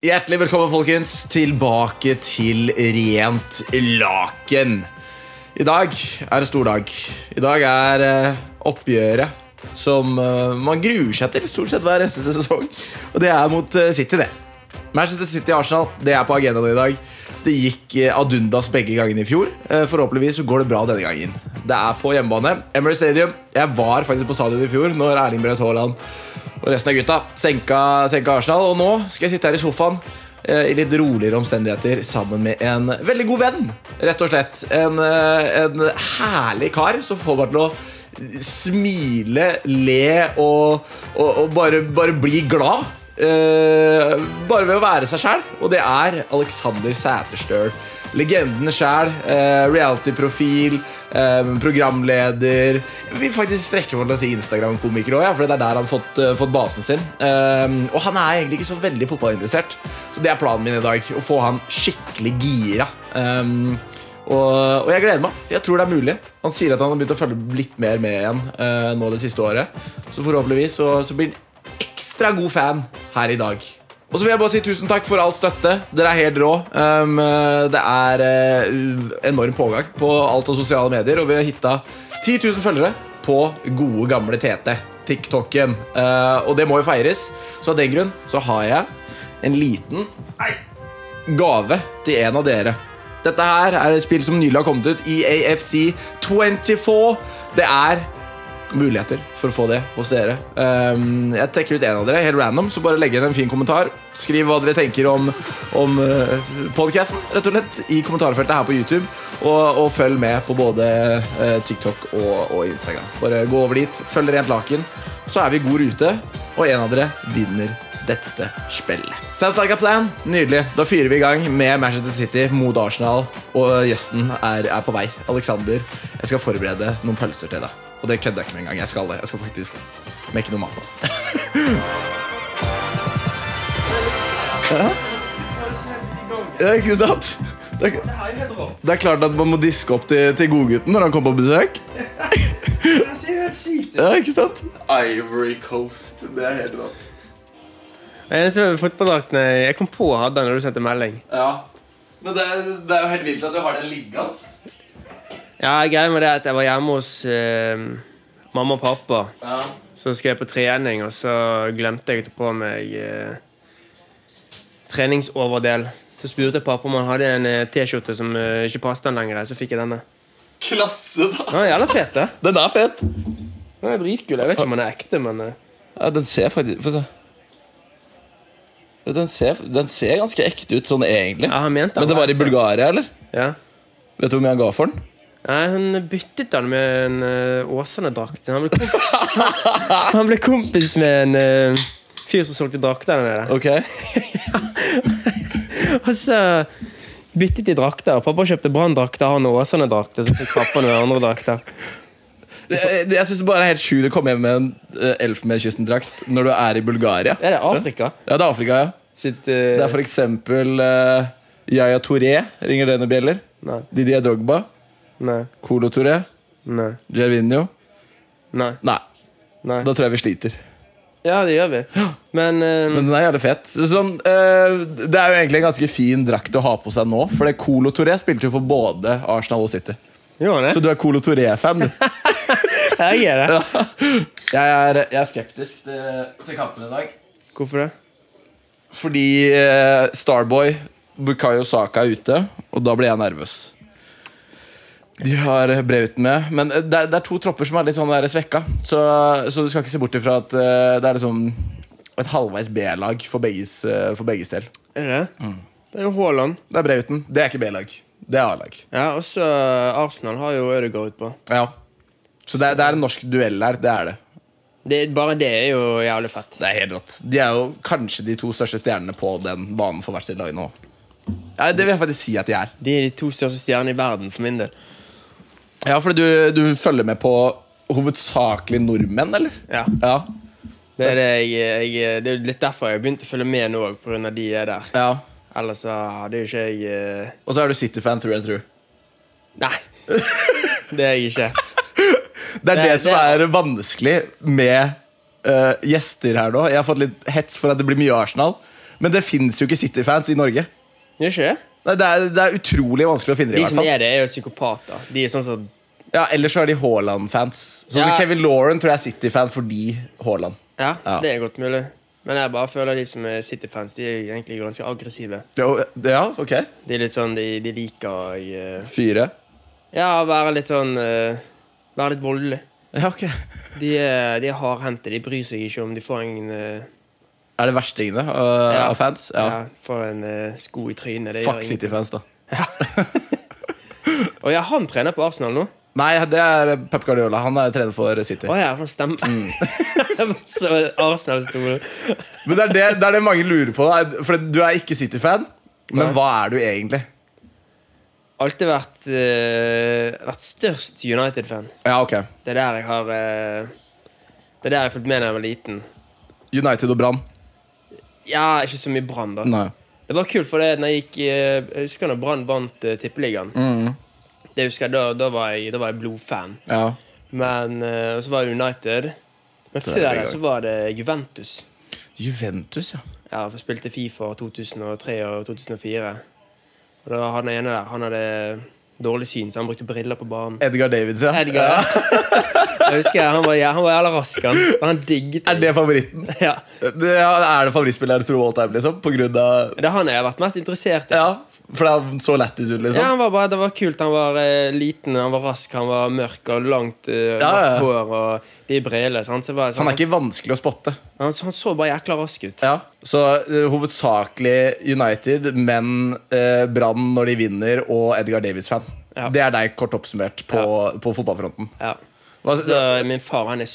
Hjertelig velkommen, folkens, tilbake til Rent laken. I dag er en stor dag. I dag er eh, oppgjøret som eh, man gruer seg til stort sett hver eneste sesong. Og det er mot eh, City, det. Manchester City-Arsenal det er på agendaen i dag. Det gikk eh, ad undas begge gangene i fjor. Eh, Forhåpentligvis så går det bra denne gangen. Det er på hjemmebane. Emery Stadium. Jeg var faktisk på stadion i fjor når Erling Braut Haaland og resten av gutta senka, senka Arsenal. Og nå skal jeg sitte her i sofaen eh, i litt roligere omstendigheter sammen med en veldig god venn. Rett og slett. En, eh, en herlig kar som får meg til å smile, le og, og, og bare, bare bli glad. eh, bare ved å være seg sjæl. Og det er Alexander Sæterstøl. Legenden sjæl. eh, Reality-profil. eh, programleder. Vi faktisk strekker meg til å si Instagram-komiker òg, ja, for det er der han har fått, eh, fått basen sin. Um, og han er egentlig ikke så veldig fotballinteressert, så det er planen min i dag. Å få han skikkelig gira. Um, og, og jeg gleder meg. Jeg tror det er mulig. Han sier at han har begynt å følge litt mer med igjen eh, nå det siste året. Så forhåpentligvis så, så blir han ekstra god fan her i dag. Og så vil jeg bare si tusen takk for all støtte. Dere er helt rå. Um, det er eh, enorm pågang på alt av sosiale medier, og vi har hitta 10 000 følgere på gode, gamle TT. TikToken. Eh, og det må jo feires. Så av den grunn så har jeg en liten gave til en av dere. Dette her er et spill som nylig har kommet ut i AFC 24. Det er muligheter for å få det hos dere. Ehm, jeg trekker ut en av dere, helt random, så bare legg igjen en fin kommentar. Skriv hva dere tenker om, om podkasten, rett og slett, i kommentarfeltet her på YouTube. Og, og følg med på både eh, TikTok og, og Instagram. Bare gå over dit, følg Rent Laken, så er vi i god rute, og en av dere vinner dette spillet. Sounds like a plan. Nydelig. Da fyrer vi i gang med Manchester City mot Arsenal, og gjesten er, er på vei. Alexander, jeg skal forberede noen pølser til deg. Og det kødder jeg ikke med engang. Jeg skal det. Jeg skal faktisk mekke noe mat av det. Ja, ikke sant? Det er, Nei, helt rått. det er klart at man må diske opp til, til godgutten når han kommer på besøk. Det ser helt sykt ut. Ja, ikke sant? Ivory Coast. Det er helt rått. Den eneste fotballdraktene jeg kom på å ha den når du sendte melding. Ja. Men det, det er jo helt vilt at du har den liggende. Ja, Greia med det er at jeg var hjemme hos eh, mamma og pappa. Ja. Så skulle jeg på trening, og så glemte jeg å ta på meg eh, treningsoverdel. Så spurte jeg pappa om han hadde en eh, T-skjorte som eh, ikke passet han lenger. Så fikk jeg denne. Klasse, da. Den er jævla fet, da. Den er fet. Den er dritkul. Jeg vet ikke om den er ekte, men eh, Ja, den ser faktisk Få se. Den ser, den ser ganske ekte ut sånn egentlig. ja, han mente den Men det var i Bulgaria, eller? Ja. Vet du hvor mye han ga for den? Nei, han byttet den med en uh, Åsane-drakt. Han, ble komp- han ble kompis med en eh, fyr som solgte drakter der nede. Ok Og så byttet de drakter. Pappa kjøpte Brann-drakter, han og Åsane-drakter. Så fikk pappa noen andre drakter. Jeg, jeg syns det bare er helt sjukt å komme hjem med en eh, Elfenbenskysten-drakt når du er i Bulgaria. Er det Afrika? Ja, det er Afrika, ja. Sitt, eh, Det er for eksempel eh, Yaya Touré ringer denne bjeller. Nei. Didier Drogba, Nei. Colo Touré, Nei. Gervinho. Nei. Nei, nei. da tror jeg vi sliter. Ja, det gjør vi. Men, eh, Men den er jævlig fet. Så Sånn, eh, det er jo egentlig en ganske fin drakt å ha på seg nå. For det Colo Touré spilte jo for både Arsenal og City. Gjorde han Så det? du er Colo Touré-fan. du. Jeg er det. Jeg er, jeg er skeptisk til, til kampen i dag. Hvorfor det? Fordi eh, Starboy, Bukayo Saka er ute, og da blir jeg nervøs. De har Brauten med, men eh, det er, det er to tropper som er litt sånn der svekka. Så, så du skal ikke se bort ifra at eh, det er liksom et halvveis B-lag for, begges, eh, for begges del. Er det det? Mm. Det er jo Haaland. Det er Brauten. Det er ikke B-lag. Det er A-lag. Ja, også Arsenal har jo Ødegaard på. Ja. Så det er, det er en norsk duell her. Det er det. Det, bare det er jo jævlig fett. Det er helt rått. De er jo kanskje de to største stjernene på den banen for hvert sitt lag nå. Ja, det vil jeg faktisk si at de er. De er de to største stjernene i verden, for min del. Ja, for du, du følger med på hovedsakelig nordmenn, eller? Ja, Ja. Det er, det, jeg, jeg, det er jo litt derfor jeg begynte å følge med nå, på grunn av de er der. ja. Ellers så hadde jo ikke jeg eh, Og så er du City-fan through and through. Nei. Det er jeg ikke. Det er det, Det- som er vanskelig med eh, gjester her nå. Jeg har fått litt hets for at det blir mye Arsenal. Men det fins jo ikke City-fans i Norge. Gjør ikke det? Nei, det, er, det er utrolig vanskelig å finne det. De i som hvert fall er det, er jo psykopater. De er sånn som ja, Ellers så er de Haaland-fans. Sånn som Ja. Kevin Lauren tror jeg er City-fan fordi Haaland. Ja, Ja. det er godt mulig. Men jeg bare føler de som er City-fans, de er egentlig ganske aggressive. Det er jo- Ja, ok De er litt sånn, de, de liker å eh, Fire. Ja, være litt sånn eh, Være litt voldelig. Ja, ok De er, de er hardhendte. De bryr seg ikke om de får en eh, Er det verstingene uh, av fans? ja. Ja, får en eh, sko i trynet. Det Fuck gjør ingenting. City-fans, da. Å ja, han trener på Arsenal nå? Nei, det er Pep Guardiola. Han er trener for City. Å ja, han stemmer. Mm. Så Arsenal-stol. Men det er det, det er det mange lurer på. da. For du er ikke City-fan, men Nei. hva er du egentlig? Alltid vært, eh, vært størst United-fan. Ja, ok Det er der jeg har eh, Det er der jeg har fulgt med da jeg var liten. United og Brann. Ja, ikke så mye Brann, da. Nei. Det var kult, for det når jeg gikk eh, Jeg husker når Brann vant eh, Tippeligaen. Det husker jeg, da, da, var jeg, da var jeg blodfan. Mm, Ja. Men eh, og så var det United. Men er før det det gøy. så var det Juventus. Juventus, ja. Ja, for jeg spilte Fifa 2003 og 2004. Og da han ene der, han hadde dårlig syn, så han brukte briller på banen. Edgar Davids, ja. Edgar. Jeg husker jeg, Han var, ja, han var jævla rask, han. Og han digget Er det favoritten? Ja. Det, ja, er det favorittspilleren til all time, liksom? På grunn av Det er han jeg har vært mest interessert i. Ja, for han så lættis ut, Ja, liksom? han var bare, Det var kult. Han var eh, liten, han var rask, han var mørk og langt eh, ja. mørkt hår. Og de brillene. sant? Så bare, så Han er ikke vanskelig å spotte. han, han så bare jækla rask ut. Ja, Så eh, hovedsakelig United, men eh, Brann når de vinner, og Edgar Davids-fan. Ja. Det er deg, kort oppsummert, på, på fotballfronten. Ja. Hva, Så Min far han er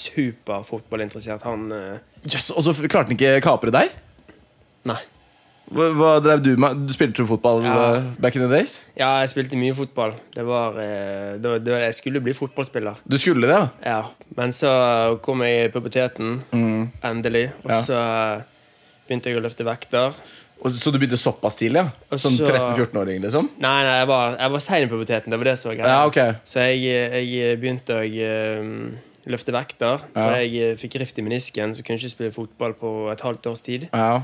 superfotballinteressert. Han eh, yes, og så f- klarte han ikke kapre deg? Nei. Hva, hva drev du med? Du spilte jo fotball Ja. eh, back in the days? Ja, jeg spilte mye fotball. Det var, eh, det var, det var Jeg skulle bli fotballspiller. Du skulle det, ja? Ja, Men så kom jeg i puberteten, endelig. Og Mm. Ja. så eh, begynte jeg å løfte vekter. Og, så du begynte såpass tidlig? ja? Og Som så- 13-14-åring, liksom? Nei, nei, jeg var, jeg var sein i puberteten. Det var det som var greia. Ja, ok. Så jeg, jeg begynte å eh, løfte vekter. Så Ja. jeg eh, fikk rift i menisken, så kunne jeg ikke spille fotball på et halvt års tid. Ja.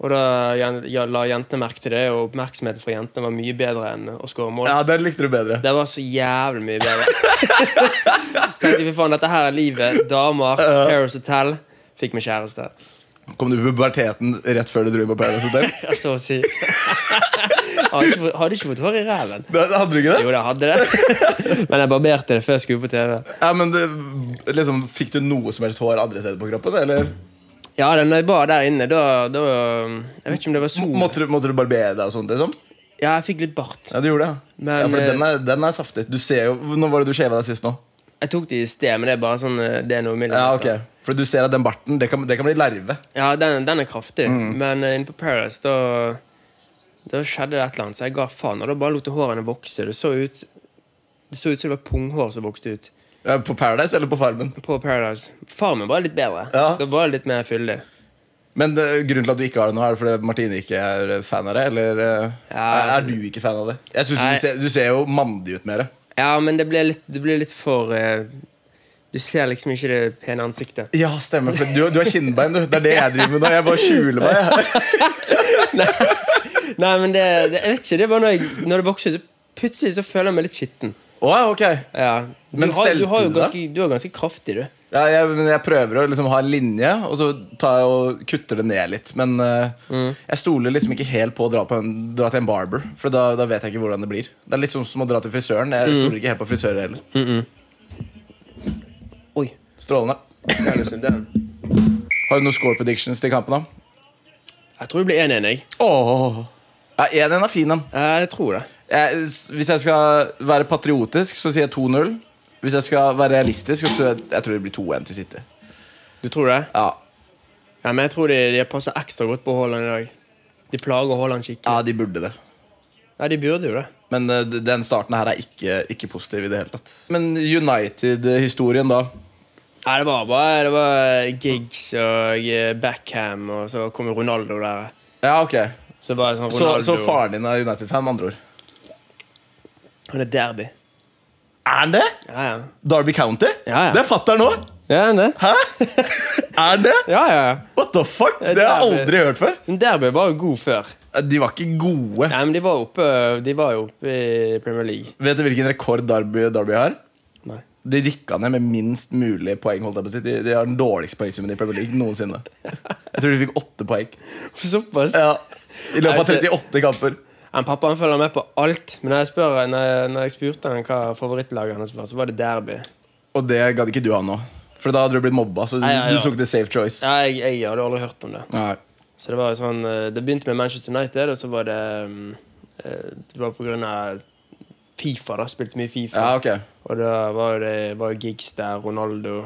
Og da jen- ja, la jentene merke til det, og oppmerksomheten fra jentene var mye bedre enn å skåre mål. ja, den likte du bedre. Det var så jævlig mye bedre. så tenkte jeg, fy faen, dette her er livet. Damer, Paris Hotel. Fikk meg kjæreste. Kom du i puberteten rett før du dro på Paradise Hotel? Ja, Så å si. hadde, ikke fått, hadde ikke fått hår i ræven. Da- da Hadde du ikke det? Jo, det hadde det. Men jeg barberte det før jeg skulle på TV. Ja, men det, liksom, Fikk du noe som helst hår andre steder på kroppen? Eller Ja, da når jeg var der inne, da, da Jeg vet ikke om det var sol. måtte du, måtte du barbere deg og sånt? liksom? Ja, jeg fikk litt bart. Ja, du gjorde det. ja. Men, ja, for eh, den er, den er saftig. Du ser jo, Når var det du shava deg sist nå? Jeg tok det i sted, men det er bare sånn eh, Det er noe Ja, millimeter. ok For du ser at den barten, det kan, det kan bli larve. Ja, den, den er kraftig. Mm. Men eh, inne på Paradise, da Da skjedde det et eller annet, så jeg ga faen. Og da bare lot jeg hårene vokse. Det så ut Det så ut som det var punghår som vokste ut Ja, På Paradise eller på Farmen? på Paradise. Farmen var litt bedre. Ja. Da var det litt mer fyldig. Men eh, grunnen til at du ikke har det nå, er det fordi Martine ikke er fan av det? Eller eh, Ja, er, altså- er du ikke fan av det? Jeg synes Nei. du, ser, du ser jo mandig ut med det. Ja, men det ble litt, det ble litt for eh, Du ser liksom ikke det pene ansiktet. Ja, stemmer. For du, du har kinnbein, du. Det er det jeg driver med nå. Jeg bare skjuler meg. jeg. Nei, men det, det Jeg vet ikke. Det var når, jeg, når det vokste ut. Plutselig så føler jeg meg litt skitten. Å, ja, ok Ja. Du Men har, du, stelte har jo du det? ganske, du er ganske kraftig, du. ja, jeg, men jeg prøver å liksom ha en linje, og så tar jeg og kutter det ned litt. Men eh, jeg stoler liksom ikke helt på å dra, på en, dra til en barber, for da, da vet jeg ikke hvordan det blir. Det er litt sånn som å dra til frisøren. Jeg stoler ikke helt på frisører heller. Oi. Strålende. det er liksom den. Har du noen score predictions til kampen, da? Jeg tror det blir 1-1, jeg. Åh. Ja, 1-1 er fin, den. Ja, Jeg tror det. Jeg, s- hvis jeg skal være patriotisk, så sier jeg 2-0. Hvis jeg skal være realistisk, så jeg, jeg tror det blir 2-1 til City. Du tror det? Ja, Ja, men jeg tror de, de passer ekstra godt på Haaland i dag. De plager Haaland skikkelig. ja de burde det. Ja, de burde jo det. Men eh, d- den starten her er ikke, ikke positiv i det hele tatt. Men United-historien, da? Nei, det var bare det var gigs og eh, backham, og så kom jo Ronaldo der. Ja, ok. Så var det sånn Så, Ronaldo så faren din er United-fan, med andre ord? Han er derby. Er han det? Ja, ja. Derby County? Ja, ja. Det er fatter'n nå! Ja, han er. Hæ? Er det? Ja, ja. ja. What the fuck? Ja, Det har jeg det er- aldri hørt før. Men Derby var jo god før. De var ikke gode. Nei, men de var oppe, de var jo oppe i Premier League. Vet du hvilken rekord Derby, Derby har? Nei. De rykka ned med minst mulig poeng. Holdt jeg på å si. de, de har den dårligste poengsummen i Premier League noensinne. Jeg tror de fikk åtte poeng. Såpass. Ja, I løpet av Nei, det- 38 kamper. Men pappa han følger med på alt. Men når jeg, spør, når jeg, når jeg spurte han hva favorittlaget hans var, så var det derby. Og det gadd ikke du ha nå. For da hadde du blitt mobba. Så du, Nei, ja, ja. du tok the safe choice. Ja, jeg, jeg hadde aldri hørt om det. Nei. Så Det var jo sånn, eh, det begynte med Manchester United, og så var det mm, eh, Det var på grunn av Fifa. da, Spilte mye Fifa. Ja, ok. Og da var jo det var jo Giggs der, Ronaldo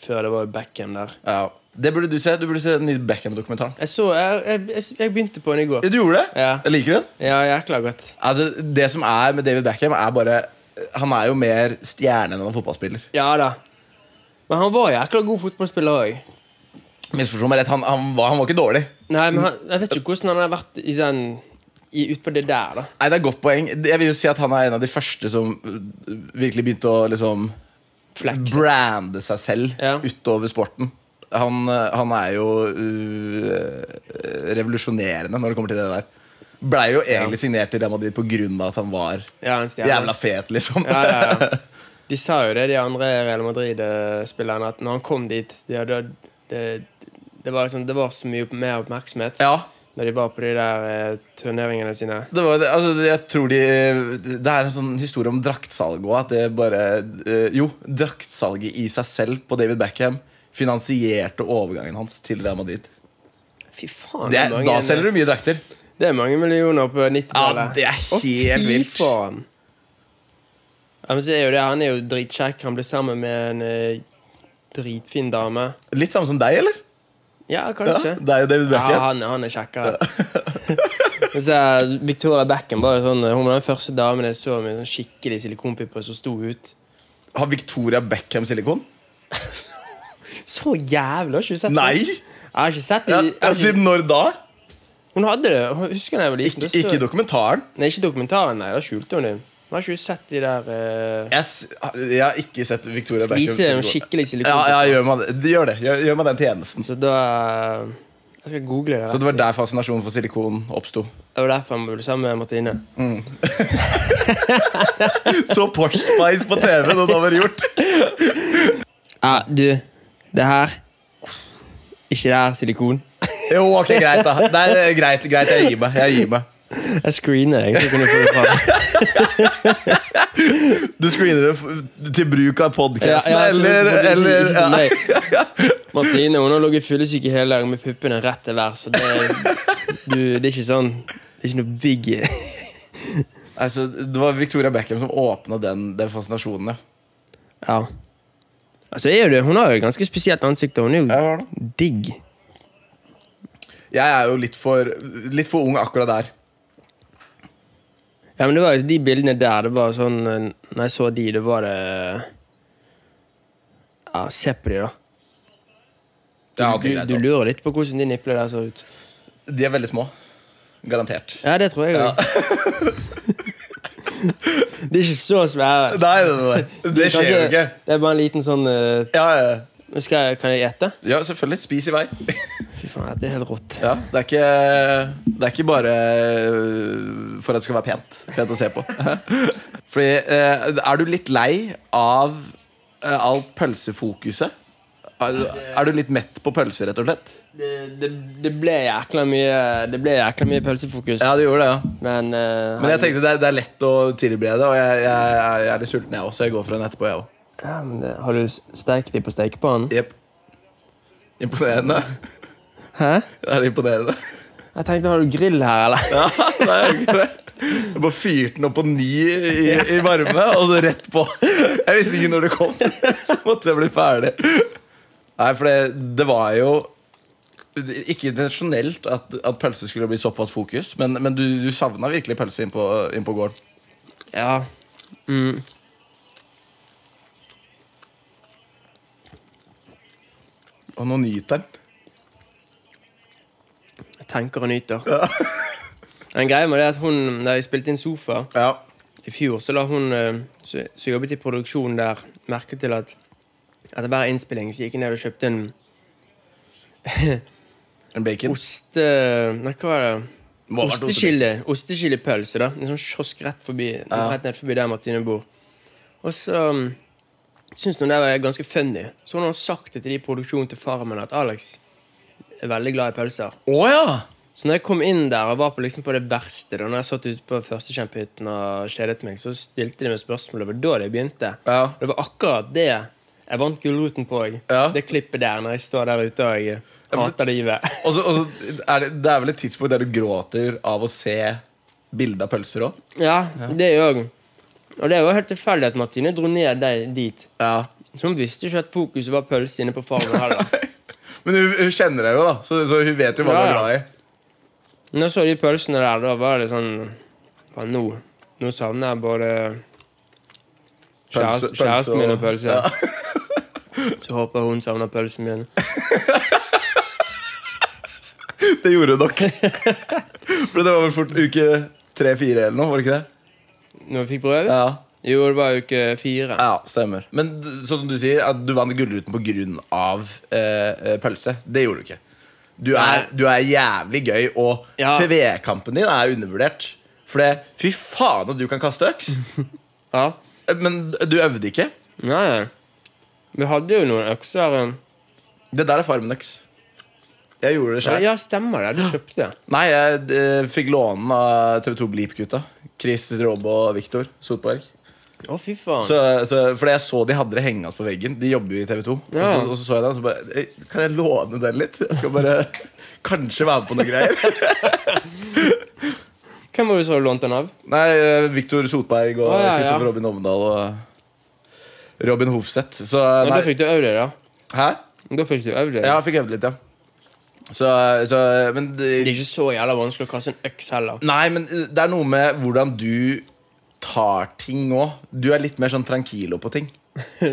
Før det var jo Beckham der. Ja. Det burde du se. Du burde se den nye Beckham-dokumentaren. Jeg så, jeg, jeg, jeg- jeg begynte på den i går. Ja, du gjorde det? Ja. Jeg liker den. Ja, jækla godt. Altså, det som er med David Beckham, er bare eh, Han er jo mer stjerne enn han er fotballspiller. Ja da. Men han var jækla god fotballspiller òg. Misforstå meg rett, han, han, var, han var ikke dårlig. Nei, men han, jeg vet ikke hvordan han har vært i den i, ut på det der, da. Nei, Det er et godt poeng. Jeg vil jo si at Han er en av de første som øh, virkelig begynte å liksom Flex. brande seg selv Ja. utover sporten. Han, øh, han er jo øh, øh, revolusjonerende når det kommer til det der. Blei jo egentlig signert til Real Madrid pga. at han var Ja, en stjerne. jævla fet, liksom. Ja, ja, ja. De sa jo det, de andre Real Madrid-spillerne, at når han kom dit de hadde, det, det, var liksom, det var så mye opp- mer oppmerksomhet Ja, når de var på de der eh, turneringene sine. det var, det- altså, jeg tror de Det er en sånn historie om draktsalget òg. At det bare øh, Jo, draktsalget i seg selv på David Beckham finansierte overgangen hans til Real Madrid. Fy faen, Det er, mange, da selger du mye drakter. det er mange millioner på Ja, 90-tallet. det er Å, helt vilt. Fy faen. Ja, men så er jo det, han er jo dritkjekk. Han ble sammen med en eh, dritfin dame. Litt samme som deg, eller? Ja, Ja, kanskje. det er jo David Ja, Beckham. han, han er kjekkere. Men så er Victoria Beckham var jo sånn, hun var den første damen jeg så med sånn skikkelig silikonpipper som sto ut. Har Victoria Beckham silikon? Så jævla! Har ikke du sett Nei! det? Jeg har ikke sett det. Ja, Jeg har ja, ikke- siden når da? Hun hadde det. Hun- Husker jeg da jeg var liten. Ikke, da så- ikke dokumentaren. Nei, ikke dokumentaren. Nei, da skjulte hun det. Men Har ikke du sett de der eh, Jeg, s- jeg har ikke sett Victoria Skal vise Beckham en skikkelig silikon? Ja, ja gjør, meg, det. gjør det. Gjør, gjør meg den tjenesten. Så da eh, Jeg skal google det. Så det var der fascinasjonen for silikon oppsto. Det var derfor han ble sammen med Martine. Så Porch Spice på TV da det var gjort. Ja, du. Det her Ikke det her silikon. Jo, ok, greit, da. Nei, det er greit, greit, jeg gir meg. Jeg gir meg. Jeg screener deg. så kan du få det fram. Du screener det f- til bruk av podkasten, Ja, ja, eller, det- det- eller det- ja. nei. Martine hun har ligget fyllesyk i hele dag med puppene rett til værs. så Det, du, det er ikke sånn Det er ikke noe big Altså, Det var Victoria Beckham som åpna den, den fascinasjonen, ja. Ja. Altså, er jo det, hun har jo et ganske spesielt ansikt, og hun er Jeg har det. jo digg. Jeg er jo litt for, litt for ung akkurat der. Ja, men det var jo de bildene der, det var sånn eh, Når jeg så de, det var det Ja, se på de, da. Du, Ja, ok, greit, du, da. du lurer litt på hvordan de niplene der ser ut. De er veldig små. Garantert. Ja, det tror jeg òg. de er ikke så svære. Nei, nei, nei. det skjer jo Kanskje- ikke. Det er bare en liten sånn eh, Ja, ja, ja. Men skal jeg, Kan jeg gjette? ja, selvfølgelig. Spis i vei. Fy faen, dette er helt rått. Ja, det, er ikke, det er ikke bare eh, for at det skal være pent. Pent å se på. Fordi, eh, er du litt lei av eh, alt pølsefokuset? Er, er du litt mett på pølser, rett og slett? Det, det, det ble jækla mye Det ble jækla mye pølsefokus, Ja, det gjorde det, ja. men eh, Men jeg han- tenkte det er, det er lett å tilberede, og jeg, jeg, jeg er litt sulten, jeg også. så Jeg går for en etterpå, jeg òg. ja, men det, Har du steikt de på stekepannen? Jepp. Imponerende. Hæ? Det er imponerende. Jeg tenkte, har du grill her, eller? Ja, det er jo ikke det. Jeg bare fyrte den opp på ni i, i varme, og så rett på. Jeg visste ikke når det kom, så måtte jeg bli ferdig. Nei, for det, det var jo ikke intensjonelt at, at pølse skulle bli såpass fokus, men, men du, du savna virkelig pølse inn på, inn på gården. Ja. Mm. Og nå nyter den. Jeg tenker og nyter. En greie med det er at hun, Da jeg spilte inn Sofa Ja. i fjor, så la hun eh, som som jobbet i produksjonen der, merke til at etter hver innspilling så gikk jeg ned og kjøpte en En bacon. Oste... eh, Nei, hva var det? Må ha vært Ostekilde. Osteskildepølse, da. En sånn kiosk rett, forbi, Ja. rett ned forbi der Martine bor. Og så um, syntes hun det var ganske funny. Så hun har sagt det til de i produksjonen til Farmen at Alex er veldig glad i pølser. Å ja! Så når jeg kom inn der og var på, liksom, på det verste, da når jeg satt ute på førstekjempehytten og kjedet meg, så stilte de meg spørsmål. Det var da det begynte. Ja. Det var akkurat det jeg vant Gullruten på. jeg. Ja. Det klippet der når jeg står der ute og jeg hater livet. Og så, og så er det, det er vel et tidspunkt der du gråter av å se bilde av pølser òg? Ja, det gjør jeg. Og det er jo helt tilfeldig at Martine dro ned deg dit. Ja. Så hun visste ikke at fokuset var pølse inne på farmen heller. Men hun, hun kjenner deg jo, da, så, så hun vet jo hva du Ja, er ja. glad i. Men da så de pølsene der, da var det sånn Faen, nå, nå savner jeg både Pølse- kjærest- kjæresten min og pølse. Ja. Så håper jeg hun savner pølsen min. Det gjorde hun nok. For det var vel fort uke tre-fire eller noe? var det ikke det? Når vi fikk prøve? Ja, Jo, det var uke fire. ja stemmer. Men d- sånn som du sier, at du vant Gullruten på grunn av eh, eh, pølse. Det gjorde du ikke. Du er, Nei. du er jævlig gøy, og Ja. TV-kampen din er undervurdert. For det, fy faen at du kan kaste øks! Ja. Men du øvde ikke. Nei, nei. Vi hadde jo noen økser. eh. Det der er farmen øks. Jeg gjorde det sjøl. Ja, stemmer det. Du kjøpte. Nei, jeg eh, fikk låne den av TV2 Bleep-gutta. Chris Robbe og Viktor Sotberg. Å, fy faen. Så, så, fordi jeg så de hadde det hengende på veggen. De jobber jo i TV2. Ja. Og, så, og så så jeg den, og så bare «Ei, Kan jeg låne den litt? Jeg skal bare kanskje være med på noen greier. Hvem var det som lånte den av? Nei, eh, Viktor Sotberg og Å, ja, ja. Kristoffer Robin Omdal og Robin Hofseth. Så Ja, da nei. fikk du øvd deg, da. Hæ? Da fikk du øvd deg. Ja, jeg fikk øvd litt, ja. Så, så Men Det er ikke så jævla vanskelig å kaste en øks heller. Nei, men eh, det er noe med hvordan du tar ting òg. Du er litt mer sånn tranquilo på ting.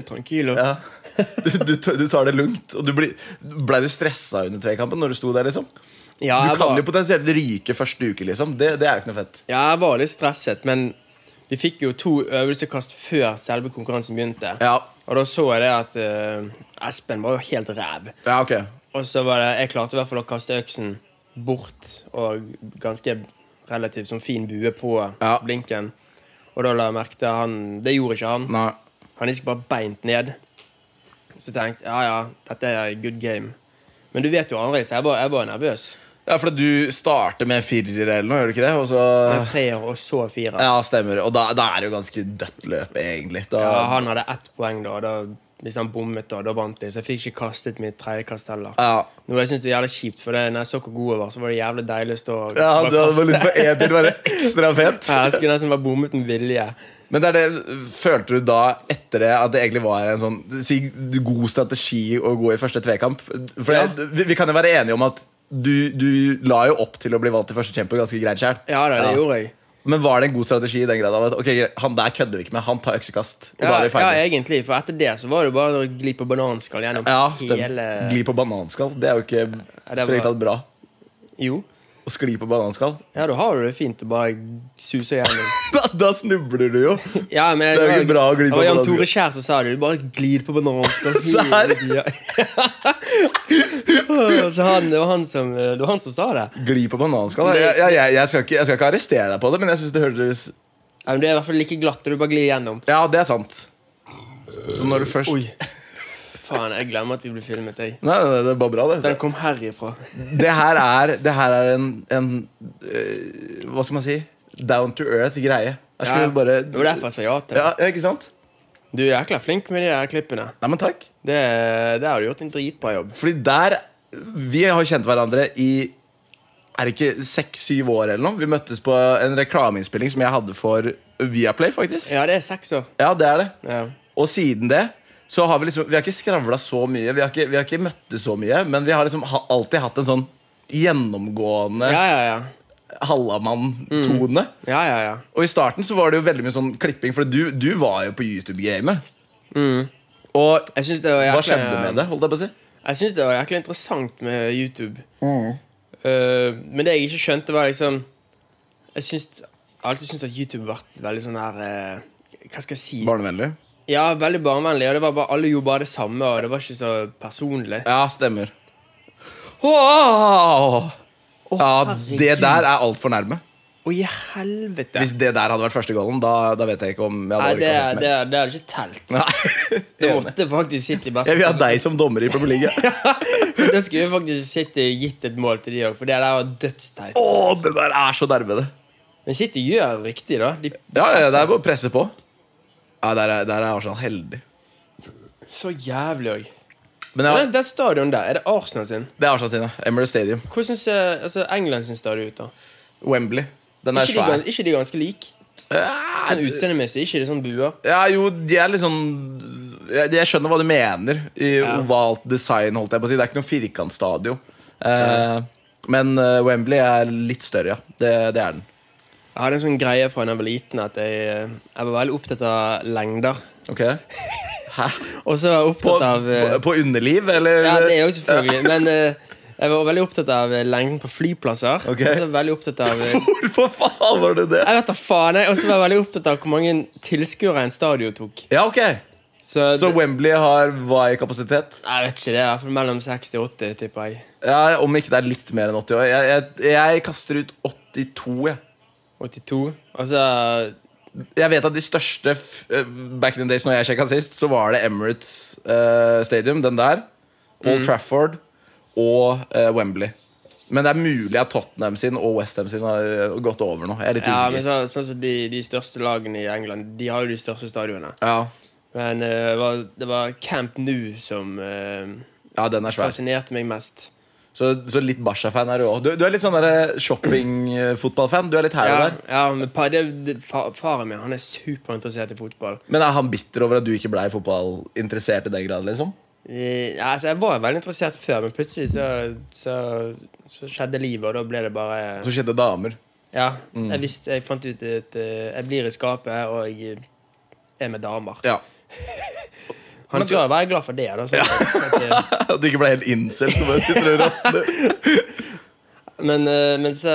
Tranquilo. Du, du, ta- du tar det lugnt. Og du blir- Blei du stressa under tvekampen når du sto der? liksom? Ja, Du jeg kan jo var, potensielt ryke første uke, liksom. Det, det er jo ikke noe fett. ja, jeg var litt stresset, men vi fikk jo to øvelsekast før selve konkurransen begynte. Ja, Og da så jeg det at eh, Espen var jo helt ræv. ja ok. Og så var det Jeg klarte i hvert fall å kaste øksen bort og ganske relativt sånn fin bue på Ja. blinken. Og da la jeg merke til han Det gjorde ikke han. Nei. Han gikk bare beint ned. Så tenkte jeg ja, ja, dette er good game. Men du vet jo aldri, så jeg var, jeg var nervøs. Ja, for du starter med en firer eller noe, gjør du ikke det? Og så Jeg er treer og så firer. Ja, stemmer. Og da, da er det jo ganske dødt løp, egentlig. Da, Ja, han hadde ett poeng da. og da hvis han bommet, da, da vant jeg. Så jeg fikk ikke kastet mitt tredje kast heller. ja. Noe jeg synes det er jævlig kjipt, for det, når jeg så hvor god jeg var, så var det jævlig deilig å stå og ja bare du hadde kaste. bare lyst på én til å være ekstra fet. Ja, jeg skulle nesten bare bommet med vilje. Men det er det, følte du da etter det at det egentlig var en sånn si, god strategi å gå i første tvekamp? For Ja. det, vi, vi kan jo være enige om at du, du la jo opp til å bli valgt til første kjempe ganske greit sjøl. Ja da, det Ja. gjorde jeg. Men var det en god strategi i den grad av at ok, han der kødder vi ikke med, han tar øksekast? Og Ja, da er vi ja, ferdige. egentlig. For etter det så var det jo bare å gli på bananskall gjennom Ja, hele stemmer. Gli på bananskall. Det er jo ikke det strengt var- tatt bra. Jo. Å skli på bananskall. Ja, da har du det fint å bare suse gjennom. Da, da snubler du jo! Ja, men Det er jo ikke bra å gli på Det var Jan bananskall. Tore Kjær som sa det. Du bare glir på bananskall hele Serr? tida. Så han, det, var han som, det var han som sa det. Gli på bananskall. Jeg, jeg, jeg, jeg, skal ikke, jeg skal ikke arrestere deg på det, men jeg syns det hørtes Ja, men det er i hvert fall like glatt, og du bare glir gjennom. Ja, det er sant. Så når du først Faen, jeg glemmer at vi blir filmet, jeg. Nei, nei, nei, det er bare bra, det. Den kom herifra. Det her er, det her er en, en eh, Hva skal man si? Down to earth-greie. Jeg skulle Ja, bare Det var derfor jeg sa ja til det. ja, ikke sant? Du er jækla flink med de der klippene. Nei, men takk. Det, der har du gjort en dritbra jobb. Fordi der Vi har jo kjent hverandre i Er det ikke seks-syv år eller noe? Vi møttes på en reklameinnspilling som jeg hadde for Viaplay, faktisk. Ja, det er seks år. Ja, det er det. Ja. Og siden det så har vi liksom Vi har ikke skravla så mye, vi har ikke, vi har ikke møttes så mye, men vi har liksom ha, alltid hatt en sånn gjennomgående ja, Mm. ja, ja. Hallamann-tone. Ja, ja, ja. Og i starten så var det jo veldig mye sånn klipping, for du, du var jo på YouTube-gamet. Og Mm. Jeg syns det, var hva jækla- skjedde med det? holdt jeg på å si? Jeg synes det var jækla interessant med YouTube. Eh, men det jeg ikke skjønte, var liksom Jeg syns- jeg har alltid syntes at YouTube har vært veldig sånn her eh, Hva skal jeg si? Barnevennlig? Ja, veldig barnevennlig. Og det var bare, alle gjorde bare det samme, og det var ikke så personlig. Ja, stemmer. Wow! Ja, det herregud. der er altfor nærme. Å, i helvete! Hvis det der hadde vært første goalen, da, da vet jeg ikke om jeg Nei, hadde det, orket å sette det, mer. det hadde ikke telt. Nei. Det Enig. måtte faktisk City bare Jeg vil ha deg som dommer i Premier League. Da skulle faktisk City gitt et mål til de òg, for det der var dødsteit. Å, det der er så nærme, det. Men City gjør riktig, da. De Ja, ja, det er bare å presse på. Ja, der er, der er Arsenal heldig. Så jævlig òg. Men ja, Den, den stadion der, er det Arsenal sin? det er Arsenal sine. Emirates Stadium. Hvordan ser altså, England sin stadion ut, da? Wembley. Den er Ikke de, svær. gans- ikke de ganske like? Sånn Ja, utseendemessig? Ikke det sånn buer? Ja, jo, de er litt sånn jeg, jeg skjønner hva du mener. I Ja. ovalt design, holdt jeg på å si. Det er ikke noe firkantstadion. Eh, men eh, Wembley er litt større, ja. Det, det er den. Jeg hadde en sånn greie fra da jeg var liten at jeg, eh, jeg var veldig opptatt av lengder. Ok Hæ? Og så var jeg På, opptatt av eh, på, på underliv, eller? Ja, det er jo selvfølgelig. Men eh, jeg var veldig opptatt av eh, lengden på flyplasser. Ok. Og så veldig opptatt av eh, Hvorfor faen var det det? Jeg vet da faen, jeg. Og så var jeg veldig opptatt av hvor mange tilskuere en stadion tok. Ja, ok Så, Så Wembley har hva i kapasitet? jeg vet ikke, det er i hvert fall mellom 60 og 80, tipper jeg. Ja, Om ikke det er litt mer enn 80 år. Jeg, jeg, jeg kaster ut 82, jeg. 82. Og så Jeg vet at de største f- eh, Back in the days når jeg sjekka sist, så var det Emirates eh, Stadium, den der. Mm. Old Trafford og eh, Wembley. Men det er mulig at Tottenham sin og Westham sin har eh, gått over nå. Jeg er litt Ja, men usikker. så, sånn som de, de største lagene i England, de har jo de største stadionene. Ja. Men eh, det, var, det var Camp Nou som eh, ja, den er svær. fascinerte meg mest. Så, så litt Barca-fan er du òg. Du, du er litt sånn der, eh, shopping-fotballfan. Du er litt her og Ja, der. ja men pa, det, det, fa, Faren min han er superinteressert i fotball. Men er han bitter over at du ikke blei fotballinteressert i den grad, liksom? Eh, ja, altså, jeg var veldig interessert før, men plutselig så, så, så skjedde livet, og da ble det bare Så skjedde damer. Ja. Mm. Jeg visste, jeg fant ut at eh, jeg blir i skapet, og jeg er med damer. Ja. Han Men skal jo være glad for det. Da, så, så at, At du ikke ble helt incel. som jeg sitter og rattler. eh, men, eh, men så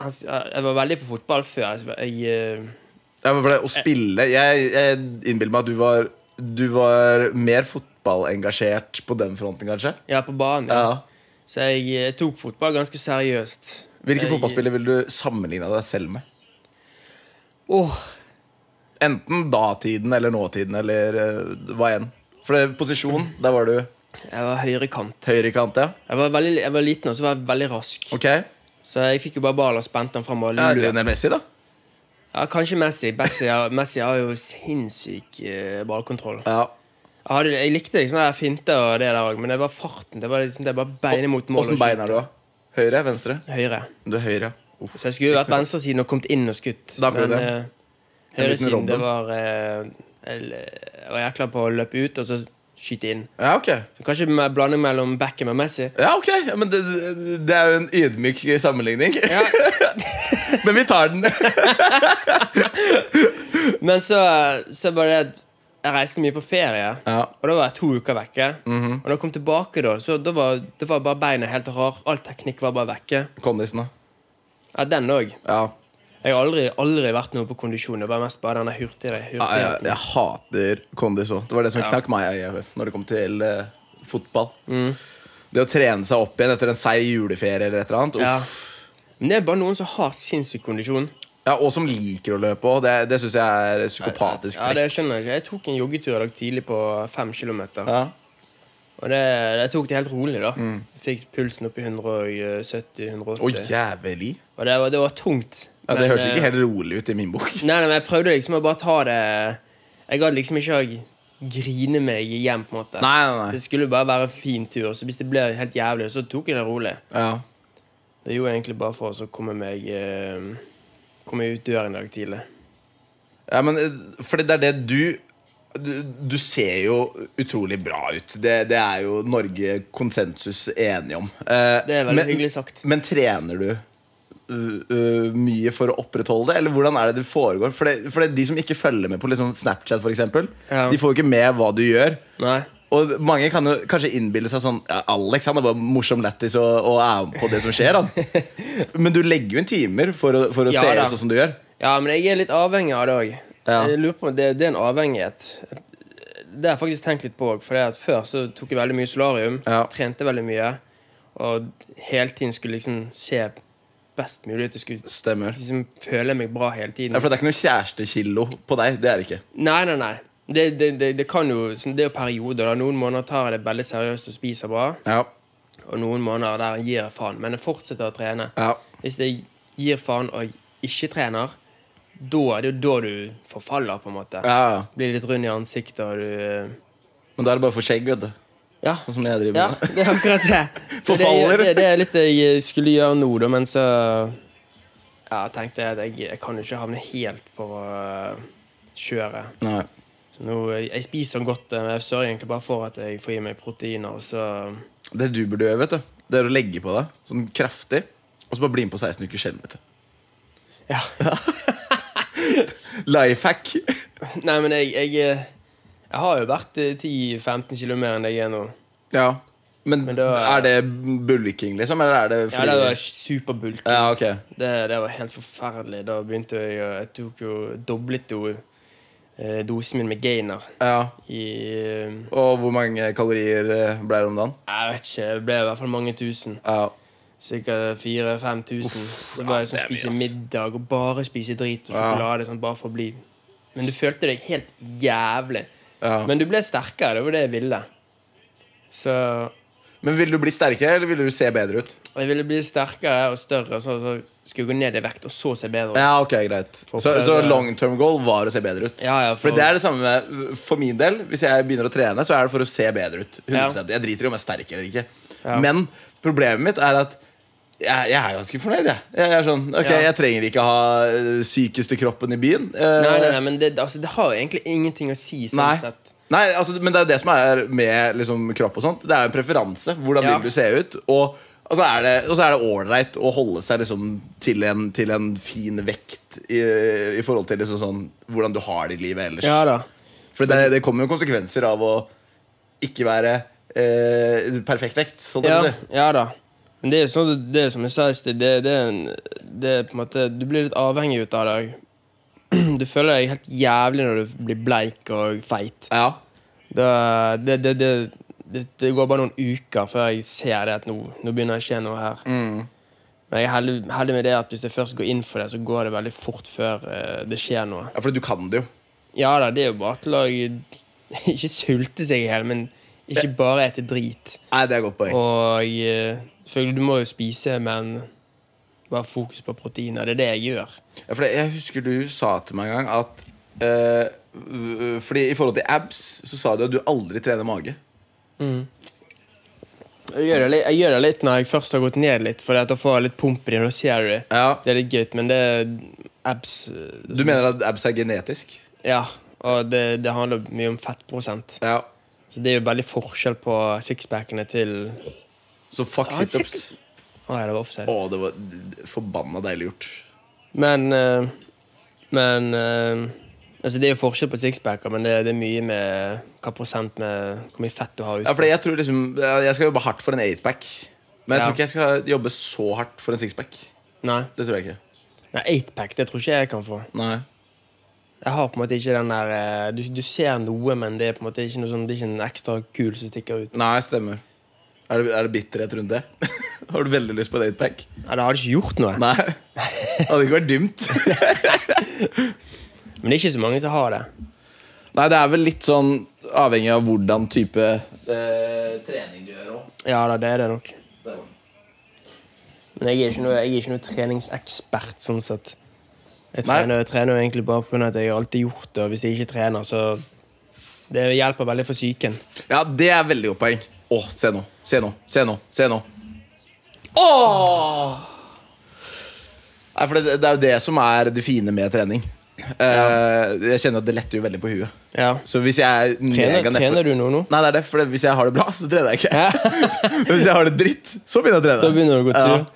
han, s- Jeg var veldig på fotball før. Jeg, jeg, eh, Ja, men for det, å spille Jeg, jeg innbiller meg at du var Du var mer fotballengasjert på den fronten, kanskje? jeg er på banen. Ja. Ja. Så jeg, eh, tok fotball ganske seriøst. Hvilke Jeg- fotballspillere vil du sammenligne deg selv med? Åh, Enten datiden eller nåtiden eller eh, hva enn. For det, posisjon, der var du jeg var høyrekant. høyrekant, ja. Jeg var, veldig, jeg var liten og så var jeg veldig rask. Ok. Ja, Så jeg fikk jo bare ballen og spente den fram. Og løp. Lionel Messi, da. Ja, kanskje Messi. Messi, har- Messi har jo sinnssyk eh, ballkontroll. Ja. Jeg, hadde, jeg likte liksom det der finte og det der òg, men det var farten. Det var liksom, det var beinet mot mål. Åssen bein er du, da? Høyre? Venstre? Høyre. Du er høyre. Uff. Så jeg skulle jo vært venstresiden og kommet inn og skutt. Da kunne du det. eh, En liten høyresiden, det Robben. var eh, Jeg jeg var jækla på å løpe ut og så skyte inn. Ja, ok. Så kanskje med blanding mellom Beckham og Messi. Ja, ok. Ja, men det, det- det er jo en ydmyk sammenligning. Ja. Men vi tar den. Men så, så var det at jeg reiste mye på ferie, Ja. Mhm. og da var jeg to uker vekke. Og da jeg kom tilbake, da, så da var, da var bare beina helt rar. All teknikk var bare vekke. Kondisen, da. Ja, den òg. Ja. Jeg har aldri, aldri vært noe på kondisjon. Det var mest bare denne hurtigere Ja, jeg, hurtigheten. jeg hater kondis òg. Det var det som Ja. knakk meg i EF når det kom til eh, fotball. Mm. Det å trene seg opp igjen etter en seig juleferie eller et eller annet. Ja. Uff. Men det er bare noen som har sinnssyk kondisjon. Ja, og som liker å løpe òg. Det, det syns jeg er psykopatisk Ja, trekk. det skjønner Jeg ikke. Jeg tok en joggetur i dag tidlig på fem kilometer. Ja. Mm. Og det, jeg tok det helt rolig, da. Jeg fikk pulsen opp i 170-180. Å, jævlig. Og det var, det var tungt. Ja, det Men, hørtes eh, ikke helt rolig ut i min bok. Nei, nei, men jeg prøvde liksom å bare ta det Jeg gadd liksom ikke å grine meg hjem, på en måte. Nei, nei, nei. Det skulle bare være en fin tur. Så hvis det ble helt jævlig, så tok jeg det rolig. Ja. Det gjorde jeg egentlig bare for å komme meg eh, Komme ut døren i dag tidlig. Ja, men eh, Fordi det er det du du, du ser jo utrolig bra ut. Det, det er jo Norge konsensus enige om. Eh, Det er veldig men- hyggelig sagt. Men trener du ø, ø, mye for å opprettholde det, eller hvordan er det det foregår? For, det, for det, De som ikke følger med på liksom Snapchat, for eksempel, Ja. de får jo ikke med hva du gjør. Nei. Og mange kan jo kanskje innbille seg sånn ja, Alex han er bare morsom lættis og, og er med på det som skjer. han Men du legger jo inn timer for å, for å Ja, se da. ut sånn som du gjør. Ja, men jeg er litt avhengig av det òg. Ja. Jeg lurer på om det, det er en avhengighet. Det har jeg faktisk tenkt litt på òg. For det at før så tok jeg veldig mye solarium. Ja. Trente veldig mye. Og hele tiden skulle liksom se best mulig ut. Jeg skulle Stemmer. liksom føle meg bra hele tiden. Ja, for det er ikke noe kjærestekilo på deg. Det er det ikke. Nei, nei, nei. Det, det, det, det kan jo sånn, Det er jo perioder. da Noen måneder tar jeg det veldig seriøst og spiser bra. Ja. Og noen måneder der jeg gir faen. Men jeg fortsetter å trene. Ja. Hvis jeg gir faen og ikke trener, da er det jo da du forfaller, på en måte. ja. ja. Blir litt rund i ansiktet, og du eh, Men da er det bare for skjegg, vet du. Ja. Sånn som jeg driver ja med. det er akkurat det. Forfaller. Det, det, det er litt det jeg skulle gjøre nå, da, men så ja, tenkte jeg at jeg, jeg kan jo ikke havne helt på eh, kjøret. Nei. Så nå, jeg, jeg spiser sånn godt, eh, men jeg sørger egentlig bare for at jeg får i meg proteiner. Og så Det du burde gjøre, vet du, det er å legge på deg sånn kraftig, og så bare bli med på 16 uker skjelvete. Ja. Life hack. Nei, men jeg, jeg, eh, jeg har jo vært eh, 10-15 kilo mer enn det jeg er nå. Ja. Men, Men da- er det bulking, liksom? Eller er det Ja, det var superbulk. ja, ok. Det, det var helt forferdelig. Da begynte jeg å Jeg tok jo doblet jo eh, dosen min med gainer Ja. i eh, Og hvor mange kalorier eh, ble det om dagen? Jeg vet ikke, det ble i hvert fall mange tusen. Ja. Sikkert 4000-5000. tusen. Så bare ja, det sånn er mye, spise ass. middag og bare spise drit og Ja. sjokolade sånn, bare for å bli Men du følte deg helt jævlig. ja. Men, Men du ble sterkere. Det var det jeg ville. Så ville du bli sterkere, eller ville du se bedre ut? jeg ville bli sterkere og større, så, så skulle jeg gå ned i vekt og så se bedre ut. Ja, ok, greit. Får Så, prøve- så long term goal var å se bedre ut? Ja, ja, for- For det er det samme med, for min del. Hvis jeg begynner å trene, så er det for å se bedre ut. 100%. Jeg driter i om jeg er sterk eller ikke. Ja. Men problemet mitt er at jeg, jeg er ganske fornøyd, jeg. Jeg, er sånn, ok, Ja. jeg trenger ikke ha øh, sykeste kroppen i byen. Eh, Nei, nei, nei, men det, altså, det har jo egentlig ingenting å si. sånn nei. sett. Nei, altså, men det er det som er med liksom, kropp og sånt. Det er jo en preferanse. Hvordan Ja. vil du se ut? Og, og så er det og så er det ålreit å holde seg liksom, til, en, til en fin vekt i, i forhold til liksom, sånn, hvordan du har det i livet ellers. Ja da. For det, det kommer jo konsekvenser av å ikke være eh, perfekt vekt. Holdt jeg Ja, på å si. ja da. Men det er jo sånn, det er som jeg sa i sted, det, det, er en- det er på en måte Du blir litt avhengig ut av det. Du føler deg helt jævlig når du blir bleik og feit. Ja. Da, det, det, det, det, det går bare noen uker før jeg ser det at nå, nå begynner det å skje noe her. Men jeg er heldig, heldig med det at hvis jeg først går inn for det, så går det veldig fort før eh, det skjer noe. ja, for du kan det jo. Ja da, det er jo bare til å ikke sulte seg i hjel, men ikke bare ete drit. Nei, det er et godt poeng. Og eh, selvfølgelig, du må jo spise, men bare fokus på proteiner. Det er det jeg gjør. Ja, for det, jeg husker du sa til meg en gang at eh, v- Fordi i forhold til abs så sa du at du aldri trener mage. Jeg gjør det, li- jeg gjør det litt når jeg først har gått ned litt, for da får jeg litt pump i det, og da ser du det. Ja. Det er litt gøy, men det er abs eh, Du mener at abs er genetisk? Ja, og det, det handler mye om fettprosent. Ja. Så det er jo veldig forskjell på sixpackene til Så fuck Ja, situps. Å ja, det var offside. Å, det var d- d- forbanna deilig gjort. Men eh, Men eh, Altså, det er jo forskjell på sixpacker, men det, det er mye med hva prosent med Hvor mye fett du har ute. Ja, fordi jeg tror liksom Jeg skal jobbe hardt for en eightpack. Men jeg Ja. tror ikke jeg skal jobbe så hardt for en sixpack. Nei, Det tror jeg ikke. Nei eightpack det tror ikke jeg kan få. Nei. Jeg har på en måte ikke den der eh, Du, du ser noe, men det er på en måte ikke noe sånn Det er ikke en ekstra kul som stikker ut. Nei, stemmer. Er det, er det bitterhet rundt det? Har du veldig lyst på en eightpack? Nei, det hadde ikke gjort noe. Nei. Hadde ikke vært dumt. Men det er ikke så mange som har det. Nei, det er vel litt sånn avhengig av hvordan type eh, trening du gjør òg. Ja da, det er det nok. Men jeg er ikke noe, jeg er ikke noe treningsekspert, sånn sett. Jeg Nei. trener, jeg trener jo egentlig bare pga. at jeg har alltid gjort det, og hvis jeg ikke trener, så Det hjelper veldig for psyken. Ja, det er veldig godt poeng. Å, se nå. Se nå. Se nå. Se nå. Åh! Nei, for det, det er jo det som er det fine med trening. Eh, jeg kjenner at det letter jo veldig på huet. Ja. Så hvis jeg er Trener, mega nedfor- trener du noe nå? Nei, det er det, for det- hvis jeg har det bra, så trener jeg ikke. Hæ? Men hvis jeg har det dritt, så begynner jeg å trene. Da begynner du å gå Ja. tur.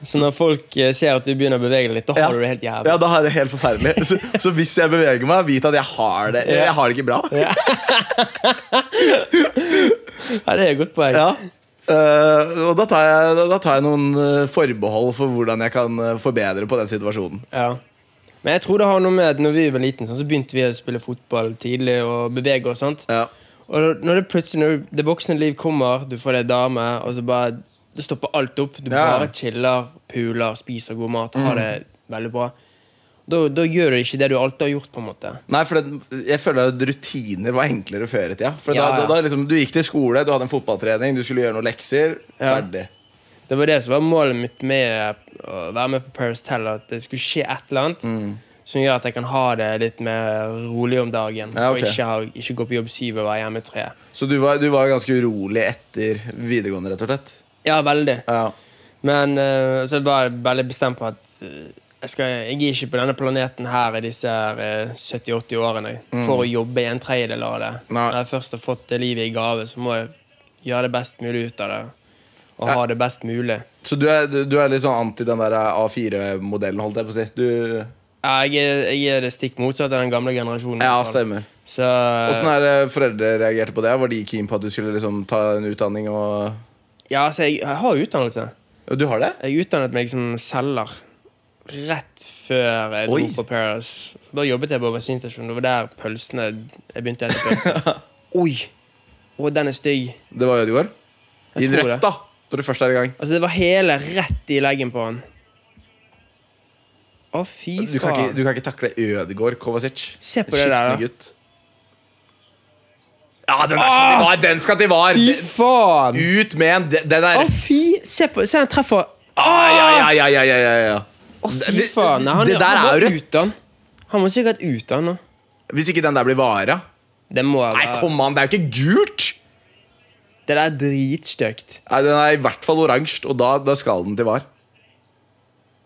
Så når folk eh, ser at du begynner å bevege deg litt, da har du det helt jævlig. Ja, da har jeg det helt forferdelig. Så, så hvis jeg beveger meg, vit at jeg har det Jeg har det ikke bra. Ja. Ja, det er et godt poeng. Eh, og da tar, jeg, da tar jeg noen eh, forbehold for hvordan jeg kan eh, forbedre på den situasjonen. Ja. Men jeg tror det har noe med at når vi var liten, sånn, så begynte vi å spille fotball tidlig og bevege oss. sant? Ja. Og når det plutselig når det voksne liv kommer, du får deg dame, og så bare Det stopper alt opp. Du Ja. Mm. bare chiller, puler, spiser god mat, har det veldig bra. Da, da gjør du ikke det du alltid har gjort, på en måte. Nei, for det, jeg føler at rutiner var enklere før i tida. For Ja, da, da, ja. da liksom, du gikk til skole, du hadde en fotballtrening, du skulle gjøre noen lekser. Ja. Ferdig. Det var det som var målet mitt med å være med på Paris Tell. At det skulle skje et eller annet Mm. som gjør at jeg kan ha det litt mer rolig om dagen. Ja, ok. Og ikke, ha, ikke gå på jobb syv og være hjemme tre. Så du var, du var ganske urolig etter videregående, rett og slett? Ja, veldig. Ja. Men eh, så var jeg veldig bestemt på at eh, jeg, skal, jeg er ikke på denne planeten her i disse her, eh, 70-80 årene for å jobbe en tredjedel av det. Mm. Nei. Når jeg først har fått det livet i gave, så må jeg gjøre det best mulig ut av det. Og Ja. ha det best mulig. Så du er, du, du er litt sånn anti den der A4-modellen, holdt jeg på å si. Du, Ja, Jeg er, jeg er det stikk motsatt av den gamle generasjonen. ja, altså, stemmer. Så eh, Åssen er det foreldre reagerte på det? Var de keen på at du skulle liksom ta en utdanning og Ja, altså, jeg, jeg har utdannelse. Ja, Du har det? Jeg utdannet meg som selger rett før jeg dro Oi. på Paris. Så da jobbet jeg på bensinstasjonen. Det var der pølsene Jeg begynte å spise pølser. Oi! Å, den er stygg. Det var Ødegaard? Gi den tror rett, det. da! Når du først er i gang. Altså, det var hele rett i leggen på han. Å, fy faen. Du kan ikke, du kan ikke takle Ødegaard, Kovacic. Se på det der, da. Skitne gutt. Ja, den der skal til VAR! Den skal til VAR! Ah! Fy Den- faen! Ut med en! Den den Å, der fy! Se på Se, han treffer. Å, Ja, ja, ja, ja, ja, ja. fy faen. Nei, han, det der han er var jo rødt. ute, han. Han må sikkert ut, han nå. Hvis ikke den der blir vara Det må Nei, være- kom an, det er jo ikke gult! Det der er dritstygt. Nei, Den er i hvert fall oransje, og da, da skal den til var.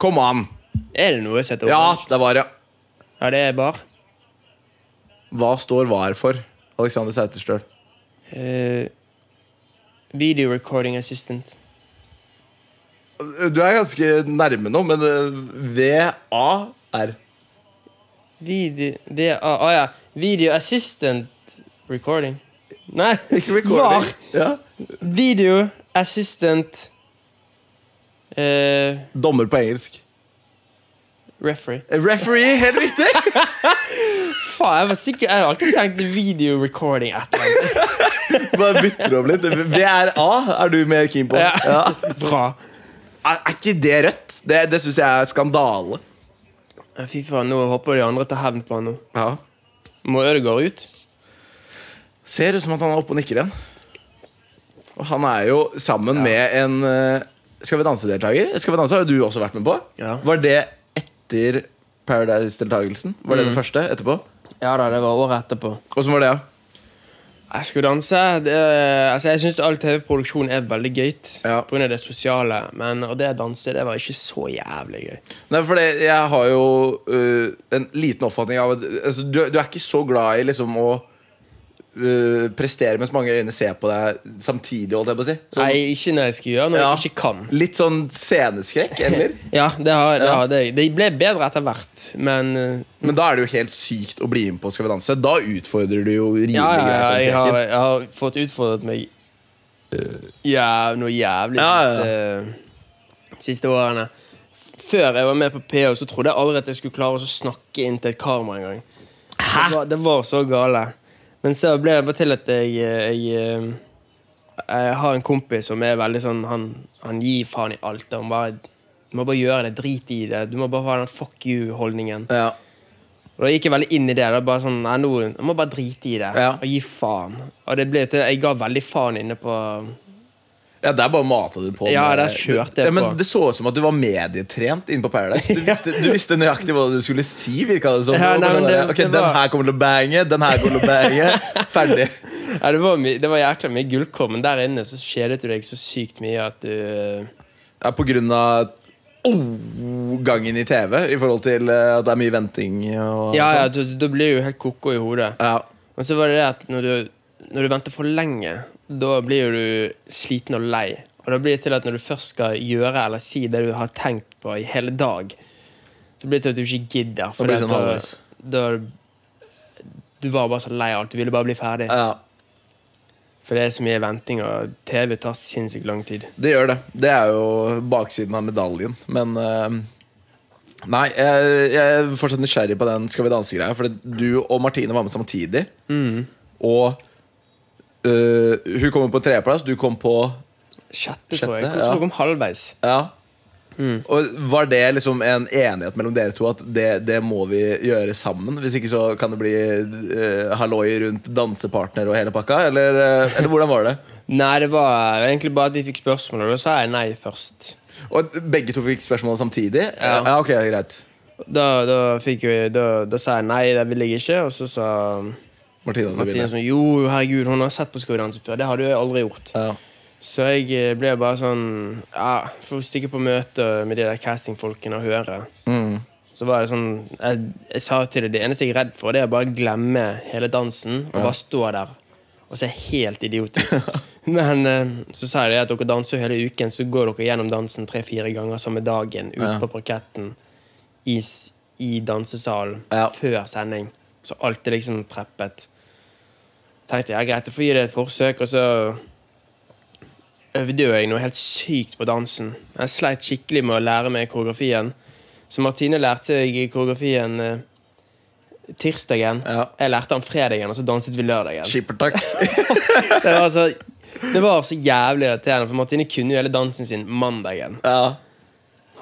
Kom an! Er det noe jeg setter Ja, over? det er var, ja. Ja, det er bar. Hva står var for? Alexander Sauterstøl. Eh, video recording assistant. Du er ganske nærme nå, men eh, V-A-R. Video... Det er... Å ja. Video assistant recording. Nei, Ikke recording. Ja. Var. Video assistant eh, Dommer på engelsk. Eh, referee. Referee, helt riktig! Faen, jeg var sikker... Jeg har alltid tenkt video recording et eller annet. Bare bytter om litt. VRA er du mer keen på. Ja. Ja. Bra. Er, er ikke det rødt? Det, det syns jeg er skandale. Ja, Fy faen, nå håper de andre tar hevn på han nå. Ja. Må Ødegaard ut? Ser ut som at han er oppe og nikker igjen. Og han er jo sammen med en eh, Skal vi danse-deltaker. Skal vi danse har jo du også vært med på. Ja. Var det etter Paradise-deltakelsen? Var Mm. det den første etterpå? Ja da, det var året etterpå. Åssen var det? Jeg skulle danse. Det, altså jeg syns all TV-produksjon er veldig gøy Ja. pga. det sosiale. Men og det å danse det var ikke så jævlig gøy. Nei, for det, jeg har jo øh, en liten oppfatning av at altså, du, du er ikke så glad i liksom å øh, prestere mens mange øyne ser på deg samtidig, holdt jeg på å si. Sånn- Nei, ikke når jeg skal gjøre noe Ja. jeg ikke kan. Litt sånn sceneskrekk, eller? Ja, det, har, det, Ja. har, det, det ble bedre etter hvert, men uh, Men da er det jo helt sykt å bli med på Skal vi danse. Da utfordrer du jo rimelig ja, ja, ja, greit. altså. jeg, har, den skrekken. jeg har fått utfordret meg eh, ja, noe jævlig Ja, ja, siste, siste årene. Før jeg var med på PH, så trodde jeg aldri at jeg skulle klare å snakke inn til et kamera engang. Det, var- det var så gale. Men så ble det bare til at jeg, eh, jeg eh, Jeg har en kompis som er veldig sånn Han, han gir faen i alt. og Han bare Du må bare gjøre det. Drit i det. Du må bare ha den fuck you-holdningen. ja. Og Da gikk jeg veldig inn i det. Da bare sånn, nei, nå, Jeg må bare drite i det Ja. og gi faen. Og det ble til, Jeg ga veldig faen inne på Ja, der bare mata du på. Ja, med- der kjørte jeg ja, men på. Det så ut som at du var medietrent inne på Paradise. Du visste, du visste nøyaktig hva du skulle si, virka det som. Ja, Du var nei, bare men sånn, det- ok, det Den var- her kommer til å bange, den her kommer til å bange. Ferdig. ja, det, var mye- det var jækla mye gullkorn, men der inne så kjedet du deg så sykt mye at du Ja, på grunn av oh, gangen i TV i forhold til eh, at det er mye venting og Ja, ja, sånn. du, du blir jo helt koko i hodet. ja. Men så var det det at når du, når du venter for lenge, da blir jo du sliten og lei. Og da blir det til at når du først skal gjøre eller si det du har tenkt på i hele dag, så blir det til at du ikke gidder. For blir det det sånn halvveis. da, da Du var bare så lei av alt. Du ville bare bli ferdig. ja. For det er så mye venting, og TV tar sinnssykt lang tid. Det gjør det. Det er jo baksiden av medaljen. Men eh, Nei, jeg, jeg er fortsatt nysgjerrig på den Skal vi danse-greia. For du og Martine var med Mm. samtidig. Og eh, hun kom på tredjeplass, du kom på Sjette, Sjette, tror jeg. Jeg ja. tror jeg kom halvveis. Ja. Mm. Og Var det liksom en enighet mellom dere to at det, det må vi gjøre sammen? Hvis ikke så kan det bli eh, halloi rundt dansepartner og hele pakka? Eller, eh, eller hvordan var det? Nei, det var egentlig bare at de fikk spørsmål, og da sa jeg nei først. Og begge to fikk spørsmålet samtidig? Ja. ja ok, greit Da, da, fikk jo, da, da sa jeg nei, det vil jeg ikke, og så sa Martina, du Martine begynner. sånn Jo, herregud, hun har sett på Skaudansen før. Det hadde jeg aldri gjort. Ja. Så jeg eh, ble bare sånn Ja, for å stikke på møte med de der castingfolkene og høre. Så var det sånn jeg, jeg sa til det, det eneste jeg er redd for, det er å bare glemme hele dansen og bare stå der og se helt idiot ut. Men eh, så sa de at dere danser jo hele uken, så går dere gjennom dansen tre-fire ganger samme dagen ute Ja. på parketten i, s- i dansesalen Ja. før sending. Så alt er liksom preppet. Tenkte jeg, ja, greit, jeg får gi det et forsøk, og så øvde jo jeg noe helt sykt på dansen. Jeg sleit skikkelig med å lære meg koreografien. Så Martine lærte jeg koreografien eh, tirsdagen. Ja. Jeg lærte den fredagen, og så danset vi lørdagen. Skipper, takk. Det var, så, det var så jævlig irriterende, for Martine kunne jo hele dansen sin mandagen. Ja.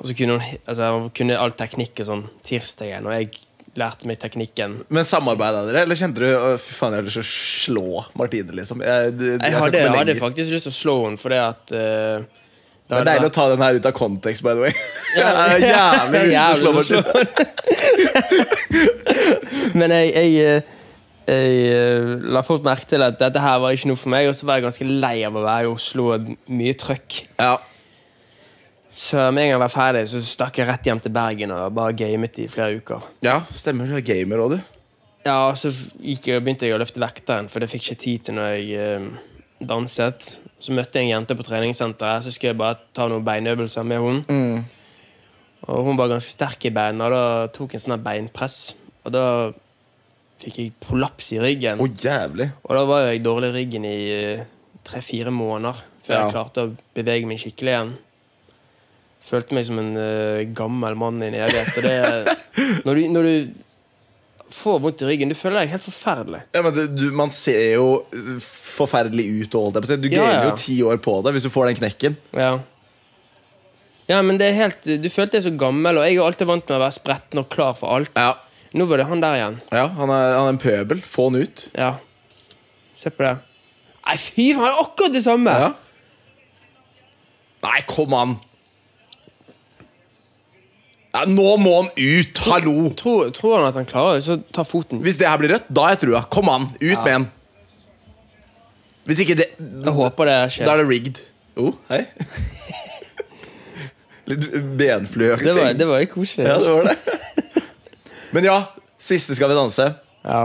Og så kunne hun he- altså, hun kunne all teknikk og sånn tirsdagen, og jeg lærte meg teknikken. Men samarbeida dere, eller kjente du «Å, Fy faen, jeg har lyst til å slå Martine, liksom? Jeg, jeg, Jeg skal hadde, ikke jeg hadde belegge. faktisk lyst til å slå henne, fordi at eh, Det er hadde deilig vært- å ta den her ut av kontekst, by the way. Ja. Jeg har jævlig lyst til å slå Jævlig lyst til å Martine. Men jeg, jeg, eh, jeg eh, la fort merke til at dette her var ikke noe for meg, og så var jeg ganske lei av å være i Oslo og mye trøkk. Ja. Så med en gang jeg var ferdig, så stakk jeg rett hjem til Bergen og bare gamet i flere uker. ja, stemmer. Du er gamer òg, du. Ja, og så f- gikk jeg, begynte jeg å løfte vekteren, for det fikk jeg ikke tid til når jeg eh, danset. Så møtte jeg en jente på treningssenteret, så skulle jeg bare ta noen beinøvelser med henne. Og hun var ganske sterk i beina, og da tok jeg en sånn her beinpress. Og da fikk jeg prolaps i ryggen. Å, jævlig. Og da var jo jeg dårlig i ryggen i eh, tre-fire måneder før Ja. jeg klarte å bevege meg skikkelig igjen. Følte meg som en eh, gammel mann i en evighet. Og det, når, du, når du får vondt i ryggen, du føler deg helt forferdelig. Ja, men du, du, Man ser jo eh, forferdelig ut. og holdt jeg på å si. Du Ja, gamer ja. jo ti år på det hvis du får den knekken. Ja. ja, men det er helt Du følte deg så gammel, og jeg er alltid vant med å være spretten og klar for alt. Ja, Nå var det han der igjen. han, er, han er en pøbel. Få han ut. Ja. Se på det. Nei, fy faen, det er akkurat det samme! Ja. Nei, kom an! Ja, nå må han ut! Hallo! Tror, tror han at han klarer det, så ta foten. Hvis det her blir rødt, da har jeg trua. Kom an, ut med en. Hvis ikke det Jeg håper det skjer. Da er det rigged. Jo, hei. Litt benflueaktig. Det var, det var litt koselig. Ja, det var det. Men ja, siste Skal vi danse. Ja.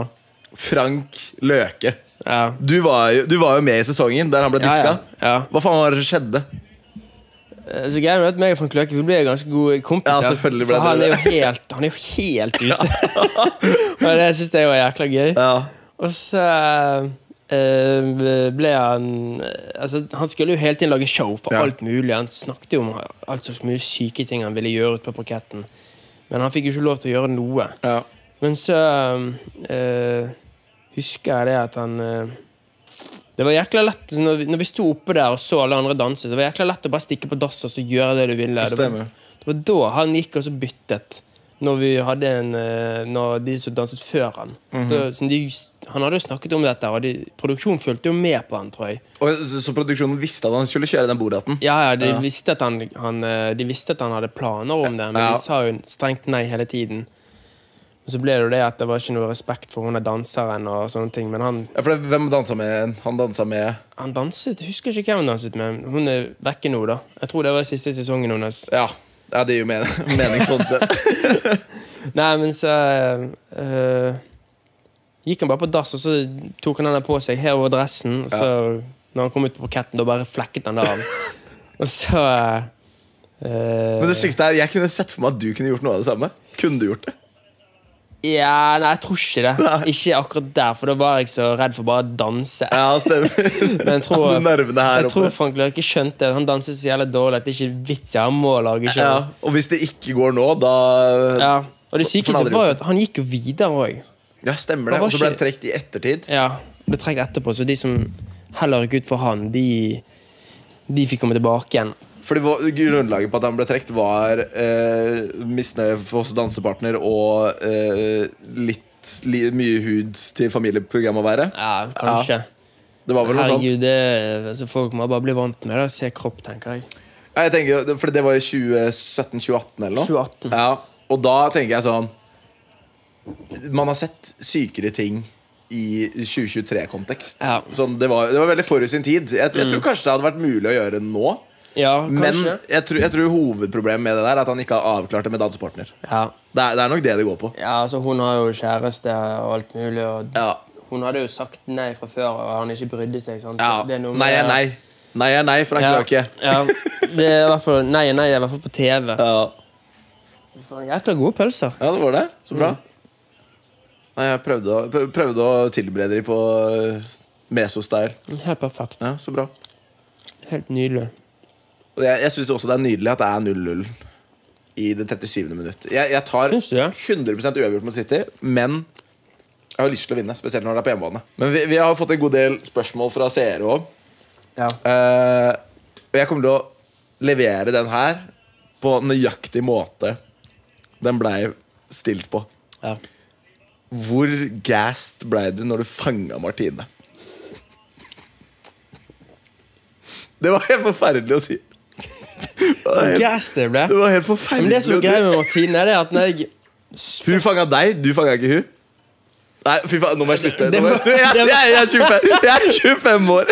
Frank Løke. Ja. Du var jo, du var jo med i sesongen der han ble Ja, diska. ja. ja. Hva faen var det som skjedde? Eh, Så greia er at meg og Frank Løke vi ble ganske gode kompiser. Ja, selvfølgelig ble for han dere er jo helt, han er jo helt ute. Og det syns jeg var jækla gøy. Ja, Og så eh, ble han eh, Altså, han skulle jo hele tiden lage show for Ja. alt mulig. Han snakket jo om alt slags mye syke ting han ville gjøre ute på parketten. Men han fikk jo ikke lov til å gjøre noe. ja. Men så um, eh, husker jeg det at han eh, Det var jækla lett så når vi, når vi sto oppe der og så alle andre danse, så det var jækla lett å bare stikke på dass og så gjøre det du ville. Det stemmer. Det var da han gikk og så byttet. Når vi hadde en eh, Når de som danset før han. Mhm. da, så de, han hadde jo snakket om dette, og de, produksjonen fulgte jo med på han, tror jeg. Og så, så produksjonen visste at han skulle kjøre den bordaten? Ja, ja, de, Ja. Visste at han, han, eh, de visste at han hadde planer om det, men Ja. de sa jo strengt nei hele tiden. Og så ble det jo det at det var ikke noe respekt for hun er danseren og sånne ting, men han, Ja, for det, Hvem dansa med han? dansa med han danset, jeg husker ikke hvem han danset med, men hun er vekke nå da. Jeg tror det var siste sesongen hennes. Ja, ja det gir jo men mening sånn sett. Nei, men så eh, gikk han bare på dass, og så tok han den der på seg, her over dressen, og så når han kom ut på parketten, da bare flekket han det av. og så... eh, Men det sykeste er, jeg kunne sett for meg at du kunne gjort noe av det samme. Kunne du gjort det? Ja, nei, jeg tror ikke det. Ikke akkurat der, for da var jeg så redd for bare å danse. Ja, stemmer. Men jeg tror, Hadde nervene her jeg tror oppe. Frank Løke skjønte at han danset så jævlig dårlig at det ikke er vits i han må lage Ja, sjøl. og hvis det ikke går nå, da Ja. Og det For sykeste den andre var jo at han gikk jo videre òg. Ja, stemmer det. Han var Og så ble han ikke- trukket i ettertid. Ja, ble trukket etterpå, så de som heller gikk ut for han, de De fikk komme tilbake igjen. Fordi hva- Grunnlaget på at han ble trukket, var eh, misnøye hos dansepartner og eh, litt li, mye hud til familieprogram å være. Ja, kanskje. Det var vel noe sånt. Herregud, det, altså, folk må bare bli vant med det. og Se kropp, tenker jeg. Ja, Jeg tenker, jo- fordi det var i 2017-2018 eller noe. 2018. Ja, og da tenker jeg sånn Man har sett sykere ting i 2023-kontekst. Ja. Sånn, det, var- det var veldig forut sin tid. Jeg, jeg tror kanskje det hadde vært mulig å gjøre nå. Ja, Men kanskje. jeg tror, jeg tror hovedproblemet med det der er at han ikke har avklart det med dansepartner. Ja. Det er, det er nok det det går på. ja, altså, hun har jo kjæreste og alt mulig, og Ja. hun hadde jo sagt nei fra før, og han ikke brydde seg. sant? ja. Det er noe Nei med- er nei. Nei er nei, Frank Løke. ja. Det er i hvert fall Nei, nei, det er i hvert fall på TV. Ja. Faen, Jækla gode pølser. ja, det var det. Så bra. Mm. Nei, jeg prøvde å, prø- prøvde å tilberede de på eh, meso-style. Helt perfekt. Ja, så bra. Helt nydelig. Og jeg, jeg syns også det er nydelig at det er 0-0 i det 37. minutt. Jeg, jeg tar Syns du det? 100 uavgjort mot City, men jeg har lyst til å vinne. Spesielt når det er på hjemmebane. Men vi, vi har fått en god del spørsmål fra seere òg. Ja. Eh, Og jeg kommer til å levere den her på nøyaktig måte den blei stilt på. ja. Hvor gassed blei du når du fanga Martine? Det var helt forferdelig å si. Det var helt, Gass det ble. det var helt Men det forferdelig som er å si. greia med Martine, det er at når jeg Hun fanga deg, du fanga ikke hun. Nei, fy faen, nå må jeg slutte. Nå må jeg, jeg, jeg, jeg, er 25, jeg er 25 år!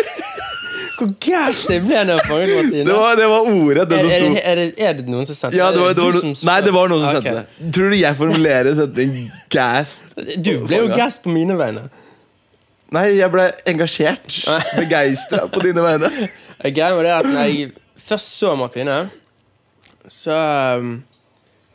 Hvor gass det ble når jeg fanget Martine? Det var, det var ordet, det som er, er, sto. det, er, det, er det noen som sendte Ja, det var, Er det var du noen, som spør? nei, det var noen som Ok. sendte det. Tror du jeg formulerer setningen gassed? Du ble jo Fanga. gass på mine vegne. Nei, jeg ble engasjert. Begeistra på dine vegne. Eh, Greia med det er at når jeg først så Martine, så um,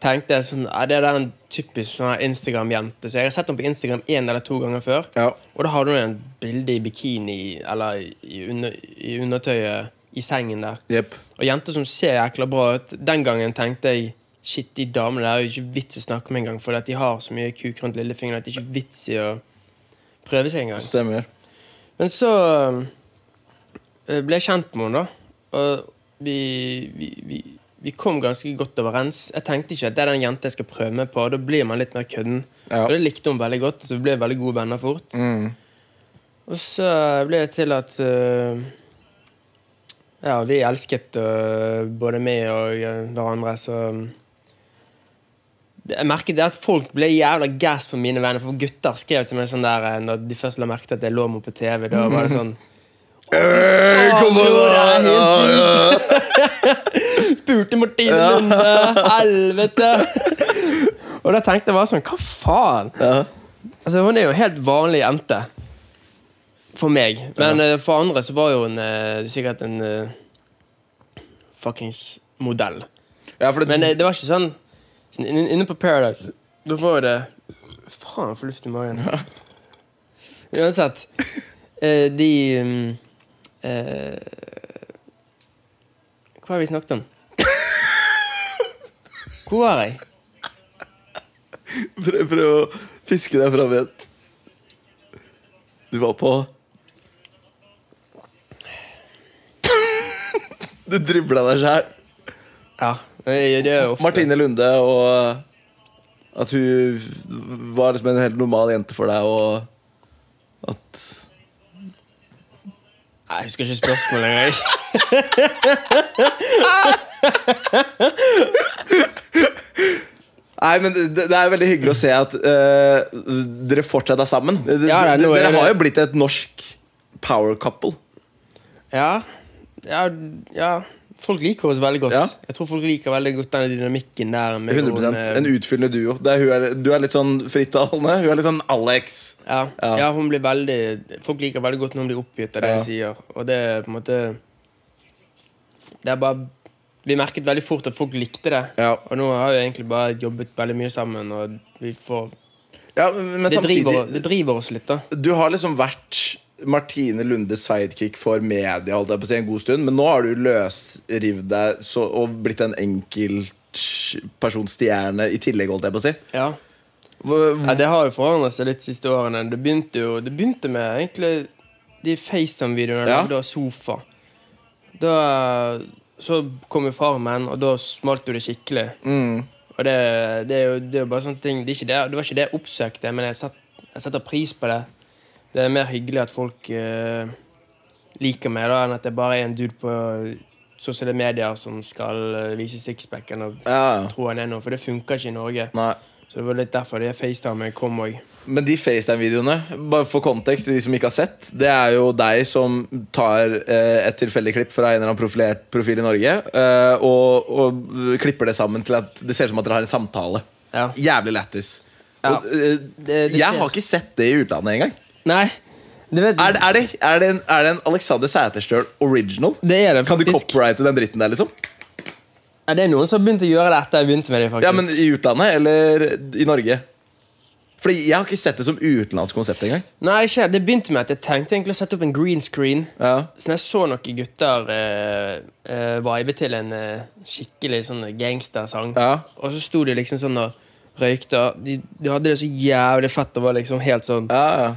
tenkte jeg sånn ja, Det der er en typisk sånn her Instagram-jente. Så jeg har sett henne på Instagram én eller to ganger før. Ja. Og da hadde hun en bilde i bikini eller i, under, i undertøyet i sengen der. Jepp. Og jenter som ser jækla bra ut. Den gangen tenkte jeg Shit, de damene der er jo ikke vits i å snakke med engang, for at de har så mye kuk rundt lillefingeren at det ikke er vits i å prøve seg engang. Stemmer. Men så eh, ble jeg kjent med henne, da. Og vi, vi, vi, vi kom ganske godt overens. Jeg tenkte ikke at det er den jenta jeg skal prøve meg på. Da blir man litt mer kødden. Ja. Mm. Og det likte hun veldig godt, så vi ble veldig gode venner fort. Og så ble det til at eh, Ja, vi elsket eh, både meg og eh, hverandre, så Det- jeg merket det at folk ble jævla gass på mine venner. For gutter skrev til meg sånn der eh, Når de først la merke til at jeg lå med henne på TV, da var det sånn Eh, Kom Å, bror, det er helt Ja, ja, ja. Pulte Martine Lunde! Helvete! Og da tenkte jeg bare sånn Hva faen? Ja. Altså, hun er jo en helt vanlig jente. For meg. Men eh, for andre så var jo hun eh, sikkert en eh, fuckings modell. Ja, for det, Men eh, det var ikke sånn, sånn inn- Inne på Paradise, da var jo det Faen, for luft i magen. Uansett. eh, de mm, eh, Hva har vi snakket om? Hvor var jeg? prøv, prøv å fiske deg fram igjen. Du var på Du dribla deg sjæl. Ja, det det er jo ofte Martine Lunde og eh, at hun var liksom en helt normal jente for deg, og at Nei, Jeg husker ikke spørsmålet engang. Nei, men det, det er veldig hyggelig å se at eh, dere fortsatt er sammen. Dere, Ja, det er noe- dere har jo blitt et norsk power couple. Ja. ja, ja Folk liker oss veldig godt. Ja. Jeg tror folk liker veldig godt den dynamikken der. Med 100% En hun, eh, utfyllende duo. Det er, hun er, du er litt sånn frittalende. Hun er litt sånn Alex. ja. Ja. ja, hun blir veldig Folk liker veldig godt når hun blir oppgitt av det Ja. hun sier. Og det er på en måte Det er bare Vi merket veldig fort at folk likte det. Ja. Og nå har vi egentlig bare jobbet veldig mye sammen, og vi får Ja, men Det driver, samtidig det driver oss litt, da. Du har liksom vært Martine Lundes sidekick for media holdt jeg på å si, en god stund, men nå har du løsrivd deg så, og blitt en enkeltpersonstjerne i tillegg, holdt jeg på å si. Ja. Hvor- hvor- Ja, det har jo forandret seg litt de siste årene. Det begynte jo Det begynte med egentlig de FaceTime-videoene jeg Ja. lagde av sofa. Da Så kom jo Farmen, og da smalt jo det skikkelig. mm. Og det, det er jo det er jo bare sånne ting det, er ikke det, det var ikke det jeg oppsøkte, men jeg, set, jeg setter pris på det. Det er mer hyggelig at folk eh, liker meg, da, enn at jeg bare er en dude på sosiale medier som skal eh, vise sixpacken og Ja. tro han er noe, for det funker ikke i Norge. Nei. Så det var litt derfor det FaceTime kom òg. Men de FaceTime-videoene, bare for kontekst til de som ikke har sett, det er jo deg som tar eh, et tilfeldig klipp fra en eller annen profilert profil i Norge, eh, og, og klipper det sammen til at det ser ut som at dere har en samtale. Ja. Jævlig lættis. Ja. Og, eh, det jeg ser- har ikke sett det i utlandet engang. Nei, du vet Er, det- er, det, er, det en- er det en Alexander Sæterstøl original? Det er det Kan du faktisk. copyrighte den dritten der, liksom? Ja, det er noen som har begynt å gjøre det etter jeg begynte med det. faktisk Ja, men I utlandet eller i Norge? Fordi jeg har ikke sett det som utenlandsk konsept engang. Nei, ikke helt. Det begynte med at jeg tenkte egentlig å sette opp en green screen. Ja. Så når Sånn, jeg så noen gutter eh, eh, vibe til en eh, skikkelig sånn gangstersang, Ja. og så sto de liksom sånn og røykte de, de hadde det så jævlig fett og var liksom helt sånn Ja, ja.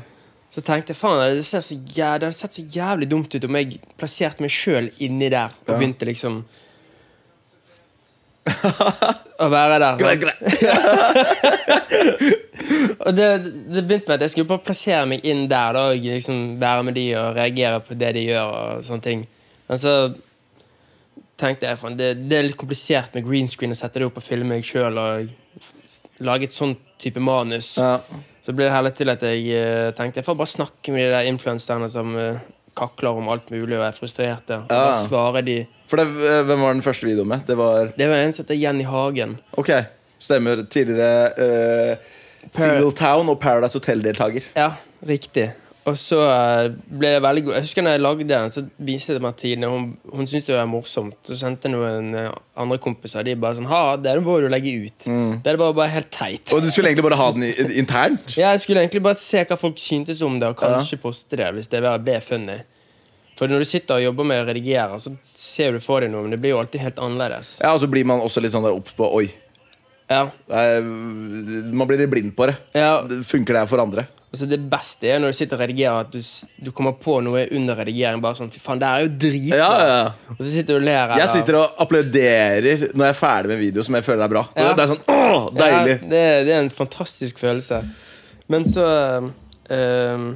Så tenkte jeg faen, det, ser så jæ- det hadde sett så jævlig dumt ut om jeg plasserte meg sjøl inni der og Ja. begynte liksom Å være der. Grei, sant? grei. Og det, det begynte med at jeg skulle bare plassere meg inn der da, og liksom være med de og reagere på det de gjør. og sånne ting. Men så tenkte jeg faen, det, det er litt komplisert med green screen å sette det opp og filme meg sjøl og s- lage et sånn type manus. Ja. Så ble det heller til at jeg eh, tenkte jeg får bare snakke med de der influenserne som eh, kakler om alt mulig og er frustrerte. Og Ja. bare svare de. For det, eh, hvem var den første videoen med? Det var Det var en som heter Jenny Hagen. Ok, stemmer. Tidligere eh, Single Town og Paradise Hotel-deltaker. Ja, riktig. Og så eh, ble jeg veldig god. Jeg husker når jeg lagde den, så viste jeg det til Martine. Hun, hun syntes det var morsomt. Så sendte jeg noen eh, andre kompiser. De bare sånn Ha, det må du legge ut. Det var bare helt teit. Mm. Og du skulle egentlig bare ha den i- internt? Ja, jeg skulle egentlig bare se hva folk syntes om det, og kanskje poste det hvis det ble funny. For når du sitter og jobber med å redigere, så ser du for deg noe, men det blir jo alltid helt annerledes. Ja, Og så blir man også litt sånn der obs på Oi. Ja. eh, man blir litt blind på det. ja. Det Funker det her for andre? Altså det beste er når du sitter og redigerer, at du, s- du kommer på noe under redigering. Bare sånn Fy faen, det er jo dritbra! Ja, ja, ja. Og så sitter du og ler. Jeg sitter og applauderer når jeg er ferdig med en video som jeg føler er bra. Det, Ja. det er sånn, åh, deilig Ja, det, det er en fantastisk følelse. Men så ehm,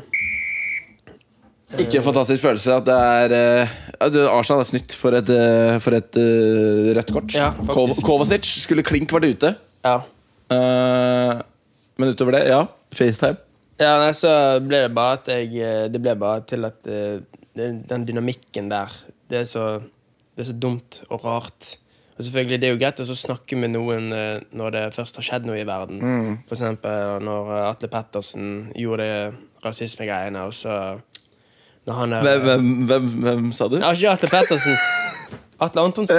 Ikke en fantastisk følelse at det er eh, altså Arsenal er snytt for et, eh, for et eh, rødt kort. Ja, Kov- faktisk. Kovacic skulle klink vært ute. Ja. Eh, men utover det, ja. FaceTime. ja nei, så ble det bare at jeg eh, Det ble bare til at eh, den den dynamikken der det er, så, det er så dumt og rart. Og selvfølgelig, Det er jo greit å så snakke med noen eh, når det først har skjedd noe i verden. Mm. For eksempel når eh, Atle Pettersen gjorde det rasismegreiene, og så når han er, Hvem, hvem, hvem, hvem sa du? Ja, ikke Atle Pettersen. Atle Antonsen.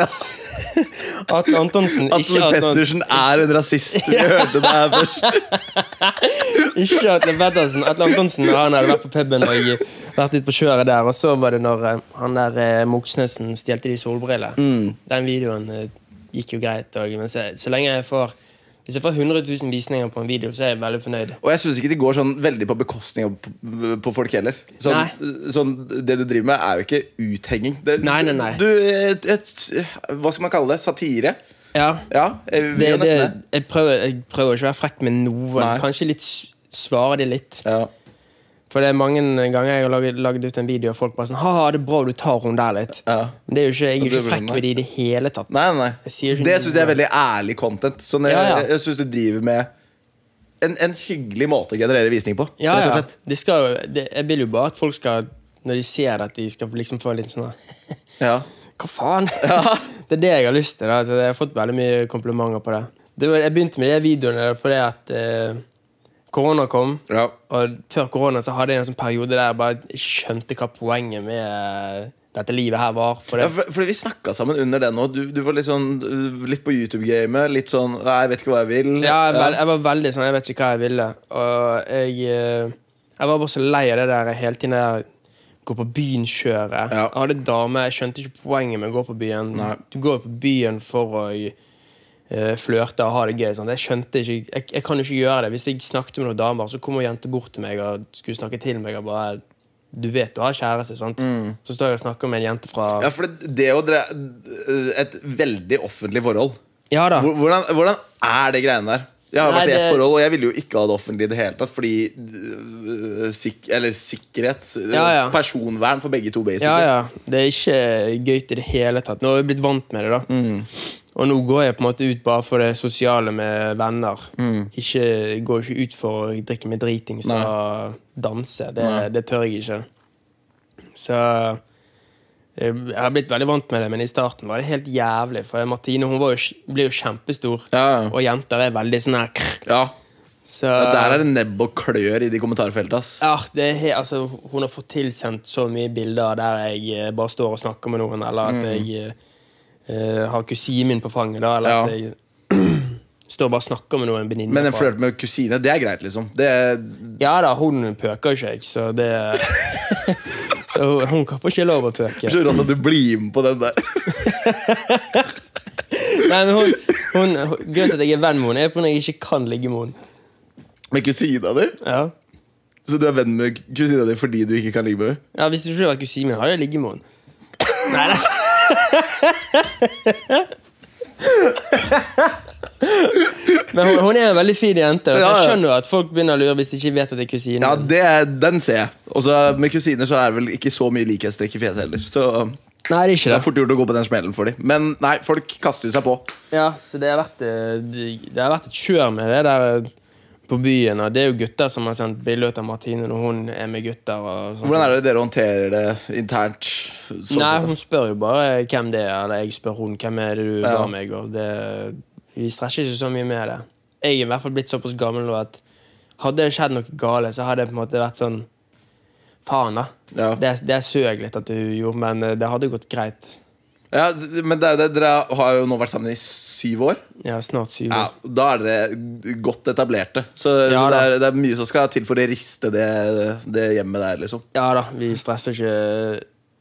Atle Antonsen, ikke Atle Atle Pettersen er en rasist. Vi hørte det her først. Ikke Atle Pettersen. Atle Antonsen han hadde vært på puben og vært litt på kjøret der. Og så var det når eh, han der eh, Moxnesen stjelte de solbrillene. Mm. Den videoen eh, gikk jo greit. Og, men så, så lenge jeg får Hvis jeg får 100 000 visninger på en video, så er jeg veldig fornøyd. Og jeg syns ikke det går sånn veldig på bekostning av p- på folk heller. Sånn, sånn, det du driver med, er jo ikke uthenging. Det, Nei, nei, nei. Du, et, et, hva skal man kalle det? Satire? Ja, Ja. Jeg, vi det, er det, nesten det. jeg, prøver, jeg prøver ikke å være frekk med noen. Nei. Kanskje litt s- svare de litt. Ja. For det er mange ganger jeg har laget, laget ut en video, og folk bare sånn Ha, det er bra du tar hun der litt. Ja. Men det er jo ikke, jeg er Ja, jo det ikke blir frekk meg. med de i det hele tatt. Nei, nei. Jeg sier ikke Det noe. syns jeg er veldig ærlig content. Sånn, jeg, Ja, ja. jeg syns du driver med en, en hyggelig måte å generere visning på. Ja, rett og ja. slett. De skal, jo- det, jeg vil jo bare at folk skal Når de ser det, at de skal liksom få litt sånn Ja. Hva faen? det er det jeg har lyst til. da. Altså, jeg har fått veldig mye komplimenter på det. det var, jeg begynte med de videoene fordi at eh, korona kom. Ja. Og før korona så hadde jeg en sånn periode der jeg bare ikke skjønte hva poenget med eh, dette livet her var. For Ja, det, for, fordi vi snakka sammen under den òg. Du, du var litt sånn uh, Litt på YouTube-gamet. Litt sånn «Nei, 'Jeg vet ikke hva jeg vil'. Ja, jeg, vel- jeg var veldig sånn Jeg vet ikke hva jeg ville. Og jeg, eh, jeg var bare så lei av det der hele tiden der gå på byen-kjøret. Ja. Jeg hadde dame, jeg skjønte ikke poenget med å gå på byen. Nei. Du går jo på byen for å eh, flørte og ha det gøy. Sånn. Jeg skjønte ikke jeg, jeg kan jo ikke gjøre det. Hvis jeg snakket med noen damer, så kom hun jente bort til meg og skulle snakke til meg. Og bare Du vet du har kjæreste, sant? Så står jeg og snakker med en jente fra Mm. Ja, for det, det å dre... Et veldig offentlig forhold. Ja da. Hvor- Hvordan, hvordan er det greiene der? Jeg har Nei, vært i et det- forhold, og jeg ville jo ikke ha det offentlig i det hele tatt. Fordi øh, sik Eller sikkerhet. øh, Ja, ja. Personvern for begge to, Ja, basically. ja. Det er ikke gøy i det hele tatt. Nå har jeg blitt vant med det, da. Mm. Og nå går jeg på en måte ut bare for det sosiale med venner. Ikke, går ikke ut for å drikke med dritings Mm. Nei. og danse. Det, Nei. det tør jeg ikke. Så jeg jeg har blitt veldig vant med det, men i starten var det helt jævlig. For Martine hun var jo, kj- ble jo kjempestor, Ja, ja. og jenter er veldig sånn her krr. Ja. Så Der er det nebb og klør i de kommentarfeltene. ass. ja, det er he altså, hun har fått tilsendt så mye bilder der jeg eh, bare står og snakker med noen, eller Mm. at jeg eh, har kusinen min på fanget, da, eller Ja. at jeg står bare og snakker med noen venninner. Men en fra- flørt med kusine, det er greit, liksom. Det er, Ja da, hun pøker ikke jeg, så det Så hun- hun kan få ikke lov å pøke. så rått at du blir med på den der. Nei, men hun, hun, hun Grunnen til at jeg er venn med henne, er på når jeg ikke kan ligge med henne. Med kusina di? Ja. Så du er venn med kusina di fordi du ikke kan ligge med henne? ja, Hvis du ikke hadde vært kusinen min, hadde jeg ligget med henne. Nei, nei. Men hun, hun er en veldig fin jente. Og så Ja, ja. jeg skjønner jo at folk begynner å lure hvis de ikke vet at det er kusinen. Ja, min. det, den ser jeg. Og så med kusiner så er det vel ikke så mye likhetstrekk i fjeset heller. Så det Nei, det er ikke er det. fort gjort å gå på den smellen for dem. Men nei, folk kaster seg på. Ja, så det har vært, eh, det det har vært et kjør med det der eh, på byen. Og det er jo gutter som har sendt bilde av Martine når hun er med gutter. Og sånn. Hvordan er det dere håndterer det internt? Sånn sett, Nei, da? hun spør jo bare hvem det er, eller jeg spør hun hvem er det du Ja. ga meg. Og det, vi stresser ikke så mye med det. Jeg er i hvert fall blitt såpass gammel nå at hadde det skjedd noe gale, så hadde det på en måte vært sånn Faen, da. Ja. Det, det søg litt at du gjorde, men eh, det hadde gått greit. ja, men det, er jo det, dere har jo nå vært sammen i syv år. Ja, snart syv Ja, år. Da er dere godt etablerte. Så Ja, det, da. er, det er mye som skal til for å riste det, det hjemmet der, liksom. Ja. da, vi stresser ikke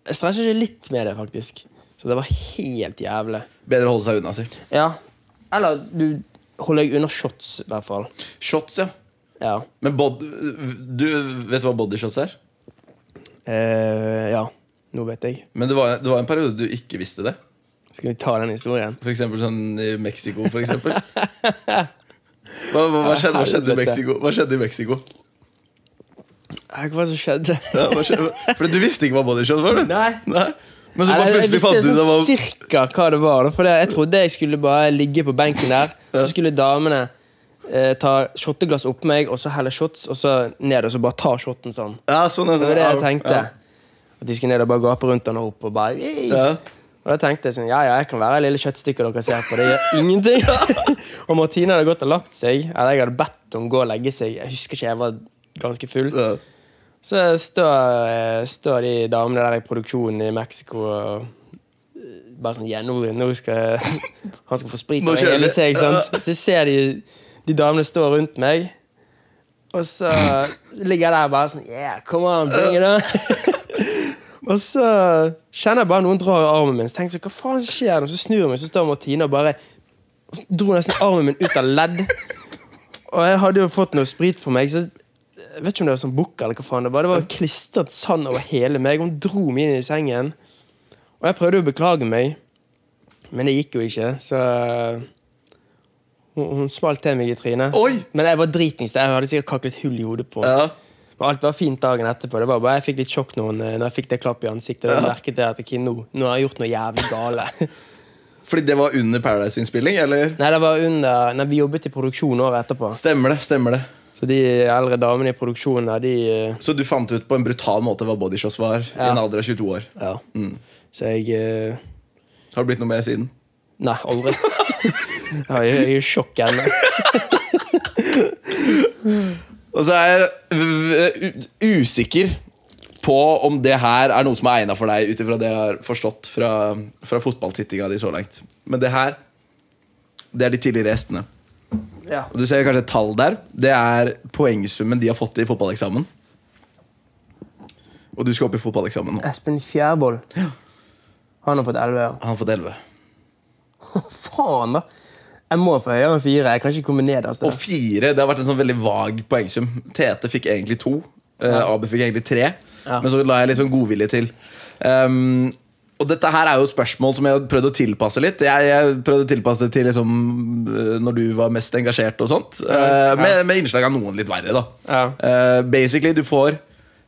Jeg stresser ikke litt med det, faktisk. Så det var helt jævlig. Bedre å holde seg unna, si. Ja. Eller du holder deg unna shots, i hvert fall. Shots, ja. Ja. Men bod, du vet du hva bodyshots er? Eh, ja. Nå vet jeg. Men det var, det var en periode du ikke visste det. Skal vi ta den historien? For eksempel sånn i Mexico, for eksempel. Hva, hva, hva, skjedde, hva, skjedde i Helvete. Mexico? hva skjedde i Mexico? Nei, Hva som skjedde? Ja, hva skjedde? For du visste ikke hva bodyshot var, du? Nei. Nei. Men så Nei, bare jeg plutselig visste fant du ut det sånn var cirka hva det var. da, For det- jeg trodde jeg skulle bare ligge på benken der. Så skulle damene eh, ta shotteglass oppå meg, og så helle shots, og så ned, og så bare ta shotten sånn. ja, sånn, er Det var det jeg tenkte. Ja. At de skulle ned og bare gape rundt den og opp, og bare «Yay!» Ja. Og da tenkte jeg sånn, ja, ja, jeg kan være lille kjøttstykker dere ser på. Det gjør ingenting. og Martine hadde gått og lagt seg. Eller jeg hadde bedt henne gå og legge seg. Jeg husker ikke, jeg var ganske full. Ja. Så står, eh, står de damene der i produksjonen i Mexico og bare sånn Ja, nå, nå skal jeg, han skal få sprit Nå over kjører hele vi. seg. Sant? Så ser de de damene stå rundt meg, og så ligger jeg der bare sånn Yeah, come on, bring it on. Og så kjenner jeg bare noen drar i armen min. Så tenker jeg sånn, hva faen skjer nå? Så snur jeg meg, så står Martine og bare dro nesten armen min ut av ledd. Og jeg hadde jo fått noe sprit på meg, så jeg vet ikke om det var sånn bukk eller hva faen det var. Det var klistret sand over hele meg. Hun dro meg inn i sengen. Og jeg prøvde å beklage meg, men det gikk jo ikke, så hun, hun smalt til meg i trynet. Oi! Men jeg var dritings. Jeg hadde sikkert kaklet hull i hodet på henne. Ja. Men alt var fint dagen etterpå. Det var bare Jeg fikk litt sjokk når, hun- når jeg fikk det klappet i ansiktet. Og jeg merket det at ok, nå, nå har jeg gjort noe jævlig gale. Fordi det var under Paradise-innspilling, eller? Nei, det var under Nei, vi jobbet i produksjon året etterpå. Stemmer det. stemmer det Så de eldre damene i produksjonen, der, de eh, Så du fant ut på en brutal måte hva bodyshots var i Ja. en alder av 22 år? Ja. Så jeg eh, Har det blitt noe mer siden? Nei, aldri. Ja, jeg, jeg er i sjokk ennå. Og så er jeg v- v- u- usikker på om det her er noe som er egna for deg, ut ifra det jeg har forstått fra, fra fotballtittinga di så langt. Men det her, det er de tidligere gjestene. Ja. Og du ser kanskje et tall der. Det er poengsummen de har fått i fotballeksamen. Og du skal opp i fotballeksamen nå. Espen Fjærvoll. Han har fått 11 år. Han har fått 11. Faen, da! Jeg må få høyere enn fire. Jeg kan ikke komme nederst. Og der. fire. Det har vært en sånn veldig vag poengsum. Tete fikk egentlig to. eh, Abu fikk egentlig tre. Ja. Men så la jeg litt sånn godvilje til. Ehm, og dette her er jo spørsmål som jeg har prøvd å tilpasse litt. Jeg, jeg prøvde å tilpasse det til liksom, øh, når du var mest engasjert og sånt. Eh, med, med innslag av noen litt verre, da. Ja. Eh, basically, du får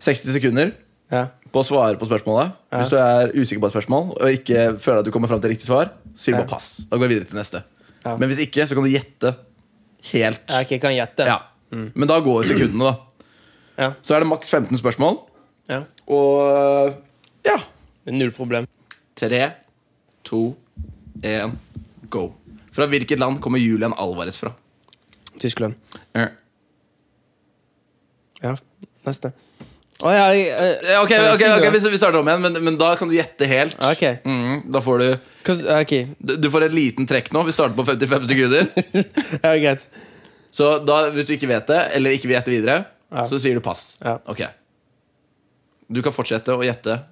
60 sekunder Ja. på å svare på spørsmålet. Hvis du er usikker på et spørsmål og ikke føler at du kommer fram til riktig svar, så sier du Ja. bare pass. Da går jeg videre til neste. Ja. Men hvis ikke, så kan du gjette helt. Ja, ok, Jeg kan gjette. Ja. Mm. Men da går sekundene, da. Ja. Så er det maks 15 spørsmål, Ja. og ja. Det er Null problem. Tre, to, én, go. Fra hvilket land kommer Julian Alvarez fra? Tyskland. Eh, Ja. Neste. Å ja, jeg, eh, Ok, kan jeg ok, si ok, noe? vi, vi starter om igjen, men, men da kan du gjette helt. Ah, Ok. Mm, da får du Hva- ok. du- Du får en liten trekk nå. Vi starter på 55 sekunder. Ja, greit. Så da, hvis du ikke vet det, eller ikke vil gjette videre, Ja. så sier du pass. Ja. Ok Du kan fortsette å gjette,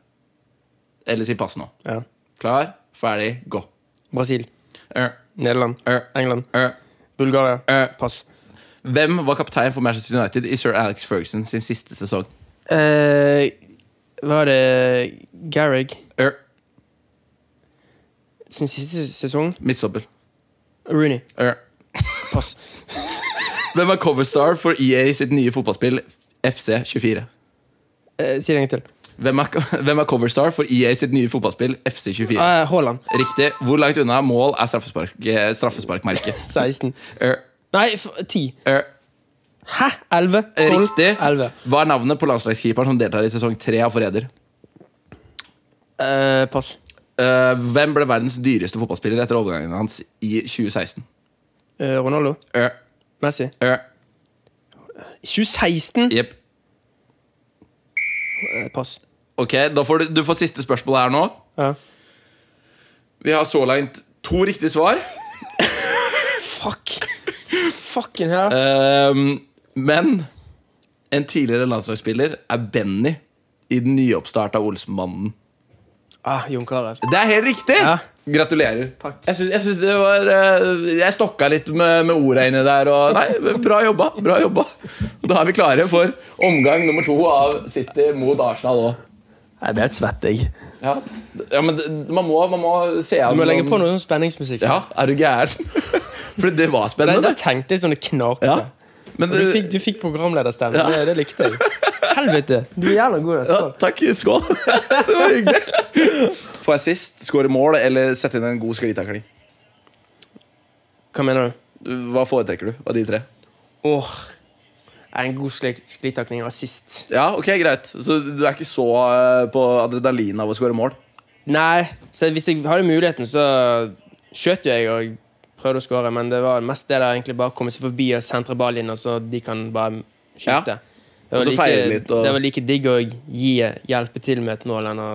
eller si pass nå. Ja. Klar, ferdig, gå. Brasil. Eh, Nederland. eh, England. eh. Bulgaria. Eh. Pass. Hvem var kaptein for Manchester United i sir Alex Ferguson sin siste sesong? Eh, var det Garrig Eh, sin siste sesong? Midtstopper. Rooney. Eh. Pass. Hvem var coverstar for EA sitt nye fotballspill FC24? Eh, si det en gang til. Hvem er, hvem er coverstar for EA sitt nye fotballspill FC24? Eh, Haaland. Riktig. Hvor langt unna mål er straffespark- eh, straffesparkmerket? 16. Eh, Nei, f- 10. eh. Hæ? 11? Eh, 12? Riktig. 11. Hva er navnet på landslagskeeperen som deltar i sesong tre av Forræder? Eh, pass. Eh, hvem ble verdens dyreste fotballspiller etter overgangen hans i 2016? Eh, Ronaldo. Eh, Messi. eh, 2016? Jepp. Eh, pass. Ok, da får du, du får siste spørsmål her nå. Ja. Vi har så langt to riktige svar. Fuck. Fucking hell. Ehm, men en tidligere landslagsspiller er Benny i den nyoppstarta Olsenbanden. Ah, Jon Carew. Det er helt riktig! Ja. Gratulerer. Takk. Jeg syns, jeg syns det var eh, Jeg stokka litt med, med orda inni der. Og, nei, bra jobba. bra jobba Da er vi klare for omgang nummer to av City mot Arsenal òg. Jeg ble helt svett, jeg. Ja. ja, men det- man må, man må se an Du må legge noen- på noe sånn spenningsmusikk. Ja, er du gæren? For det var Nei, spennende. jeg tenkte jeg sånn det knakte. Ja. Men eh, Du det- fikk, du fikk programlederstemme. Ja. Det, det likte jeg. Helvete. Du er jævla god. ja, Skål. takk. Skål. det var hyggelig. Får jeg sist, skåre mål eller sette inn en god sklitakling? Hva mener du? Hva foretrekker du av de tre? Åh. Er en god slik, sklitakning rasist? Ja, ok, greit Så du er ikke så eh, på adrenalin av å skåre mål? Nei. Så hvis jeg hadde muligheten, så skjøt jo jeg og prøvde å skåre, men det var mest det der egentlig bare å komme seg forbi og sentre ballen inn, og så de kan bare skyte. Ja. Det, var Og så feire litt, og- det var like digg å gi hjelpe til med et mål enn å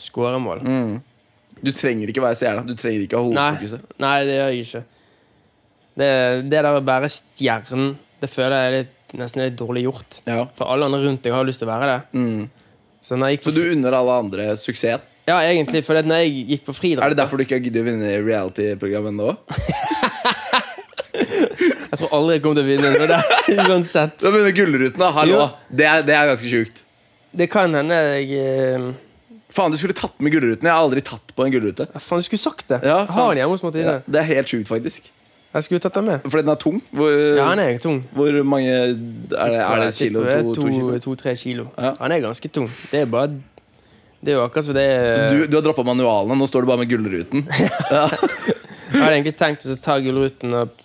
skåre mål. Mm. Du trenger ikke være stjerna. Du trenger ikke ha Nei, hovedfokuset. nei, det gjør jeg ikke. Det, det der å være stjernen, det føler jeg er litt, nesten er litt dårlig gjort. Ja. For alle andre rundt deg har lyst til å være det. Så når jeg gikk på, Mm. Så du unner alle andre suksessen? Ja, egentlig, for når jeg gikk på Er friidrett det derfor du ikke har giddet å vinne reality-programmet ennå? Jeg tror aldri jeg kommer til å vinne noe der. Uansett. Du har vunnet Gullruten, da. Hallo. Jo. Det er, det er ganske sjukt. Det kan hende jeg eh, Faen, du skulle tatt med Gullruten. Jeg har aldri tatt på en Gullrute. ja, Faen, jeg skulle sagt det. Ja, jeg har faen. den hjemme hos Martine. Ja, det er helt sjukt, faktisk. Jeg skulle tatt den med. Fordi den er tung. Hvor, Ja, han er tung. hvor mange Er det, er det kilo? To, to kilo? To-tre kilo. Ja. Han er ganske tung. Det er bare Det er jo akkurat som det eh, er Så du, du har droppa manualene, nå står du bare med Gullruten. Jeg hadde egentlig tenkt å ta gullruten og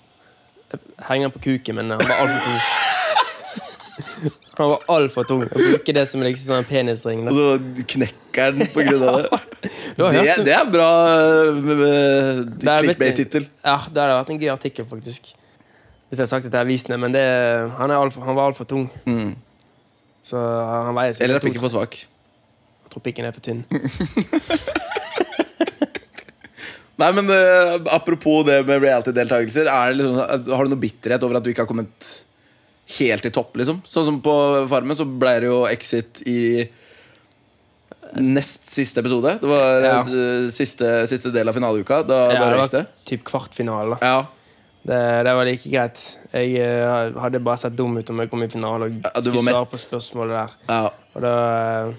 henge den på kuken, men han var altfor tung. Han var altfor tung. Å bruke det som liksom sånn penisring. Og Da. så knekker den på grunn av det. Du har Det, hørt om- det er bra øh, Det er blitt- clickbait-tittel. Ja, det hadde vært en gøy artikkel, faktisk. Hvis jeg hadde sagt det til avisene, men det, han, er alt for, han var altfor tung. Så han veier Mm. Eller er to- pikken for svak? Jeg tror pikken er for tynn. Nei, men øh, Apropos det med reality-deltakelser. er det Liksom, har du noe bitterhet over at du ikke har kommet helt til topp? liksom? Sånn som på Farmen, så ble det jo Exit i nest siste episode. Det var Ja. øh, siste, siste del av finaleuka. Da, Ja, da det røyk det. var typ kvartfinale. da. Ja. Det, det var like greit. Jeg eh, hadde bare sett dum ut om jeg kom i finale og Ja, du var skulle mett. svare på spørsmålet der. Ja, Og da, eh,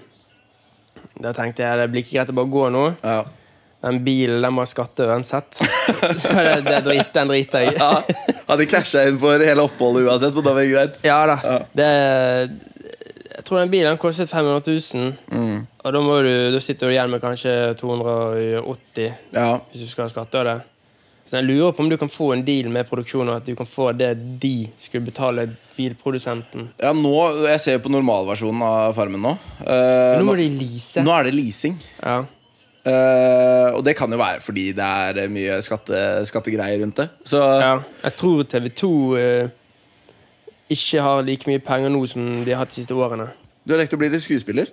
da tenkte jeg det blir ikke greit å bare gå nå. ja. Den bilen den må jeg skatte uansett. Så det, det drit, den driter jeg i. Hadde casha inn for hele oppholdet uansett, så da var det greit. Ja da. Ja. Det, jeg tror den bilen den kostet 500 000. Mm. Og da, må du, da sitter du igjen med kanskje 280 Ja, hvis du skal ha skatte av det. Så jeg lurer på om du kan få en deal med produksjonen, og at du kan få det de skulle betale bilprodusenten. ja nå, Jeg ser jo på normalversjonen av Farmen nå. Eh, Nå nå, må de lease. nå er det leasing. Ja. Eh, og det kan jo være fordi det er eh, mye skatte, skattegreier rundt det. Så ja. Jeg tror TV2 eh, ikke har like mye penger nå som de har hatt de siste årene. du har lekt å bli litt skuespiller.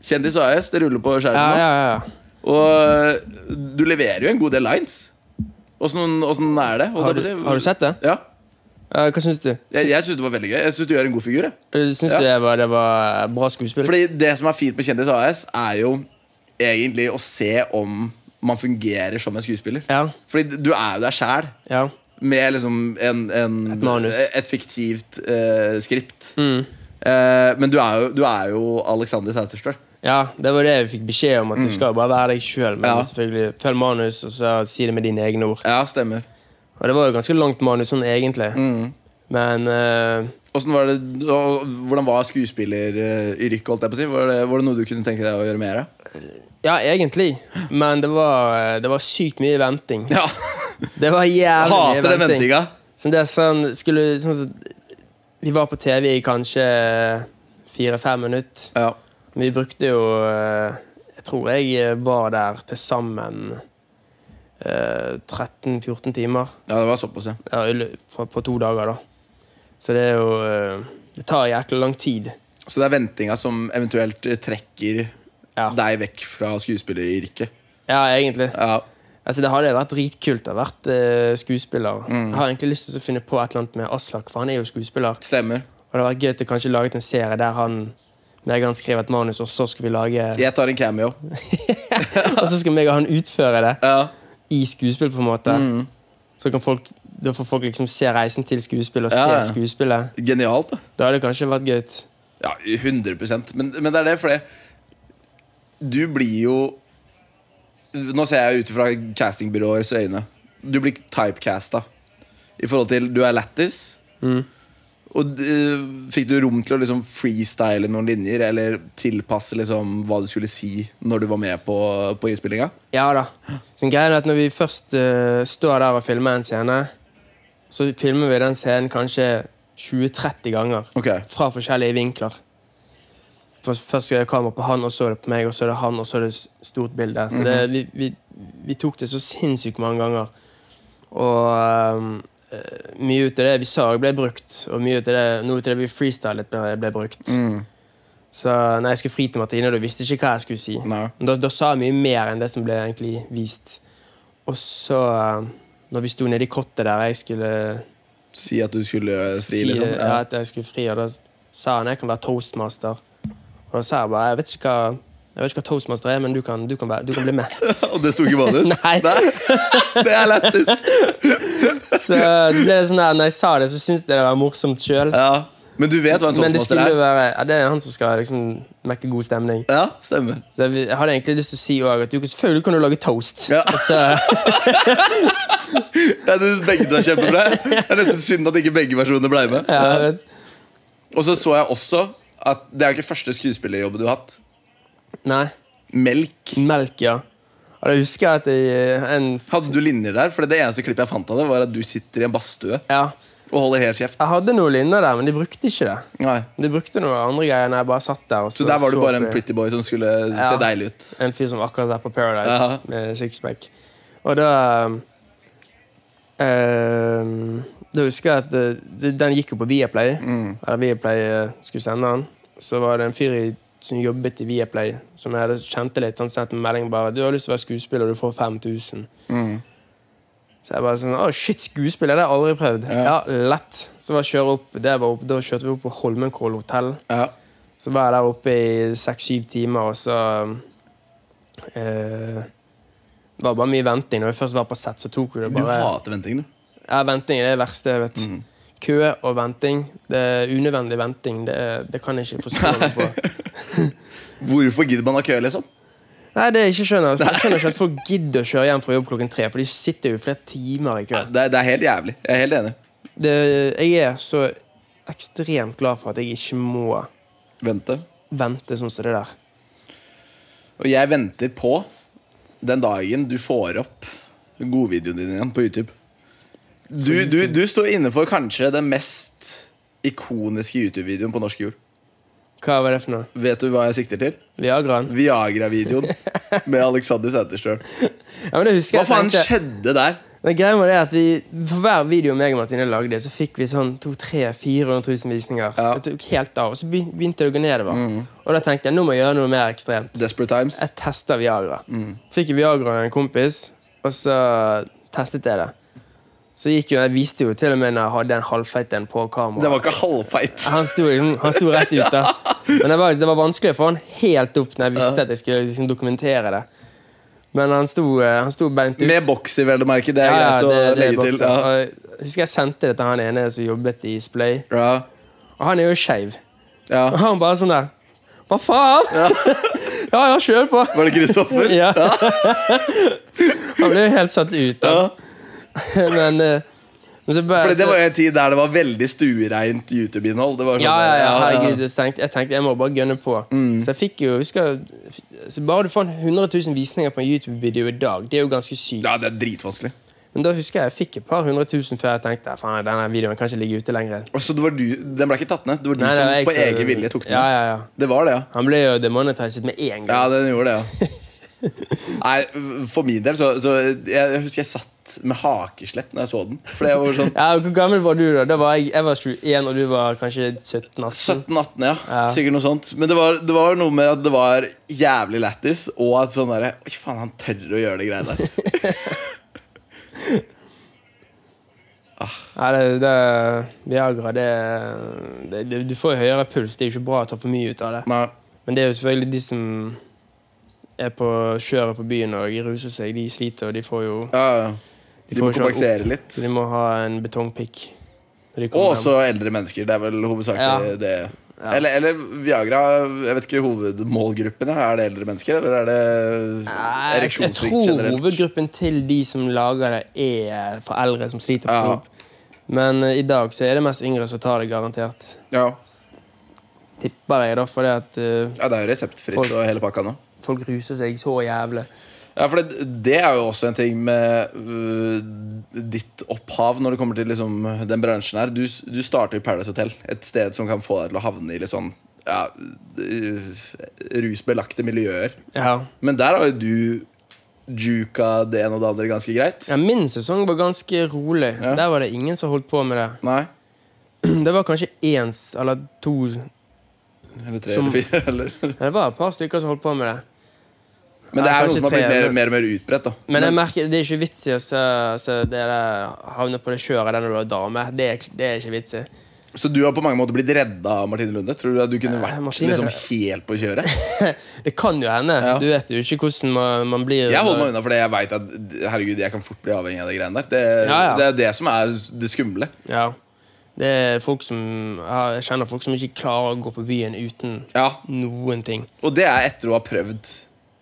Kjendis AS, det ruller på skjermen Ja, nå. ja, ja. Og eh, du leverer jo en god del lines. Åssen åssen er det? Holdt Har jeg på å du, si. har du sett det? Ja. Eh, Hva syns du? Jeg, jeg syns det var veldig gøy. Jeg synes du gjør en god figur. Jeg. Eh, Syns Ja. du det var, det var bra skuespill? Fordi det som er fint med Kjendis AS, er jo egentlig å se om man fungerer som en skuespiller. Ja. Fordi du er jo deg sjæl ja. med liksom en, en, Et manus. et fiktivt eh, skript. Mm. Eh, men du er jo, du er jo Alexander Sæterstøl. Ja, det var det vi fikk beskjed om. At du skal bare være deg sjøl. Men Mm. Ja. selvfølgelig følg manus, og så si det med dine egne ord. Ja, stemmer. Og det var jo ganske langt manus sånn egentlig. Mm. Men eh, Hvordan var, det, og hvordan var skuespilleryrket? holdt jeg på å si? Var det, var det noe du kunne tenke deg å gjøre mer av? Ja, egentlig. Men det var, eh, det var sykt mye venting. Ja. Det var jævlig mye Hater den venting. ventinga. Så det er sånn, skulle, sånn som- vi var på TV i kanskje fire-fem minutter. Ja. Vi brukte jo eh, Jeg tror jeg var der til sammen eh, 13-14 timer. ja, det var såpass, ja. Ja, i lø- fra- på to dager, da. Så det er jo eh, Det tar jækla lang tid. Så det er ventinga som eventuelt eh, trekker Ja, deg vekk fra skuespilleryrket. ja egentlig. Ja. Altså, det hadde vært dritkult å ha vært eh, skuespiller. Mm. Jeg har egentlig lyst til å finne på et eller annet med Aslak, for han er jo skuespiller. Stemmer. Og det hadde vært gøy til kanskje laget en serie der han meg og han skrev et manus, og så skal vi lage Jeg tar en cameo. Og så skal meg og han utføre det Ja. i skuespill, på en måte. Mm. Så kan folk, da får folk liksom se reisen til skuespill og Ja, ja. se skuespillet. Genialt, da. Da hadde det kanskje vært gøy. Ja, 100 Men, men det er det, for det Du blir jo Nå ser jeg ut fra castingbyråers øyne. Du blir typecasta i forhold til Du er lættis. Mm. Og eh, fikk du rom til å liksom freestyle noen linjer, eller tilpasse liksom hva du skulle si når du var med på, på innspillinga? Ja da. Så greia er at når vi først eh, står der og filmer en scene, så filmer vi den scenen kanskje 20-30 ganger. Ok, fra forskjellige vinkler. Først først skal jeg ha kamera på han, og så er det på meg, og så er det han, og så er det s- stort bilde. Så det, vi, vi, vi tok det så sinnssykt mange ganger. Og ehm, eh, mye ut av det vi sa, ble brukt, og mye ut av det, noe ut av det vi freestylet, ble, ble brukt. Så når jeg skulle fri til Martine, da visste jeg ikke hva jeg skulle si. Nei. Men Da, da sa jeg mye mer enn det som ble egentlig vist. Og så, ehm, når vi sto nede i kottet der jeg skulle Si at du skulle eh, fri, si, liksom. ja. Ja. at jeg skulle fri, og da sa han jeg kan være toastmaster. Og da sa jeg bare jeg vet ikke hva, jeg vet ikke hva toastmaster er, men du kan, du kan, være, du kan bli med. Og det sto ikke i manus? Nei. Det er lættis! Så det ble sånn der, når jeg sa det, så syntes jeg det var morsomt sjøl. Ja. Men du vet hva en Men det toastmaster skulle er? være ja, Det er han som skal liksom mekke god stemning. Ja, stemmer. Så jeg vil- jeg hadde egentlig lyst til å si òg at du, selvfølgelig kan du lage toast. Ja. Og Så, Ja, du, begge to er kjempebra. Det er nesten synd at ikke begge versjonene ble med. ja, jeg vet. Og så så jeg også at det er jo ikke første skuespillerjobben du har hatt. Nei. Melk. Melk, ja. Og da husker jeg at jeg, eh, en Hadde du linjer der? For det eneste klippet jeg fant av det, var at du sitter i en badstue Ja. og holder helt kjeft. Jeg hadde noe lignende der, men de brukte ikke det. Nei. De brukte noen andre greier når jeg bare satt der. Og Så der var du så bare en på- pretty boy som skulle se Ja. deilig ut. En fyr som akkurat er på Paradise Ja. med sixpack. Og da um, um, Da husker jeg at uh, det, den gikk jo på Viaplay. Eller Viaplay uh, skulle sende den. Så var det en fyr i, som jobbet i Viaplay, som jeg hadde kjente litt. Han sendte meg melding bare 'Du har lyst til å være skuespiller, og du får 5000'. Så jeg bare sånn, å shit, skuespill, det har jeg aldri prøvd. Ja, lett. Så var jeg kjøre opp, det var opp, Da kjørte vi opp på Holmenkollen hotell. Ja. Så var jeg der oppe i seks-syv timer, og så eh, Det var bare mye venting. Når vi først var på sett, så tok vi det Du Mhm. bare hater venting, du. Ja, venting er det verste jeg vet. Kø og venting. Det er unødvendig venting. Det, er- det kan jeg ikke forstå meg på. Hvorfor gidder man å kø, liksom? Nei, det er ikke skjønner. altså. Jeg skjønner ikke at folk gidder å kjøre hjem fra jobb klokken tre, for de sitter jo i flere timer i kø. Det, er- det er helt jævlig. Jeg er helt enig. Det, jeg er så ekstremt glad for at jeg ikke må Vente. vente sånn som det der. Og jeg venter på den dagen du får opp godvideoen din igjen på YouTube. Du, du, du står inne for kanskje den mest ikoniske YouTube-videoen på norsk jord. Hva var det for noe? Vet du hva jeg sikter til? Viagraen? Viagra-videoen med Alexander Sæterstøl. Ja, men det husker Hva jeg faen tenkte- skjedde der? Men greia var det at vi, For hver video meg og Martine lagde, så fikk vi sånn 200 000-400 000 visninger. Ja. Mm. Det tok helt av, og Så begy- begynte det å gå nedover. Og da tenkte jeg nå må jeg gjøre noe mer ekstremt. Desperate Times. Jeg testa Viagra. Mm. Fikk Viagra av en kompis, og så testet jeg det. Så gikk jo, Jeg viste jo til og med når jeg hadde en halvfeit en på kamera. Den var ikke halvfeit. Han sto, liksom, han sto rett ute. Men det var, det var vanskelig å få han helt opp når jeg visste at jeg skulle liksom dokumentere det. Men han sto, eh, han sto beint ut. Med bokser, vel å merke. Det er Ja, ja, greit å det- det er legge til. bokser. Ja. Og Jeg husker jeg sendte det til han ene som jobbet i Splay. Ja. Og han er jo skeiv. Ja. Og han bare sånn der Hva faen? Ja, ja, kjør på! Var det Kristoffer? Ja. Han ble jo helt satt ut. Ja. Da. Men, eh, men så bare, Fordi det var jo en tid der det var veldig stuereint YouTube-innhold. Det var sånn- Ja, ja, ja, herregud. Jeg tenkte jeg, tenkte, jeg må bare gønne på. Mm. Så jeg fikk jo husker, jeg- så Bare du får 100 000 visninger på en YouTube-video i dag, det er jo ganske sykt. Ja, det er dritvanskelig. Men da husker jeg jeg fikk et par hundre tusen før jeg tenkte faen, denne videoen kan ikke ligge ute lenger. Og så det var du, Den ble ikke tatt ned? Det var du Nei, det som var jeg Liksom på som- egen vilje tok den Ja, ned? ja, ja. Det var det, ja. Han ble jo demonetized med en gang. Ja, den gjorde det, ja. Nei, for min del så, så Jeg husker jeg satt med hakeslepp når jeg så den. For jeg var sånn Ja, Hvor gammel var du da? Da var Jeg, jeg var 21, og du var kanskje 17-18. 17-18, ja. Ja. Sikkert noe sånt. Men det var, det var noe med at det var jævlig lættis, og at sånn derre Oi, faen, han tør å gjøre det greia der. Ja, det, det, Viagra, det, det, det Du får jo høyere puls. Det er jo ikke bra å ta for mye ut av det. Nei. Men det er jo selvfølgelig de som er på kjøret på byen og ruser seg. De sliter, og de får jo Ja, ja. De de får må ikke ha kompensere litt. Så de må ha en betongpikk. når de Og kommer også eldre mennesker. Det er vel hovedsakelig Ja. det. Ja. Eller, eller Viagra. Jeg vet ikke hovedmålgruppen. ja. Er det eldre mennesker, eller er det Nei, jeg, jeg ereksjonssvikt tror generelt? hovedgruppen til de som lager det, er foreldre som sliter Ja. for jobb. Men eh, i dag så er det mest yngre som tar det, garantert. Ja. Tipper jeg, da, fordi at eh, ja, det er jo reseptfritt Folk- og hele pakka nå. folk ruser seg så jævlig. Ja, for det, det er jo også en ting med øh, ditt opphav når det kommer til liksom, den bransjen her. Du, s- du starter i Paradise Hotel, et sted som kan få deg til å havne i litt sånn ja, øh, rusbelagte miljøer. Ja. Men der har jo du juka det ene og det andre ganske greit. ja, Min sesong var ganske rolig. Ja. Der var det ingen som holdt på med det. Nei? Det var kanskje én s- eller to Eller tre Som- eller fire? Eller. Ja, Det var et par stykker som holdt på med det. Men det er Nei, noe kanskje som har blitt tre, mer, men- mer og mer utbredt. da Men jeg merker, det er ikke vits i å se- se dere havne på det kjøret der når du er dame. Det er, det er ikke vits i. Så du har på mange måter blitt redda av Martine Lunde? Tror du at du kunne Eh, vært Martine- liksom, helt på kjøret? Det kan jo hende. Ja. Du vet jo ikke hvordan man, man blir Jeg holder meg unna, for jeg vet at herregud, jeg kan fort bli avhengig av det greiene der. Det, Ja, ja. det er det som er det skumle. Ja. Det er folk som ja, Jeg kjenner folk som ikke klarer å gå på byen uten Ja, noen ting. Og det er etter å ha prøvd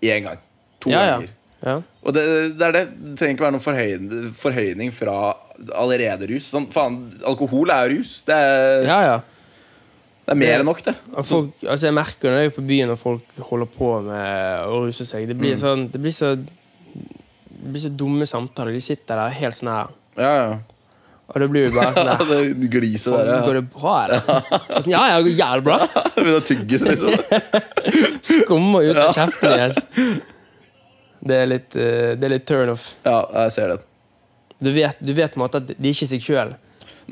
én gang. To Ja, ja. ganger. ja. Og det, det er det. Det trenger ikke være noen forhøyning, forhøyning fra allerede rus. Sånn, faen, Alkohol er jo rus. Det er, ja, ja. det er mer enn nok, det. Og folk, altså jeg merker når jeg er på byen og folk holder på med å ruse seg. Det blir, Mm. sånn, det blir, så, det blir så dumme samtaler. De sitter der helt sånn her. Ja, ja. Og det blir jo bare sånn Ja, her. det gliset Faen, der, ja. Går det bra, eller? Og Sånn, ja, ja, det går jævlig bra. Begynner å tygge seg, liksom. Skummer ut av kjeften deres. Det er litt, eh, det er litt turn off. Ja, jeg ser den. Du vet, du vet på en måte at de er ikke seg sjøl.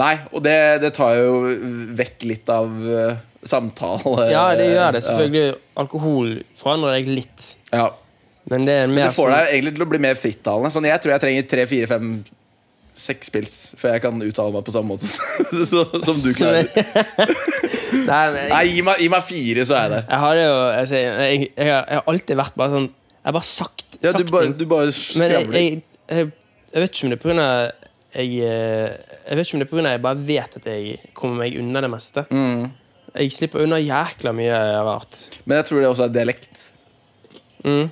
Nei, og det, det tar jo vekk litt av eh, samtale... Ja, det gjør det. Selvfølgelig. Alkohol forandrer deg litt. Ja. ja. Men det er mer Det får sånn- deg egentlig til å bli mer frittalende. Sånn, jeg tror jeg trenger tre, fire, fem, seks pils før jeg kan uttale meg på samme måte så, som du klarer. Nei, men Nei, jeg, gi meg, gi meg fire, så er jeg der. jeg har det jo altså, jeg, jeg, jeg, har- jeg har alltid vært bare sånn Jeg har bare sagt, Ja, sagt du bare, ting. du bare Men jeg, skravler. jeg, jeg, jeg vet ikke om det er pga. jeg, eh, jeg vet ikke om det er på grunn av at jeg bare vet at jeg kommer meg unna det meste. Jeg slipper unna jækla mye rart. Mm. Men jeg tror det også er dialekt. Mm.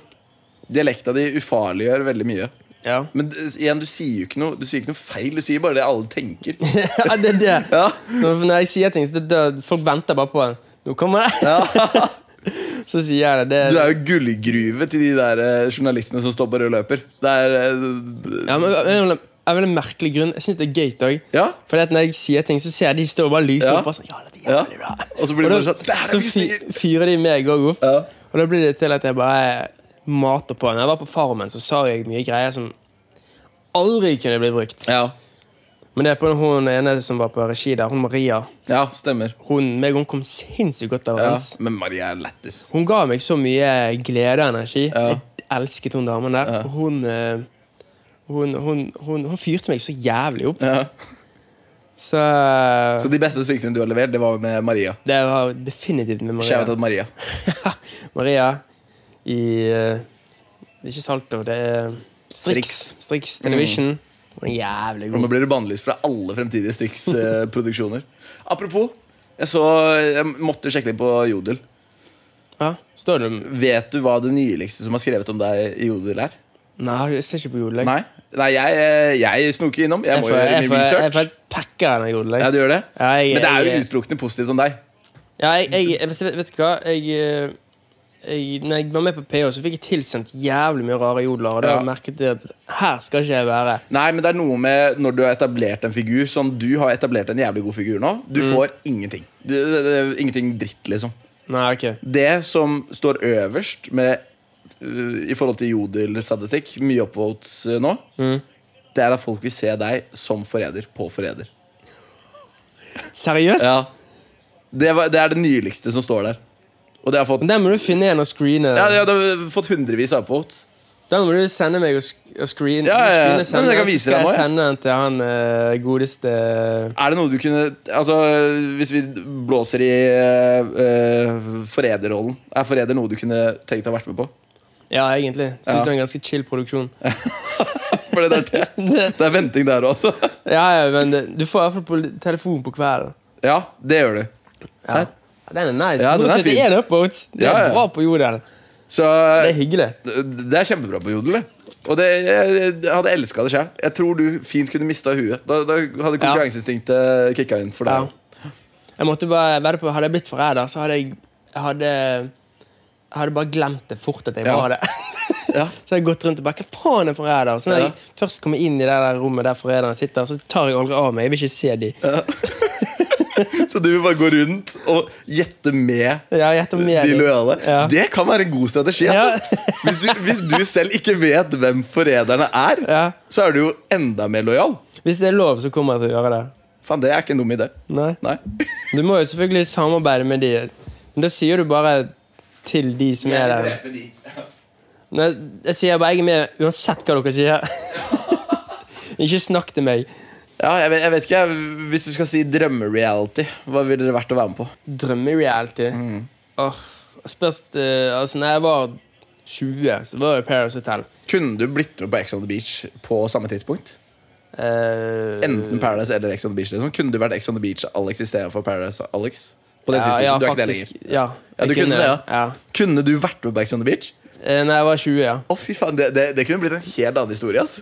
Dialekta di ufarliggjør veldig mye. Ja. Men d- igjen, du sier jo ikke noe, du sier ikke noe feil, du sier bare det alle tenker. ja, det er det. Ja. Når, når jeg sier ting, så det, det, folk venter bare på en. Nå kommer jeg! så sier jeg det. det Du er jo gullgruve til de der eh, journalistene som står på rød løper. Det er eh, ja, men, av en eller annen- av en eller annen merkelig grunn. Jeg syns det er gøy òg. Ja. Fordi at når jeg sier ting, så ser jeg de står og bare lyser Ja. opp. Og sånn, ja, det er Ja. jævlig bra Og så blir det Og da- bare sånn, "Der er Så vi fy- fyrer de meg òg opp. Ja. Og da blir det til at jeg bare mater på. Når jeg var på Farmen, så sa jeg mye greier som aldri kunne bli brukt. Ja, Men det er på hun ene som var på regi der, hun Maria. ja stemmer. Hun, meg, og hun kom sinnssykt godt Ja. overens. Men Maria er lættis. Hun ga meg så mye glede og energi. Ja. Jeg elsket hun damen der. Og Hun, eh, hun, hun, hun, hun fyrte meg så jævlig opp. Ja. Så, Så de beste stykkene du har levert, det var med Maria. det var definitivt med Shout Maria. out Maria. Maria i eh, Det er ikke Salto, det er Strix. Strix Television. Mm. Hun er jævlig Og nå god. blir du bannlyst fra alle fremtidige Strix-produksjoner. Apropos, jeg, så, jeg måtte sjekke litt på Jodel. Ja, står det Vet du hva det nyligste som har skrevet om deg i Jodel, er? Nei, jeg ser ikke på jodelegg. Nei, Nei jeg, eh, jeg snoker innom. Jeg Jeg må får- jo gjøre jeg min får- Jeg får research. helt pakker av den jodelegg. Ja, du gjør det? Ja, jeg- Men det er jo jeg- utelukkende positivt om deg. Ja, jeg, jeg, jeg vet, vet du hva? Jeg, eh, jeg, når jeg var med på PH, så fikk jeg tilsendt jævlig mye rare jodler. Og da Ja. merket jeg at her skal ikke jeg være. Nei, men det er noe med når du har etablert en figur Som du har etablert en jævlig god figur nå Du Mm. får ingenting du, det, det, Ingenting dritt liksom Nei, ok. Det som står øverst med, øh, I forhold til jodelstatistikk Mye oppvotes øh, nå Mm. Det er at folk vil se deg som forræder På forræder Seriøst? det, var, det er det nyligste som står der Og det har fått, Men Den må du finne igjen og screene. ja, det har- det har fått hundrevis av oppvotes Den må du sende meg og, sk og screene. Ja, ja, ja. Screene, Nei, sende men jeg kan den, vise så skal deg nå, jeg ja. sende den til han eh, godeste Er det noe du kunne Altså, hvis vi blåser i uh, forræderrollen Er forræder noe du kunne tenkt deg å ha vært med på? Ja, egentlig. Syns Ja. det var en ganske chill produksjon. For det er, det. det er venting der også. Ja, ja, men det, Du får i hvert fall på telefon på kvelden. Ja, det gjør du. Ja. Den er nice. Ja, den er Nå sitter fin. én upvote. Det Ja, er ja. bra på jodel. Så Det er hyggelig. det er kjempebra på jodel. det. Og det, jeg, jeg hadde elska det sjøl. Jeg tror du fint kunne mista huet. Da, da hadde Ja. konkurranseinstinktet kicka inn for deg. Jeg måtte bare være på Hadde jeg blitt forræder, så hadde jeg jeg hadde, jeg hadde bare glemt det fort at jeg Ja. var det. Ja. så hadde jeg gått rundt og bare Hva faen er forræder? Så når Ja. jeg først kommer inn i det der rommet der forræderne sitter, så tar jeg aldri av meg. Jeg vil ikke se de. Så du vil bare gå rundt og gjette med Ja, jeg gjetter mer. de lojale. Ja. Det kan være en god strategi. Altså. Hvis, du, hvis du selv ikke vet hvem forræderne er, Ja. så er du jo enda mer lojal. Hvis det er lov, så kommer jeg til å gjøre det. Faen, det er ikke en dum idé. Nei. Nei. Du må jo selvfølgelig samarbeide med de. Men da sier du bare til de som er der. Nei, jeg sier bare jeg er med uansett hva dere sier. ikke snakk til meg. Ja, jeg vet, jeg vet ikke, jeg, Hvis du skal si drømmereality, hva ville det vært å være med på? drømmereality. Mm. spørs eh, altså, når jeg var 20, så var det Paris Hotel. Kunne du blitt med på Ex on the Beach på samme tidspunkt? Eh, Enten Paradise eller Ex on the Beach. Liksom. Kunne du vært Ex on the Beach Alex istedenfor Paradise Alex? På det tidspunktet, ja, ja, du er ikke det faktisk, lenger. Ja, Ja, jeg du kunne det, ja. ja. Kunne du vært med på Ex on the Beach? Eh, når jeg var 20, ja. Å fy faen, det, det, det kunne blitt en helt annen historie. ass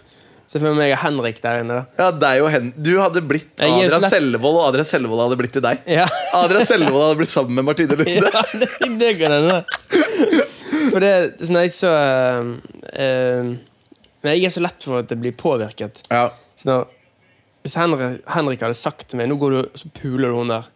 Se for meg og Henrik der inne, da. Ja, deg og hen Du hadde blitt Jeg gir jo Adrian slett- Selvold, og Adrian Selvold hadde blitt til deg. Ja. Adrian Selvold hadde blitt sammen med Martine Lunde. ja det, det kan hende. For det sånn jeg så eh, eh, Men jeg er så lett for at det blir påvirket. Ja. Så da, hvis Henrik, Henrik hadde sagt til meg Nå går du og så puler du hun der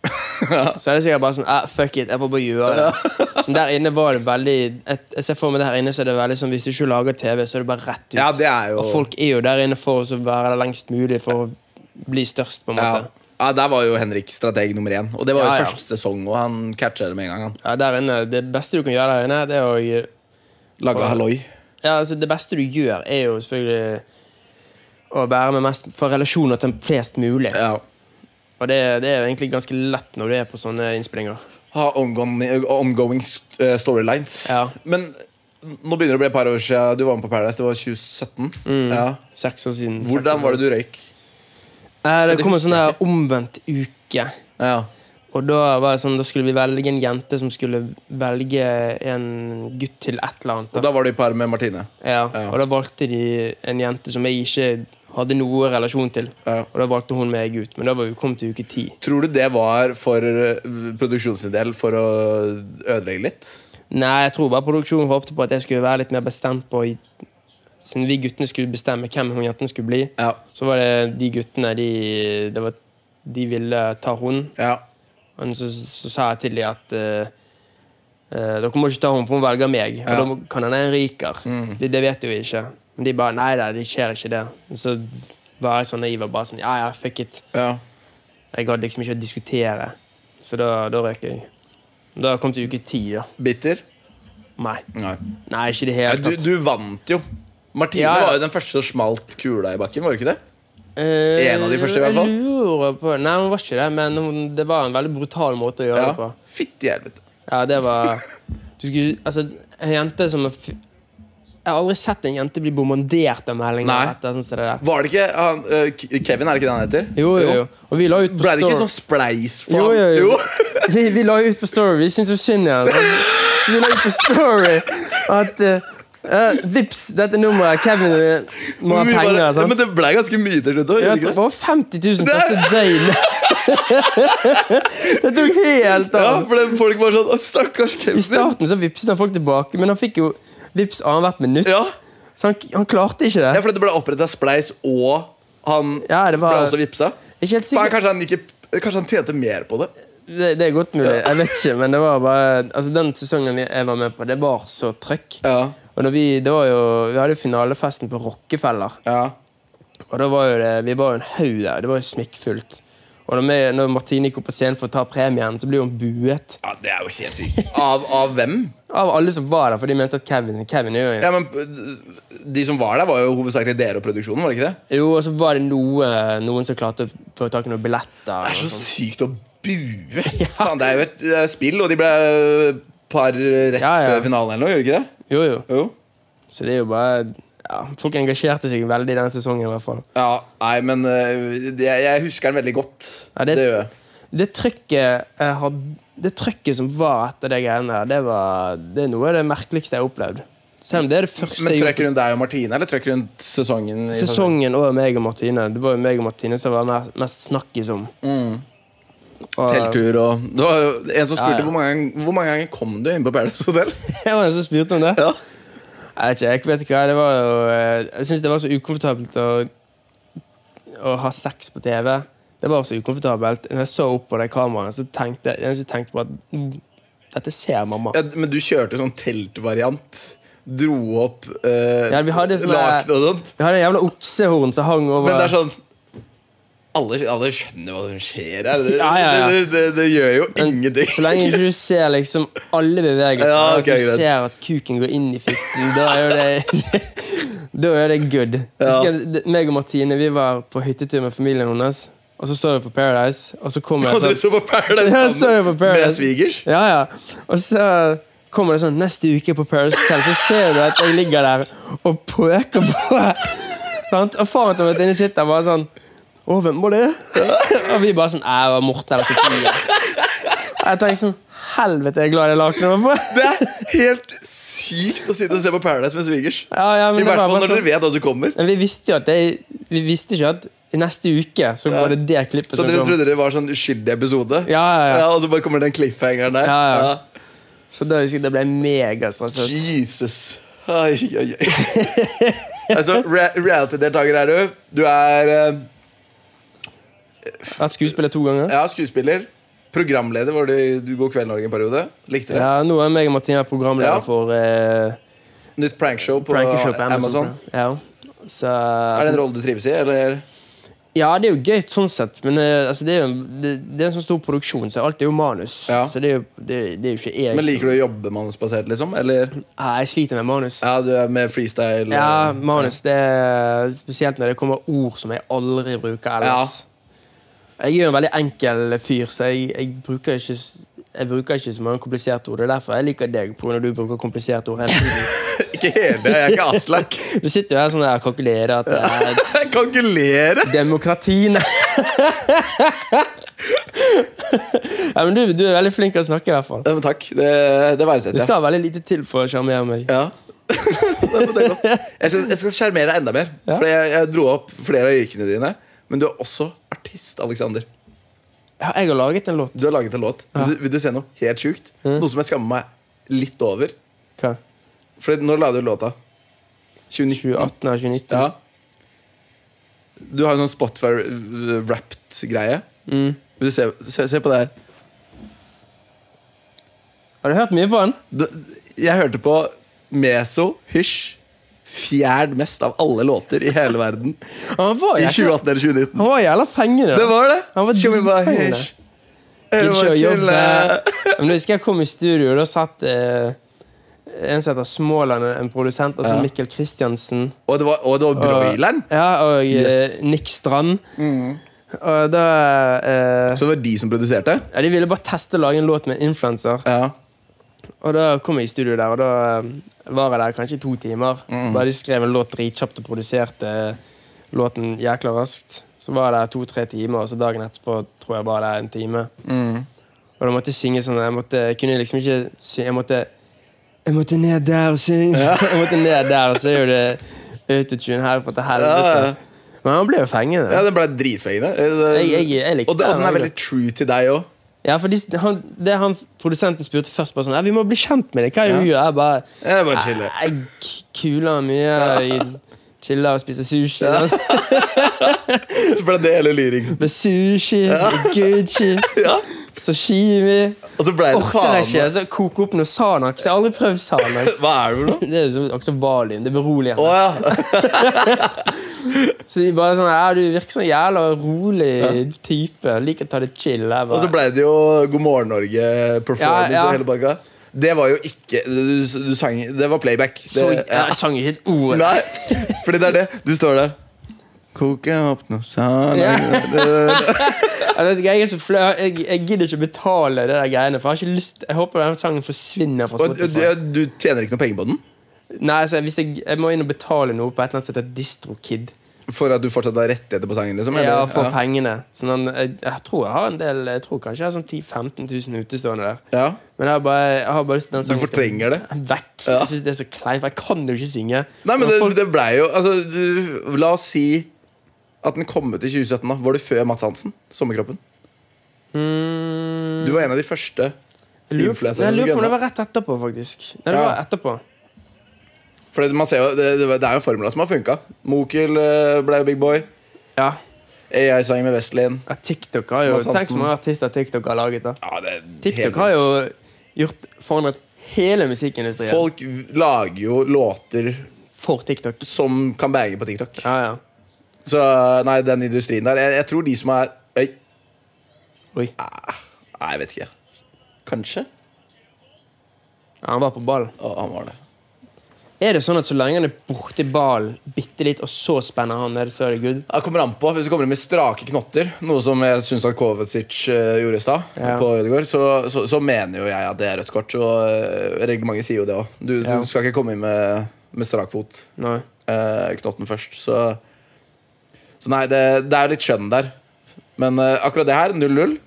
Så er det sikkert bare sånn ah, Fuck it, jeg får bare gjøre det Så der inne var det veldig Jeg, jeg ser for meg det her inne Så er det veldig sånn Hvis du ikke lager TV Så er det bare rett ut ja, det er jo Og folk er jo der inne for å så være der lengst mulig For å bli størst på en ja. måte Ja, ja, Der var jo Henrik strateg nummer én. Og det var jo Ja, ja. første sesong, og han catcha det med en gang. han der inne Det beste du kan gjøre der inne Det er å Laga For- halloi. Ja, altså det beste du gjør Er jo selvfølgelig Å være med mest For relasjoner til flest mulig Ja. Og det, det er jo egentlig ganske lett Når du er på sånne innspillinger Ha ongoing, ongoing st- eh, storylines. Ja. Men nå begynner det å bli et par år siden du var med på Paradise. Det var 2017. Ja. Mm. Seks år siden. seks år Hvordan var det du røyk? Eh, Det kom en sånn der omvendt uke. Ja. Og da var det sånn, da skulle vi velge en jente som skulle velge en gutt til et eller annet. Og da var du i par med Martine. Ja, Ja. og da valgte de en jente som jeg ikke hadde noe relasjon til. Ja. Og da valgte hun meg ut, men da var vi kommet til uke ti. Tror du det var for eh, produksjonen sin del for å ødelegge litt? Nei, jeg tror bare produksjonen håpte på at jeg skulle være litt mer bestemt på Siden vi guttene skulle bestemme hvem hun jenten skulle bli, Ja. så var det de guttene de, det var, de ville ta hun. Ja. Men så, så sa jeg til dem at eh, eh, dere må ikke ta henne, for hun velger meg. Og Ja. Mm. da må- kan hende jeg ryker. Det, det vet jeg jo ikke. Men de bare Nei da, det skjer ikke det. Men så var jeg så naiv og bare sånn Ja ja, fuck it. ja. Jeg gadd liksom ikke å diskutere. Så da, da røk jeg. Da kom til uke ti, da. Bitter? Nei. Nei. Nei, ikke i det Nei, hele du, tatt. du vant jo. Martine Ja, ja. var jo den første som smalt kula i bakken. var du ikke det? Eh, en av de første i hvert fall. Jeg lurer på Nei, hun var ikke det, men hun, det var en veldig brutal måte å gjøre det på. Fytti helvete. Ja, det var du skulle, Altså, en jente som er f Jeg har aldri sett en jente bli bombardert av meldinger. Nei. Etter, sånn som det der. Var det ikke han, eh, K- Kevin, er det ikke det han heter? Jo, jo, jo. Og vi la ut på Ble det ikke Story. sånn spleis for Jo, jo, han? jo. Vi, vi la ut på Story. Vi syntes jo synd i han. Så vi la ut på Story at eh, eh, Vips, dette nummeret. Kevin eh, må ha Men vi bare- penger. ja, sant? men det ble ganske mye til slutt òg. Ja, det var 50 000 første døgn. det tok helt Ja, av. for det, folk var sånn «Å, Stakkars I Kevin. starten så vipset han folk tilbake, men han fikk jo vips annethvert minutt. Ja. Så han, han klarte ikke ja, det. for det ble oppretta spleis, og han Ja, det ble var også vipsa. Ikke helt altså, Faen, sikkert. kanskje, han ikke, kanskje han tjente mer på det. Det, det er godt mulig. Jeg vet ikke, men det var bare Altså, den sesongen jeg var med på, det var så trøkk. Ja, Og når vi, det var jo, vi hadde jo finalefesten på Rockefeller, ja, og da var jo det, vi var jo en haug der. Det var jo smekkfullt. Og når, vi, når Martine gikk opp på scenen for å ta premien, så ble hun buet ja Det er jo helt sykt. Av, av hvem? av alle som var der, for de mente at Kevin, Kevin er jo Ja, men De som var der, var jo hovedsakelig dere og produksjonen. var det ikke det? Jo, og så var det noe, noen som klarte å få tak i noen billetter. Det er og så sånt. sykt å bue! Faen, det er jo et det er spill, og de ble eh, par rett Ja, ja. før finalen eller noe, gjorde de ikke det? Jo, jo. Jo. Så det er jo bare ja, Folk engasjerte seg veldig i den sesongen. i hvert fall Ja, nei, men eh, det- jeg husker den veldig godt. Ja, det... det- gjør jeg. Det trykket, jeg had, det trykket som var etter de greiene der, det, var, det er noe av det merkeligste jeg har opplevd. Selv om det er det første Men jeg trøkk gjorde. rundt deg og Martine, eller trøkk rundt sesongen? i Sesongen og meg og Martine. Det var jo meg og Martine som var mer- mest snakkis om. Mm. Og, Telttur og Det var jo en som spurte Ja, ja. Hvor, mange ganger, hvor mange ganger kom du inn på Paradise Hotel? Jeg var en som spurte om det. Ja. Jeg vet ikke, jeg vet ikke hva. Det var jo, eh, jeg syns det var så ukomfortabelt å, å ha sex på TV. Det var så ukomfortabelt. Når jeg så opp på det kameraet, så tenkte jeg- jeg tenkte på at mm, dette ser mamma. Ja, men du kjørte sånn teltvariant. Dro opp eh, Ja, vi sånn, hadde sånne- laken og sånt. Vi hadde en jævla oksehorn som hang over Men det er sånn alle, alle skjønner hva som skjer her. Det, Ja, ja, ja. det, det, det gjør jo Men ingenting. Så lenge ikke du ser liksom alle bevegelser, Ja, ok, og at du greit. ser at kuken går inn i fitten, da er jo det Da er det good. Jeg Ja. Husker det- meg og Martine vi var på hyttetur med familien hennes, og så så vi på Paradise, og så kommer Og dere jeg så sånn på Paradise Ja, sammen så jeg på Paradise. med svigers. Ja, ja. Og så kommer det sånn Neste uke på Paradise Hotel, så ser du at jeg ligger der og pøker på. Sant? Og faren til Martine sitter bare sånn Å, hvem var det? og vi bare sånn Æ, det var Morten eller Sofie. Og Jeg tenker sånn Helvete, jeg er glad det lakenet var på. Det er helt sykt å sitte og se på Paradise med svigers. Ja, ja, I men det hvert var fall bare når dere sånn. vet hva som kommer. Men vi visste jo at det, Vi visste ikke at i neste uke så Ja. var det det Så klippet som dere kom. trodde det var sånn uskyldig episode? Ja, ja, ja. Og så bare kommer den cliffhangeren der. Ja, ja. Så da husker jeg det ble megastresset. Jesus. Ai, ai, ai. altså, re reality-deltaker er du. Du er eh, Vært skuespiller to ganger. ja, skuespiller. Programleder var du i God kveld, Norge en periode. Likte det. Ja, Nå er meg og Martine programleder Ja. for eh, Nytt prankshow på Prankershow på Amazon. Amazon. Ja. Så, Er det en rolle du trives i? Eller? ja, det er jo gøy sånn sett, men eh, altså, det, er jo, det, det er en sånn stor produksjon, så alt er jo manus. Ja. Så det er jo, det, det er jo ikke jeg Men liker du å jobbe manusbasert, liksom? Eller Ja, jeg sliter med manus. Ja, ja, du er med freestyle? og- manus, det er Spesielt når det kommer ord som jeg aldri bruker ellers. Jeg er jo en veldig enkel fyr, så jeg, jeg, bruker ikke, s- jeg bruker ikke så mange kompliserte ord. Det er derfor jeg liker deg, på grunn av at du bruker kompliserte ord hele tiden. Ikke hele, jeg er ikke Aslak. Du sitter jo her sånn der og kalkulerer at eh, det er Jeg kalkulere! Demokrati, nei. Nei, men du, du er veldig flink til å snakke, i hvert fall. Ja, men takk. Det, det Det verdsetter jeg. skal veldig lite til for å sjarmere meg. Ja. Nei, men det er godt. Jeg skal, jeg skal sjarmere deg enda mer. Ja. For jeg, jeg dro opp flere av yrkene dine. Men du er også artist, Alexander. Ja, Jeg har laget en låt. Du har laget en låt. Vil, du, vil du se noe helt sjukt? Noe som jeg skammer meg litt over. Hva? For når la du låta? 2019. 2018 eller 2019? Ja. Du har en sånn Spotify-wrapped-greie. Mm. Vil du se, se, se på det her? Har du hørt mye på den? Du, jeg hørte på Meso, Hysj, fjerd mest av alle låter i hele verden. Han var I jævla, 2018 eller 2019. han var jævla fengende. Det var det! Han var Kjører bare dritfengende. hysj. Jeg Gidder ikke må å jobbe. chille. Men jeg husker jeg kom i studio, og da satt eh, en som heter Småland, en produsent, og så Ja. Mikkel Kristiansen. Og det var, og det var broileren. Ja, og Yes. Mm. eh, Nick Strand. Og da eh, Så det var de som produserte? ja, De ville bare teste å lage en låt med en influenser. Ja. Og da kom jeg i studio der, og da eh, var jeg der kanskje i to timer. Mm. Bare de skrev en låt dritkjapt og produserte eh, låten jækla raskt. Så var jeg der to-tre timer, og så dagen etterpå tror jeg bare det er en time. Mm. Og da måtte jeg synge sånn Jeg, måtte, jeg kunne liksom ikke synge Jeg måtte, jeg måtte ned der og synge. jeg måtte ned der, og så er jo det autotune herfra til helvete. Ja, ja. Men han ble jo fengende. ja, den ble dritfengende. Jeg- jeg- jeg likte og, det, og den den, er veldig true til deg òg. Ja, for de, han, det han produsenten spurte først bare sånn «Nei, Vi må bli kjent med deg. Hva gjør du? Jeg bare Jeg bare chiller. «Nei, Jeg kuler mye. Jeg chiller og spiser sushi. Så ble det hele lyriksen. Med sushi, Gucci, Ja. sashimi Og så ble det Orker faen jeg ikke. Så koke opp noe Sanax. Jeg har aldri prøvd Sanax. Hva er det for noe? Det er jo som også Valium. Det beroliger. Å ja. Så de bare sånn Ja, du virker som en jævla rolig type. Liker å ta det chill. Jeg Og så bare, ble det jo God morgen Norge-performance Ja, ja. og hele pakka. Det var jo ikke Du, du sang Det var playback. Det, så, jeg sang ikke et ord. Nei, fordi det er det. Du står der. Koke opp noe sand Ja. Jeg, vet ikke, jeg, er så flau. jeg, jeg gidder ikke å betale det der greiene. For Jeg har ikke lyst Jeg håper den sangen forsvinner fra Og du, Spotify. du tjener ikke noe penger på den? Nei, altså, hvis jeg, jeg må inn og betale noe på et eller annet som heter DistroKid. For at du fortsatt har rettigheter på sangen? liksom? Ja, eller? for ja. pengene. Sånn, han- jeg, jeg tror jeg har en del Jeg tror kanskje jeg har sånn 10 000-15 000 utestående der. Ja. Men jeg har bare, jeg har bare lyst til den Du sangen fortrenger det? skal vekk. Ja. Jeg synes det er så kleint. for Jeg kan jo ikke synge. Nei, men det, folk, det blei jo altså, du, La oss si at den kom ut i 2017. da Var det før Mats Hansen? Sommerkroppen? mm, Du var en av de første. jeg lurer- influencer, Jeg lurer på om grønne. det var rett etterpå, faktisk. Nei, det Ja. var etterpå. For det, man ser jo, det, det det er jo formula som har funka. Mokel eh, ble jo big boy. Ja. Jeg sang med Westlin. ja TikTok har jo Mads Tenk så Hansen. mange artister TikTok har laget. da Ja, det er helt TikTok har jo gjort forandret hele musikkindustrien Folk lager jo låter for TikTok. som kan bange på TikTok. Ja, ja. Så nei, den industrien der Jeg, jeg tror de som er Oi, Oi. nei, jeg vet ikke. Kanskje? Ja, han var på ballen. Å, han var det. Er det sånn at så lenge han er borti ballen bitte litt, og så spenner han ned, så er det good? Det kommer an på. Hvis du kommer inn med strake knotter, noe som jeg syns at Kovacic eh, gjorde i stad, Ja. på Ødegaard, så, så, så mener jo jeg at det er rødt kort. Og eh, reglementet sier jo det òg. Du, Ja. du skal ikke komme inn med, med strak fot Nei. eh, knotten først. Så, så nei, det, det er litt skjønn der. Men eh, akkurat det her, 0-0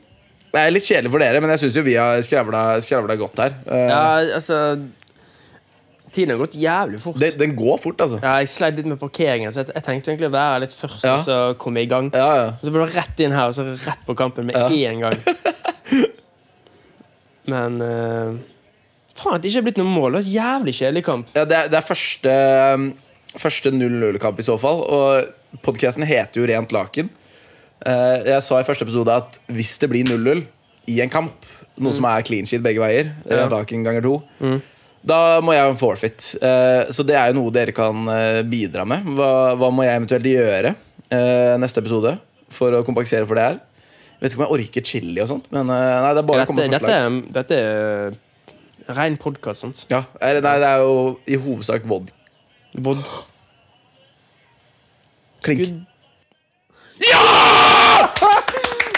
Det er litt kjedelig for dere, men jeg syns jo vi har skravla skravla godt her. Eh, Ja, altså Tiden har gått jævlig fort. det, den går fort, altså. Ja, jeg sleit litt med parkeringen, så jeg, jeg tenkte egentlig å være litt først, Ja. og så komme i gang. Ja, ja. Og så ble det rett inn her, og så rett på kampen med Ja. én gang. Men eh, Faen at det ikke er blitt noe mål. Det var en jævlig kjedelig kamp. Ja, det, er- det er første, um, første 0-0-kamp i så fall. Og podkasten heter jo Rent laken. Eh, Jeg sa i første episode at hvis det blir 0-0 i en kamp, noe som er clean sheet begge veier, Mm. Ja. Mm. rent laken ganger to, da må jeg ha en forfeit. Eh, Så det er jo noe dere kan eh, bidra med. Hva, hva må jeg eventuelt gjøre eh, neste episode for å kompensere for det her? Vet ikke om jeg orker chili og sånt, men eh, nei, det er bare å komme Dette, med dette, forslag. er- dette er rein podkast, sant? Ja, eller nei, det er jo i hovedsak vod. Vod Klink. Gud.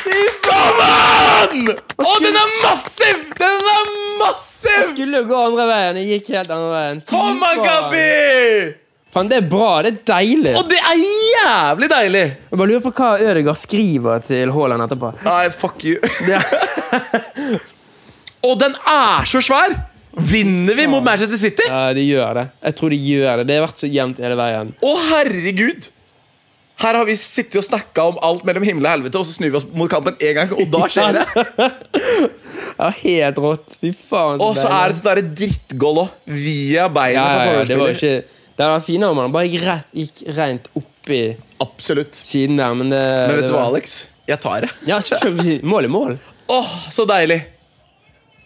Fy faen! Å, den er massiv! Den er massiv! Skulle skulle jo gå andre veien. Jeg gikk helt andre veien. Fy Kom an, faen. Gabi! Faen, det er bra. Det er deilig. Og det er jævlig deilig! Jeg bare lurer på hva Ødegaard skriver til Haaland etterpå. Nei, fuck you. Og den er så svær! Vinner vi mot Manchester City? Ja, de gjør det. Jeg tror de gjør det. Det har vært så jevnt hele veien. Å, herregud! Her har vi sittet og snakka om alt mellom himmel og helvete, og så snur vi oss mot kampen én gang, og da skjer det! Ja, helt rått. Fy faen, Og så er det sånn derre drittgål òg. Via beina ja, ja, på ja, Det var jo forsvarsspiller. ikke Det hadde vært finere om han bare gikk rett, gikk rent oppi Absolutt. siden der, men det Men vet det du hva, var- Alex? Jeg tar det. Ja, selvfølgelig. Mål er mål. Åh, så deilig!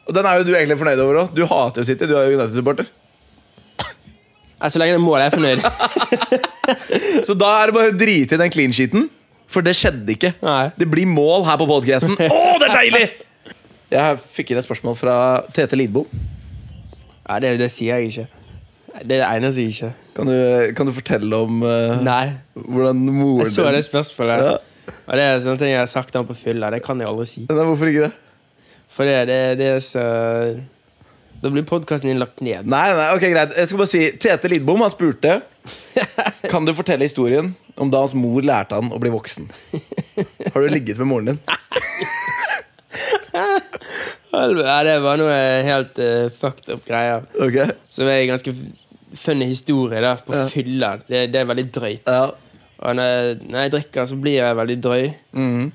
Og den er jo du egentlig fornøyd over òg. Du hater jo City, du er jo United-supporter. Ja, Så lenge det er mål, er jeg fornøyd. Så da er det bare å drite i den clean sheeten, for det skjedde ikke. Nei. Det blir mål her på podcasten. Å, det er deilig! Jeg fikk inn et spørsmål fra Tete Lidbom. Ja, det, det sier jeg ikke. Det er det eneste jeg ikke Kan du, kan du fortelle om eh, Nei. hvordan moren Jeg så det spørsmålet. Ja. Og det er sånne ting jeg har sagt til han på fylla. Det kan jeg aldri si. Nei, hvorfor ikke det? For det, det, det er så Da blir podkasten din lagt ned. Nei, nei, ok, greit. Jeg skal bare si, Tete Lidbom han spurte Kan du fortelle historien om da hans mor lærte han å bli voksen. Har du ligget med moren din? Helvete, Ja, det var noe helt eh, fucked up greier. Ok Som er en ganske f- funny historie da, på fylla. Det, det er veldig drøyt. ja. Og når jeg, når jeg drikker, så blir jeg veldig drøy. Mm-hmm.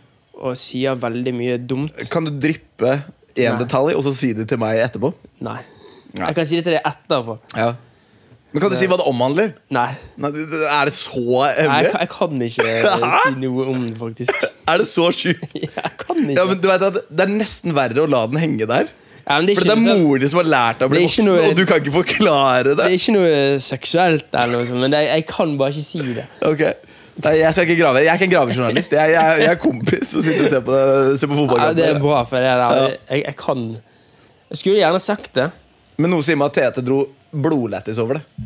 Og sier veldig mye dumt. Kan du dryppe én Nei. detalj og så si det til meg etterpå? Nei. Jeg kan si det til deg etterpå. Ja Men kan du si hva det omhandler? Nei. Nei, du- du- er det så Nei, jeg, hemmelig? kan- jeg kan ikke eh, si noe om det, faktisk. Er det så sjukt? Jeg kan ikke. Ja, men du vet at Det er nesten verre å la den henge der. Ja, men det, er For ikke det er noe sånn- moren din som har lært deg å bli Det er ikke voksen, noe- og du kan ikke forklare det det. er ikke noe seksuelt, eller noe sånt, men jeg, jeg kan bare ikke si det. Ok Nei, Jeg skal ikke grave Jeg er ikke en gravejournalist. Jeg, jeg, jeg er kompis og sitter og ser på, ser på Ja, det er fotballkamper. bra, for det der. Jeg, jeg kan Jeg skulle gjerne sagt det. Men noe sier meg at Tete dro blodlættis over det.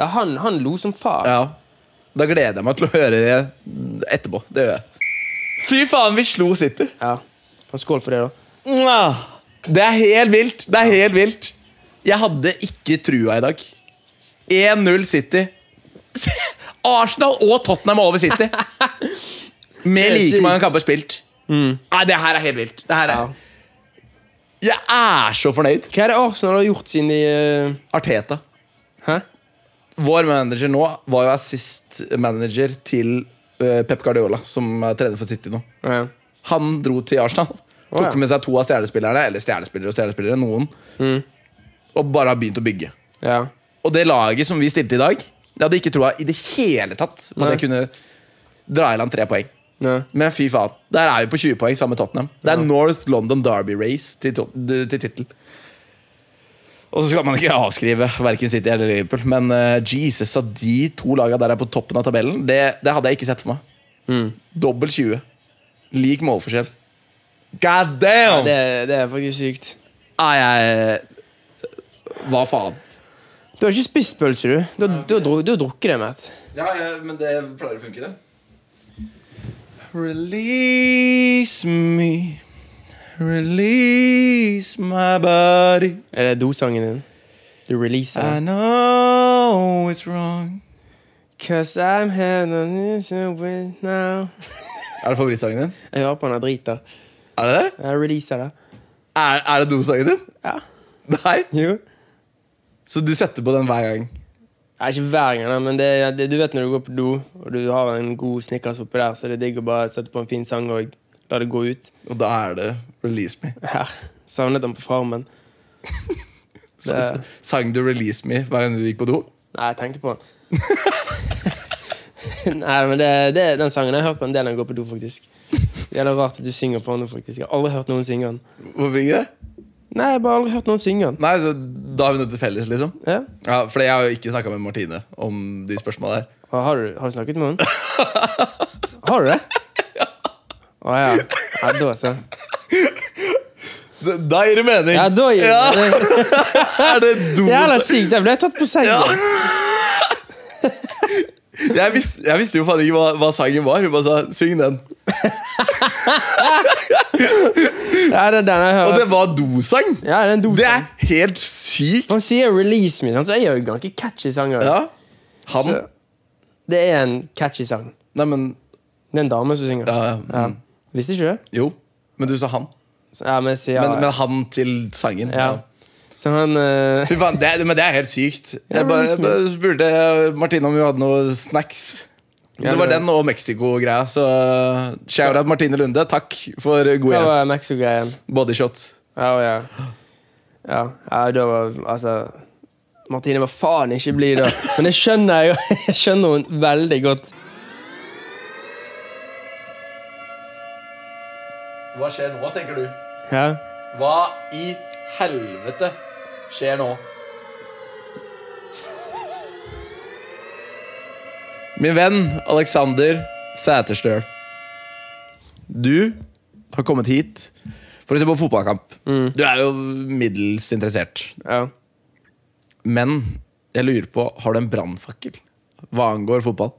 Ja, han, han lo som faen. Ja Da gleder jeg meg til å høre det etterpå. Det gjør jeg. Fy faen, vi slo City! Ja. Faen, Skål for det, da. Mwah! Det er helt vilt. Det er helt vilt. Jeg hadde ikke trua i dag. 1-0 City. Arsenal og Tottenham er over City. Med like mange kamper spilt. Nei, det her er helt vilt. Det her Ja. er. Jeg er så fornøyd. Hva er det Arsenal har gjort siden de eh, Arteta. Hæ? Vår manager nå var jo assist manager til eh, Pep Guardiola, som er trener for City nå. Ja. Han dro til Arsenal. Å, ja. Tok med seg to av stjernespillerne, eller stjernespillere og stjernespillere, noen. Mm. Og bare har begynt å bygge. ja. Og det laget som vi stilte i dag, det hadde ikke troa i det hele tatt på at Nei. jeg kunne dra i land tre poeng. Nei. Men fy faen, der er vi på 20 poeng sammen med Tottenham. Det er North London Derby Race til, to- d- til tittel. Og så skal man ikke avskrive verken City eller Liverpool, men eh, Jesus at de to lagene der er på toppen av tabellen, det, det hadde jeg ikke sett for meg. Mm. Dobbel 20. Lik målforskjell. God damn! Det, det er faktisk sykt. Nei, jeg eh, Hva faen? Du har ikke spist pølse, du. Du, har- du, har dru- du har drukket det, Matt. Ja, men det pleier å funke, det. Release me. Release my body. Er det dosangen din? Du releaser I den. know it's wrong. Cause I'm here on this way now. Er det favorittsangen din? Jeg hører på han er drita. Er det det? Jeg releaser det. Er, er det dumsangen din? Ja. Nei? Jo. Så du setter på den hver gang? Nei, ikke hver gang, da, men det, det, du vet når du går på do, og du har en god snickers oppi der, så er det digg å bare sette på en fin sang og la det gå ut. Og da er det 'Release Me'. Ja. Savnet han på Farmen. Så, Det- sang du 'Release Me' hver gang du gikk på do? Nei, jeg tenkte på han. Nei, men det, det, den sangen har jeg hørt på en del når jeg går på do, faktisk. Det er rart at du synger på den nå, faktisk. Jeg har aldri hørt noen synge den. Hvorfor ikke det? Nei, jeg har bare aldri hørt noen synge den. Nei, så Da har vi noe til felles, liksom. Ja. Ja, For jeg har jo ikke snakka med Martine om de spørsmåla her. Og Har, du, har du snakket med henne? Har du det? Å ja. Ja, da så. Da- Da gir det mening! Ja, da gir Ja. det Er det do? Jævla sykt. Jeg ble tatt på sengen. Jeg, vis, jeg visste jo faen ikke hva, hva sangen var. Hun bare sa 'syng den'. Ja, det er den jeg Og hører. det var dosang! Ja, det er en Det dosang. er helt sykt! Han sier 'release me', sant? så jeg er jo ganske catchy sanger. Ja. Han Så det er en catchy sang. Nei, men Det er en dame som synger. ja, ja, Ja. mm. Visste ikke det? Jo. Men du sa han. Så- Ja, men jeg sier Men, men han til sangen. ja. Så han eh, Fy faen, det, er- men det er helt sykt. Jeg men bare, liksom- bare spurte Martine om hun hadde noe snacks. Ja, det var det- den og Mexico-greia, så shout-out Martine Lunde. Takk for god Hva hjelp. var Mexico-greien? Bodyshot. Ja, og ja. Ja, ja, da var Altså Martine var faen ikke blid da. Men jeg skjønner jo Jeg skjønner hun veldig godt. Hva skjer nå, tenker du? Ja. Hva i helvete skjer nå? Min venn Alexander Sæterstøl. Du har kommet hit for å se på fotballkamp. Du er jo middels interessert. ja. Men jeg lurer på, har du en brannfakkel hva angår fotball?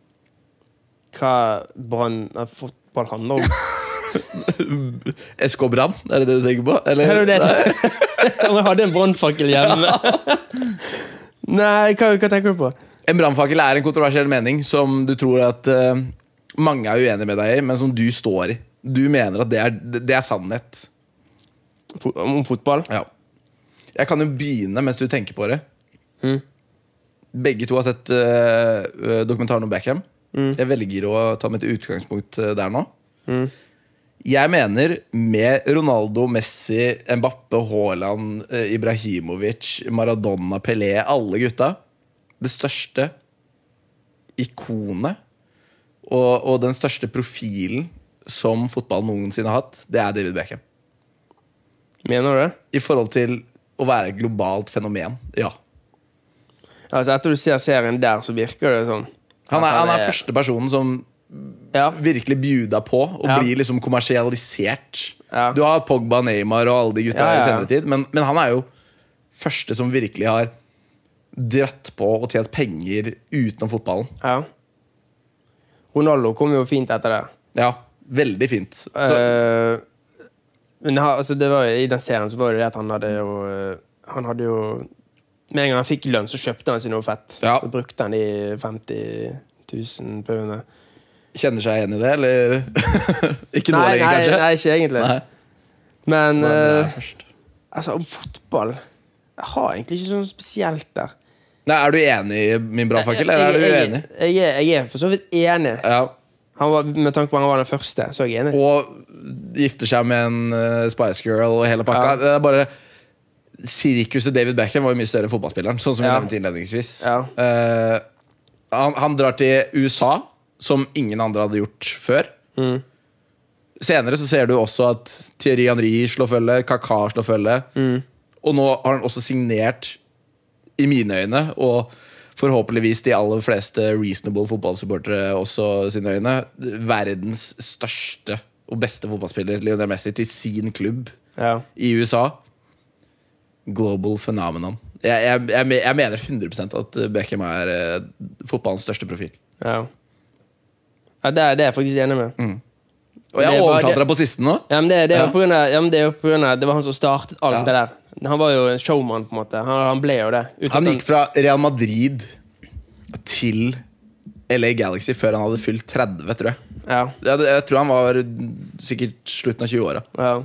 Hva brann av fotball handler om? SK Brann, er det det du tenker på? Eller? Er det det? Om jeg hadde en brannfakkel hjemme? Nei, hva, hva tenker du på? En brannfakkel er en kontroversiell mening som du tror at eh, mange er uenige med deg i, men som du står i. Du mener at det er, det er sannhet. Fo- Om fotball? Ja. Jeg kan jo begynne mens du tenker på det. Mhm. Begge to har sett eh, dokumentaren om Beckham. Jeg velger å ta mitt utgangspunkt eh, der nå. Mhm. Jeg mener med Ronaldo, Messi, Mbappe, Haaland, eh, Ibrahimovic, Maradona, Pelé, alle gutta Det største ikonet og, og den største profilen som fotball noensinne har hatt, det er David Beckham Mener du det? i forhold til å være et globalt fenomen. Ja. Altså, etter du ser serien der, så virker det sånn. Han er, At han er første personen som Ja. virkelig bjuda på og Ja. blir liksom kommersialisert. Ja. Du har Pogba, Neymar og alle de gutta Ja, ja, ja. i senere tid, men, men han er jo første som virkelig har dratt på og tjent penger utenom fotballen. ja. Ronaldo kom jo fint etter det. Ja, veldig fint. Så, Eh, men ha- altså, det var, jo- I den serien så var det det at han hadde jo eh, Han hadde jo Med en gang han fikk lønn, så kjøpte han seg noe fett. Ja. Og brukte han de 50 000 pundene. kjenner seg igjen i det, eller? ikke nå Nei, lenger, nei, kanskje? nei, ikke egentlig. Nei. Men Men det eh, er først. altså, om fotball Jeg har egentlig ikke sånn spesielt der. Nei, er du enig i min brannfakkel, eller Jeg- er du jeg- uenig? Jeg, jeg, er- jeg er for så vidt enig. Ja. Han var, med tanke på at han var den første, så er jeg enig. og gifter seg med en eh, Spice Girl og hele pakka. Ja. Det er bare Sirkuset David Beckham var jo mye større enn fotballspilleren. Sånn som vi Ja. nevnte innledningsvis Ja. Eh, han, han drar til USA, som ingen andre hadde gjort før. Mm. Senere så ser du også at Thierry Henry slår følge, Kaka slår følge. Mm. Og nå har han også signert, i mine øyne, og forhåpentligvis de aller fleste reasonable fotballsupportere også sine øyne, verdens største og beste fotballspiller, Lionel Messi, til sin klubb Ja. i USA. Global phenomenon. Jeg, jeg, jeg, me- jeg mener 100 at Beckham er eh, fotballens største profil. ja. ja det, er- det er jeg faktisk enig med. Og Det jeg er bare- overtalte deg på siste nå. Ja, men det, det, er Mm. jo Ja. på grunn av, ja, men det er jo på grunn av Det var han som startet alt Ja. det der. Han var jo en showman, på en måte. Han, han ble jo det. uten Han at gikk fra Real Madrid til LA Galaxy før han hadde fylt 30, tror jeg. ja, Jeg, jeg tror han var sikkert slutten av 20-åra. ja.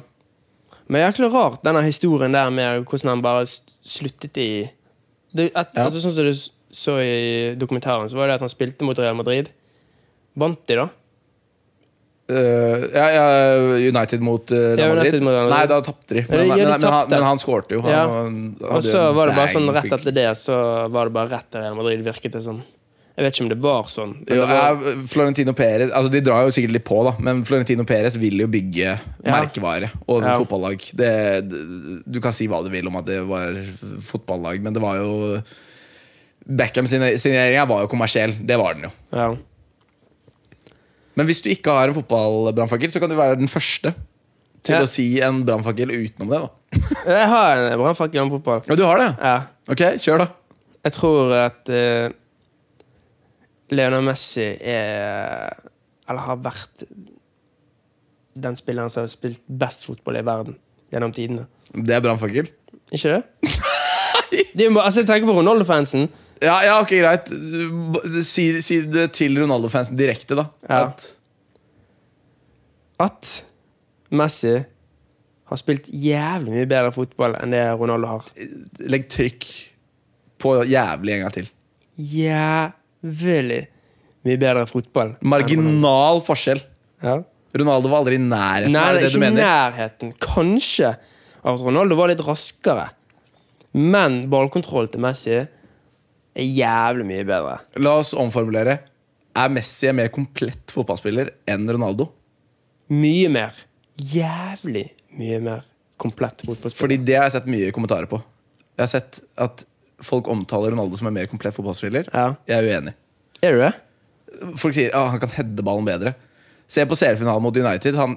Men jækla rart, denne historien der med hvordan han bare s- sluttet i det, at, Ja. altså, Sånn som du s- så i dokumentaren, så var det at han spilte mot Real Madrid. Vant de, da? Eh, ja, ja, United mot eh, Ja, Real Madrid. United mot Real Madrid. Nei, da tapte de. Men, Ja, men, de men, han, tapte. men han skårte jo. Han, Ja. han Og hadde så en var det bare sånn bang rett flick. etter det, så var det bare rett til Real Madrid, virket det som. Jeg vet ikke om det var sånn. men Jo, det var, er Florentino Perez altså De drar jo sikkert litt på, da men Florentino Perez vil jo bygge merkevare og Ja. fotballag. Det, det- du kan si hva du vil om at det var fotballag, men det var jo Beckham sine signeringer var jo kommersiell. Det var den jo. ja. Men hvis du ikke har en fotballbrannfakkel, så kan du være den første til Ja. å si en brannfakkel utenom det. da Jeg har en brannfakkel om fotball. Ja, du har det? Ja. Ok, kjør, da. Jeg tror at eh, Lionel Messi er Eller har vært den spilleren som har spilt best fotball i verden gjennom tidene. Det er brannfakkel? Ikke det? det er jo bare, altså, jeg tenker på Ronaldo-fansen. Ja, ja, ok, greit. B- Si, si det til Ronaldo-fansen direkte, da. Ja. At At Messi har spilt jævlig mye bedre fotball enn det Ronaldo har. legg trykk på jævlig en gang til. Jævlig mye bedre fotball. enn Ronaldo. Marginal forskjell. Ja. Ronaldo var aldri i nærheten. Nei, er det det er det du ikke i mener? nærheten. Kanskje at Ronaldo var litt raskere. Men ballkontrollen til Messi er jævlig mye bedre. La oss omformulere. Er Messi en mer komplett fotballspiller enn Ronaldo? Mye mer. Jævlig mye mer komplett fotballspiller. Fordi det har jeg sett mye kommentarer på. Jeg har sett at folk omtaler Ronaldo som en mer komplett fotballspiller. Ja. Jeg er uenig. Er du det? Folk sier at han kan heade ballen bedre. Se på seriefinalen mot United. Han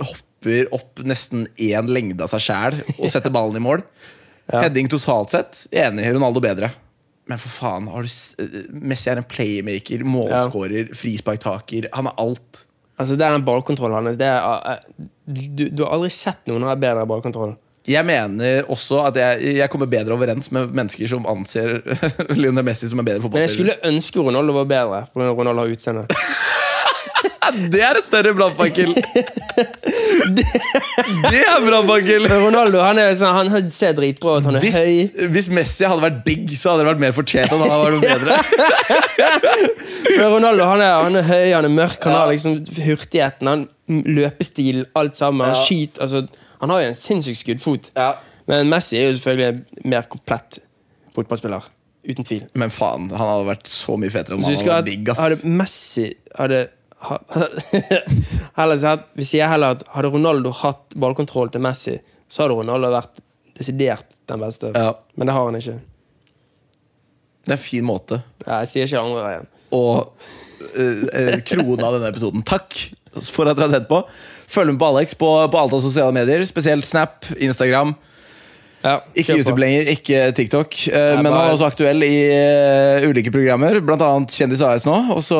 hopper opp nesten én lengde av seg sjæl og setter ballen i mål. Heading totalt sett. Enig, Ronaldo bedre. Men for faen, har du s eh, Messi er en playmaker, målskårer, frisparktaker. Han er alt. Altså, det er den ballkontrollen hans. Det er, ah, du, du, du har aldri sett noen ha bedre ballkontroll. Jeg mener også at jeg, jeg kommer bedre overens med mennesker som anser Lionel Messi som en bedre Men jeg fotballspiller. skulle ønske Ronaldo var bedre. på grunn av Ronaldo har utseende. Det er et større brannfakkel! det er brannfakkel! Men Ronaldo han, er sånn, han- han ser dritbra ut. Han er høy. Hvis, hvis Messi hadde vært digg, så hadde det vært mer fortjent. at han hadde vært bedre Men Ronaldo han er, han er høy, han er mørk, han har liksom hurtigheten, han løpestilen, alt sammen. Han skyter altså, Han har jo en sinnssykt skuddfot. Men Messi er jo selvfølgelig en mer komplett fotballspiller. Uten tvil. Men faen, han hadde vært så mye fetere om Så han husker hadde jeg vært digg. at hadde ass Messi hadde ha- heller sagt, Hvis jeg heller at hadde Ronaldo hatt ballkontroll til Messi, så hadde Ronaldo vært desidert den beste. Ja. Men det har han ikke. Det er en fin måte Ja, Jeg sier ikke andre veien. å eh, eh, krone av denne episoden. Takk for at dere har sett på. Følg med på Alex på, på alt av sosiale medier, spesielt Snap, Instagram. Ja, Ikke kjør på. YouTube lenger, ikke TikTok. eh, men bare- han er også aktuell i eh, ulike programmer, bl.a. Kjendis AS nå. Og så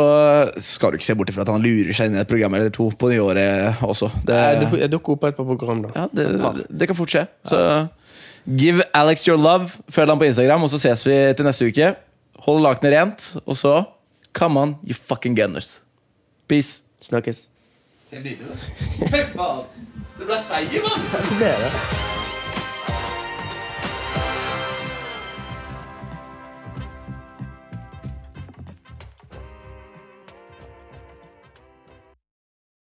skal du ikke se bort ifra at han lurer seg inn i et program eller to på nyåret også. Det, Jeg duk- Jeg dukker opp på et par program, da. ja, det, det, det kan fort skje. Så give Alex your love. Følg ham på Instagram, og så ses vi til neste uke. Hold lakenet rent, og så come on, you fucking gunners. Peace. Snakkes. Helt nydelig, det. Fy faen! Det ble seier, mann! Det er det.